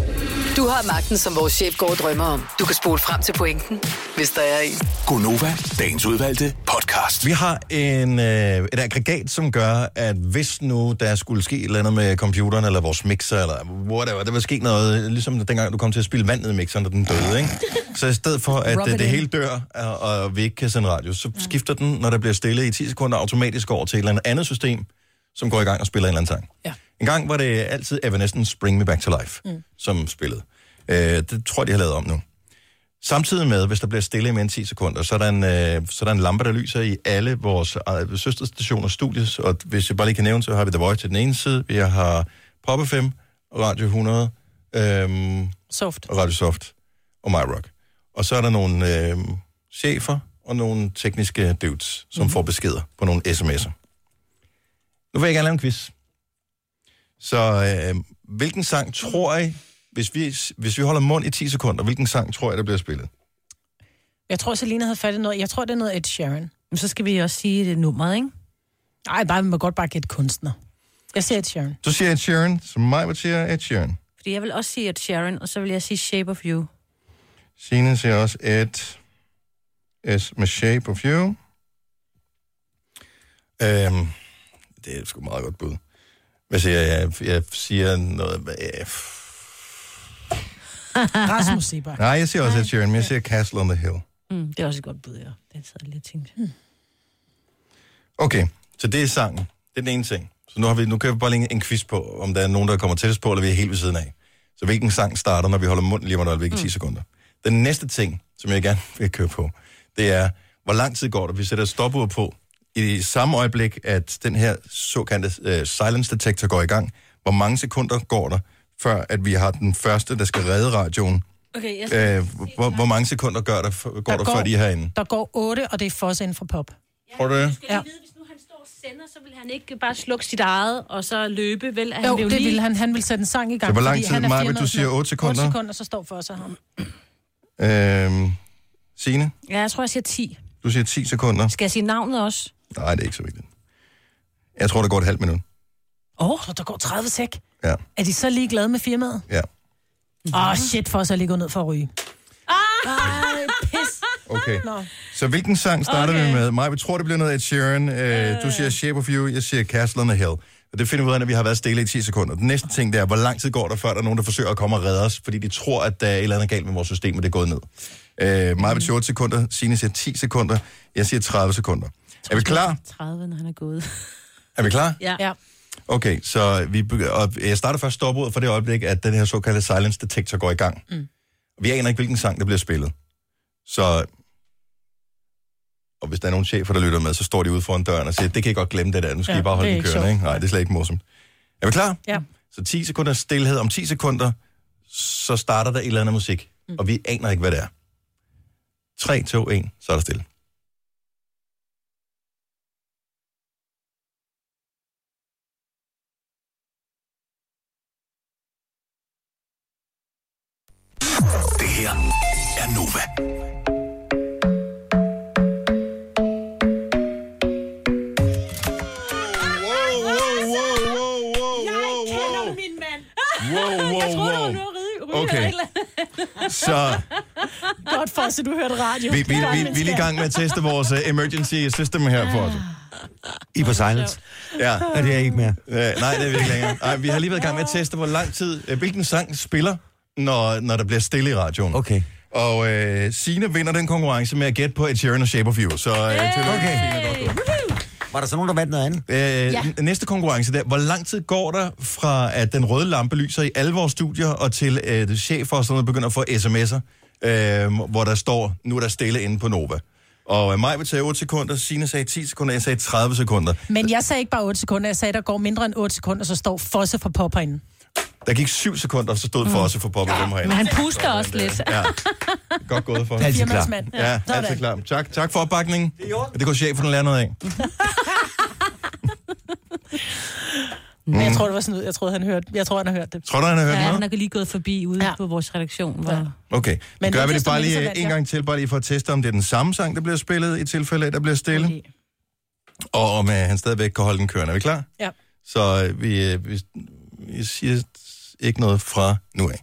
Speaker 7: Du har magten, som vores chef går og drømmer om. Du kan spole frem til pointen, hvis der er en.
Speaker 8: Gonova, dagens udvalgte podcast.
Speaker 2: Vi har en, øh, et aggregat, som gør, at hvis nu der skulle ske et eller andet med computeren, eller vores mixer, eller whatever, der vil ske noget, øh, ligesom dengang du kom til at spille vand ned i mixeren, og den døde, ikke? Så i stedet for, at
Speaker 16: Rub
Speaker 2: øh,
Speaker 16: it
Speaker 2: det
Speaker 16: in.
Speaker 2: hele dør, og, og vi ikke kan sende radio, så skifter den, når der bliver stille i 10 sekunder, automatisk over til et eller andet andet system, som går i gang og spiller en eller anden sang.
Speaker 4: Ja.
Speaker 2: En gang var det altid Evanescence Bring Me Back to Life, mm. som spillede. Øh, det tror jeg, de har lavet om nu. Samtidig med, hvis der bliver stille i mere end 10 sekunder, så er, der en, øh, så er der en lampe, der lyser i alle vores øh, søsterstationer og studies. Og hvis jeg bare lige kan nævne, så har vi The Voice til den ene side, vi har Pop FM, Radio 100, øhm,
Speaker 4: Soft.
Speaker 2: og Radio Soft og MyRock. Og så er der nogle øh, chefer og nogle tekniske dudes, som mm. får beskeder på nogle sms'er. Nu vil jeg gerne lave en quiz. Så øh, hvilken sang tror I, hvis vi, hvis vi holder mund i 10 sekunder, hvilken sang tror jeg, der bliver spillet?
Speaker 4: Jeg tror, Selina havde fat i noget. Jeg tror, det er noget Ed Sheeran.
Speaker 3: Men så skal vi også sige det nummeret, ikke?
Speaker 4: Nej, bare, man må godt bare gætte kunstner. Jeg siger Ed Sheeran.
Speaker 2: Du siger Ed Sheeran, som mig vil sige Ed Sheeran.
Speaker 3: Fordi jeg vil også sige, at Sharon, og så vil jeg sige Shape of You.
Speaker 2: Signe siger også Ed S med Shape of You. Øhm, det er sgu meget godt bud. Hvad siger jeg? Jeg, jeg siger noget... hvad- øh,
Speaker 4: Rasmus Sebak.
Speaker 2: Nej, jeg siger også Ed Sheeran, men jeg siger Castle on the Hill.
Speaker 3: Mm, det er også et godt bud, ja. Den sad jeg lige og tænkte.
Speaker 2: Okay, så det er sangen. Det er den ene ting. Så nu, har vi, nu kan vi bare længe en quiz på, om der er nogen, der kommer tættest på, eller vi er helt ved siden af. Så hvilken sang starter, når vi holder munden lige om et øjeblik i 10 sekunder. Den næste ting, som jeg gerne vil køre på, det er, hvor lang tid går der? Vi sætter et stopur på i samme øjeblik, at den her såkaldte øh, silence detector går i gang. Hvor mange sekunder går der, før at vi har den første, der skal redde radioen?
Speaker 3: Okay, jeg
Speaker 2: Øh, hvor, hvor mange sekunder gør der, f- går der, før de er herinde?
Speaker 4: Der går 8, og det er for os inden for pop.
Speaker 2: Tror du det?
Speaker 4: Ja.
Speaker 3: sender, så vil han ikke bare slukke sit eget, og så løbe, vel? Han
Speaker 4: Jo,
Speaker 3: vil
Speaker 4: det
Speaker 3: lige-
Speaker 4: ville han. Han ville sætte en sang i gang.
Speaker 2: Så hvor lang
Speaker 4: fordi
Speaker 2: tid,
Speaker 4: han er
Speaker 2: Maja, vil du
Speaker 4: 400
Speaker 2: sige otte sekunder?
Speaker 4: 8 sekunder, så står for os og ham.
Speaker 2: Øhm, Signe,
Speaker 3: Ja, jeg tror, jeg siger 10.
Speaker 2: du siger 10 sekunder.
Speaker 3: Skal jeg sige navnet også?
Speaker 2: Nej, det er ikke så vigtigt. Jeg tror, der går et halvt minut.
Speaker 4: Åh, oh, der går 30 sek.
Speaker 2: Ja.
Speaker 4: Er de så ligeglade med firmaet?
Speaker 2: Ja.
Speaker 4: Åh, oh, shit for os at lige gå ned for at ryge. Ej, pis.
Speaker 2: Okay.
Speaker 4: Nå.
Speaker 2: Så hvilken sang starter okay. vi med? Maja, vi tror, det bliver noget af Ed Sheeran. Øh, du siger Shape of You, jeg siger Castle on the Hill. Og det finder vi ud af, når vi har været stille i 10 sekunder. Den næste ting, det er, hvor lang tid går der, før der er nogen, der forsøger at komme og redde os, fordi de tror, at der er et eller andet galt med vores system, og det er gået ned. Øh, Maja siger 8 sekunder, Signe siger 10 sekunder, jeg siger 30 sekunder. Er vi klar?
Speaker 3: 30, når han er gået.
Speaker 2: Er vi klar?
Speaker 3: Ja. ja.
Speaker 2: Okay, så vi begy- og jeg starter først stopordet for det øjeblik, at den her såkaldte silence detector går i gang.
Speaker 3: Mm.
Speaker 2: Vi aner ikke, hvilken sang, der bliver spillet. Så... Og hvis der er nogen chefer, der lytter med, så står de ude foran døren og siger, det kan I godt glemme det der, nu skal
Speaker 17: Ja,
Speaker 2: I bare holde
Speaker 17: det er
Speaker 2: den
Speaker 17: ikke
Speaker 2: kørende.
Speaker 17: sjovt.
Speaker 2: Ikke? Nej, det er slet ikke morsomt. Er vi klar?
Speaker 4: Ja.
Speaker 2: Så 10 sekunder stillhed. Om 10 sekunder, så starter der et eller andet musik. Mm. Og vi aner ikke, hvad det er. 3, 2, 1, så er der stille.
Speaker 8: Det her er Nova.
Speaker 2: Wow, wow,
Speaker 3: Jeg troede,
Speaker 2: wow.
Speaker 3: det var noget ryge. ryge
Speaker 2: Okay.
Speaker 3: eller et eller andet.
Speaker 2: Så-
Speaker 4: Godt for os, at du hørte radio.
Speaker 2: Vi, vi, vi, vi er lige i gang med at teste vores uh, emergency system her for os. I på silence. Ja.
Speaker 17: Ja, det er
Speaker 2: ikke mere. Ja, nej, det er vi ikke længere. Ej, vi har lige været i gang med at teste, hvor lang tid, øh, hvilken sang spiller, når, når der bliver stille i radioen. Okay. Og øh, Signe vinder den konkurrence med at gætte på Ed Sheeran og Shape of You. Så, øh, okay. Var der så nogen, der vandt noget andet? Øh, ja. Næste konkurrence der. Hvor lang tid går der fra, at den røde lampe lyser i alle vores studier, og til øh, chefer og sådan noget begynder at få sms'er, øh, hvor der står, nu er der stille inde på Nova. Og øh, mig vil tage 8 sekunder, Signe sagde 10 sekunder, jeg sagde 30 sekunder.
Speaker 4: Men jeg sagde ikke bare 8 sekunder, jeg sagde, der går mindre end 8 sekunder, så står Fosse for pop herinde.
Speaker 2: Der gik 7 sekunder, og så stod for os at få poppet dem herinde.
Speaker 4: Men han puster også lidt.
Speaker 2: Ja, godt gået for.
Speaker 4: Det er altid klar. Firmasmand.
Speaker 2: Ja,
Speaker 4: Ja,
Speaker 2: altid
Speaker 4: sådan.
Speaker 2: klar. Tak, tak for opbakningen. Det går chefen at lære noget af.
Speaker 4: Men jeg
Speaker 2: Mm.
Speaker 4: tror, det var sådan ud. Jeg tror, han hørte, jeg tror, han har hørt det.
Speaker 2: Tror du, han har hørt
Speaker 3: Ja,
Speaker 2: noget?
Speaker 3: han er lige gået forbi ude ja. på vores redaktion. Hvor... Ja.
Speaker 2: Okay,
Speaker 3: Men
Speaker 2: men gør
Speaker 3: det
Speaker 2: vi det
Speaker 3: desto
Speaker 2: bare
Speaker 3: mindre, så
Speaker 2: lige
Speaker 3: vandt
Speaker 2: øh, en
Speaker 3: jeg.
Speaker 2: gang til, bare lige for at teste, om det er den samme sang, der bliver spillet, i tilfælde af, at der bliver stille. Og om øh, han stadigvæk kan holde den kørende. Er vi klar?
Speaker 4: Ja.
Speaker 2: Så øh, vi, øh, vi, vi siger ikke noget fra nu af.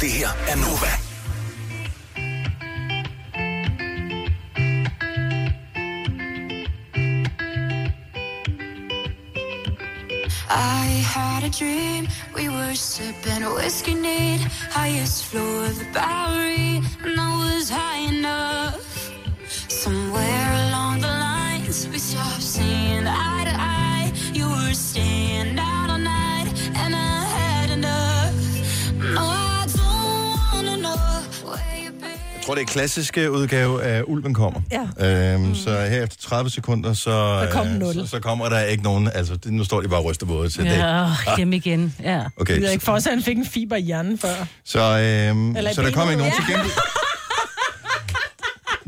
Speaker 8: Det her er Nova.
Speaker 6: I had a dream. We were sipping whiskey neat, highest floor of the Bowery, and I was high enough. Somewhere along the lines, we stopped seeing eye to eye. You were staying out all night, and I had enough. No, I don't wanna know where you've been.
Speaker 2: Jeg tror, det er klassiske udgave af Ulven kommer. Ja. Øhm, mm. Så her efter 30 sekunder, så,
Speaker 3: Der kom
Speaker 2: øh,
Speaker 3: nul.
Speaker 2: så, så kommer der ikke nogen... Altså, det- nu står de bare og ryster våde til det.
Speaker 3: Ja, åh, hjem igen. Ja.
Speaker 2: Okay.
Speaker 4: Jeg ved ikke, Fosse han fik en fiber i hjernen før.
Speaker 2: Så, øhm,
Speaker 4: Eller i
Speaker 2: så der kom
Speaker 4: benet.
Speaker 2: ikke nogen til
Speaker 4: Ja.
Speaker 2: gengæld.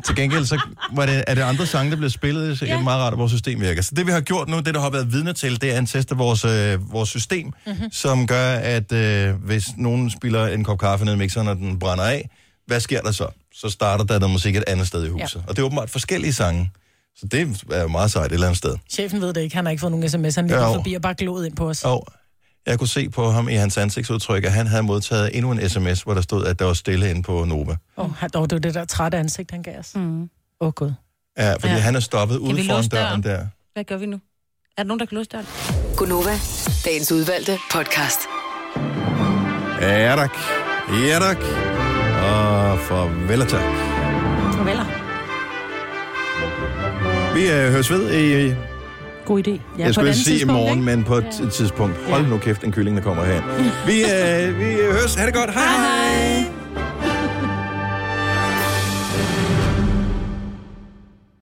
Speaker 2: Til gengæld, så var det, er det andre sange, der blev spillet. Så det er meget rart, at vores system virker. Så det, vi har gjort nu, det, der har været vidne til, det er en test af vores, øh, vores system, mm-hmm. som gør, at øh, hvis nogen spiller en kop kaffe ned i mixeren, og den brænder af, hvad sker der så? Så starter der noget musik et andet sted i huset. Ja. Og det er åbenbart forskellige sange. Så det er jo meget sejt et eller andet sted.
Speaker 4: Chefen ved det ikke. Han har ikke fået nogen sms. Han
Speaker 2: Jo.
Speaker 4: er forbi og bare glået ind på os.
Speaker 2: Og jeg kunne se på ham i hans ansigtsudtryk, at han havde modtaget endnu en sms, hvor der stod, at der var stille inde på Nova.
Speaker 4: Åh, oh, det var det der trætte ansigt, han gav os. Åh, mm. oh, gud.
Speaker 2: Ja, fordi
Speaker 3: Ja.
Speaker 2: ja. han er stoppet
Speaker 3: Kan
Speaker 2: ude
Speaker 3: vi
Speaker 2: foran
Speaker 3: låse
Speaker 2: døren
Speaker 3: døren?
Speaker 2: der.
Speaker 3: Hvad gør vi nu? Er der nogen, der kan låse døren?
Speaker 7: Gunova, dagens udvalgte podcast.
Speaker 2: Ja, tak. Ja, tak. Og farvel og tak.
Speaker 3: Farveler.
Speaker 2: Vi øh, høres ved i, ja,
Speaker 3: God idé.
Speaker 2: jeg skulle sige i morgen,
Speaker 3: Ikke?
Speaker 2: men på et tidspunkt. Hold nu kæft, en kylling, der kommer her. Vi, øh, vi øh, høres. Ha' det godt. Hej hej.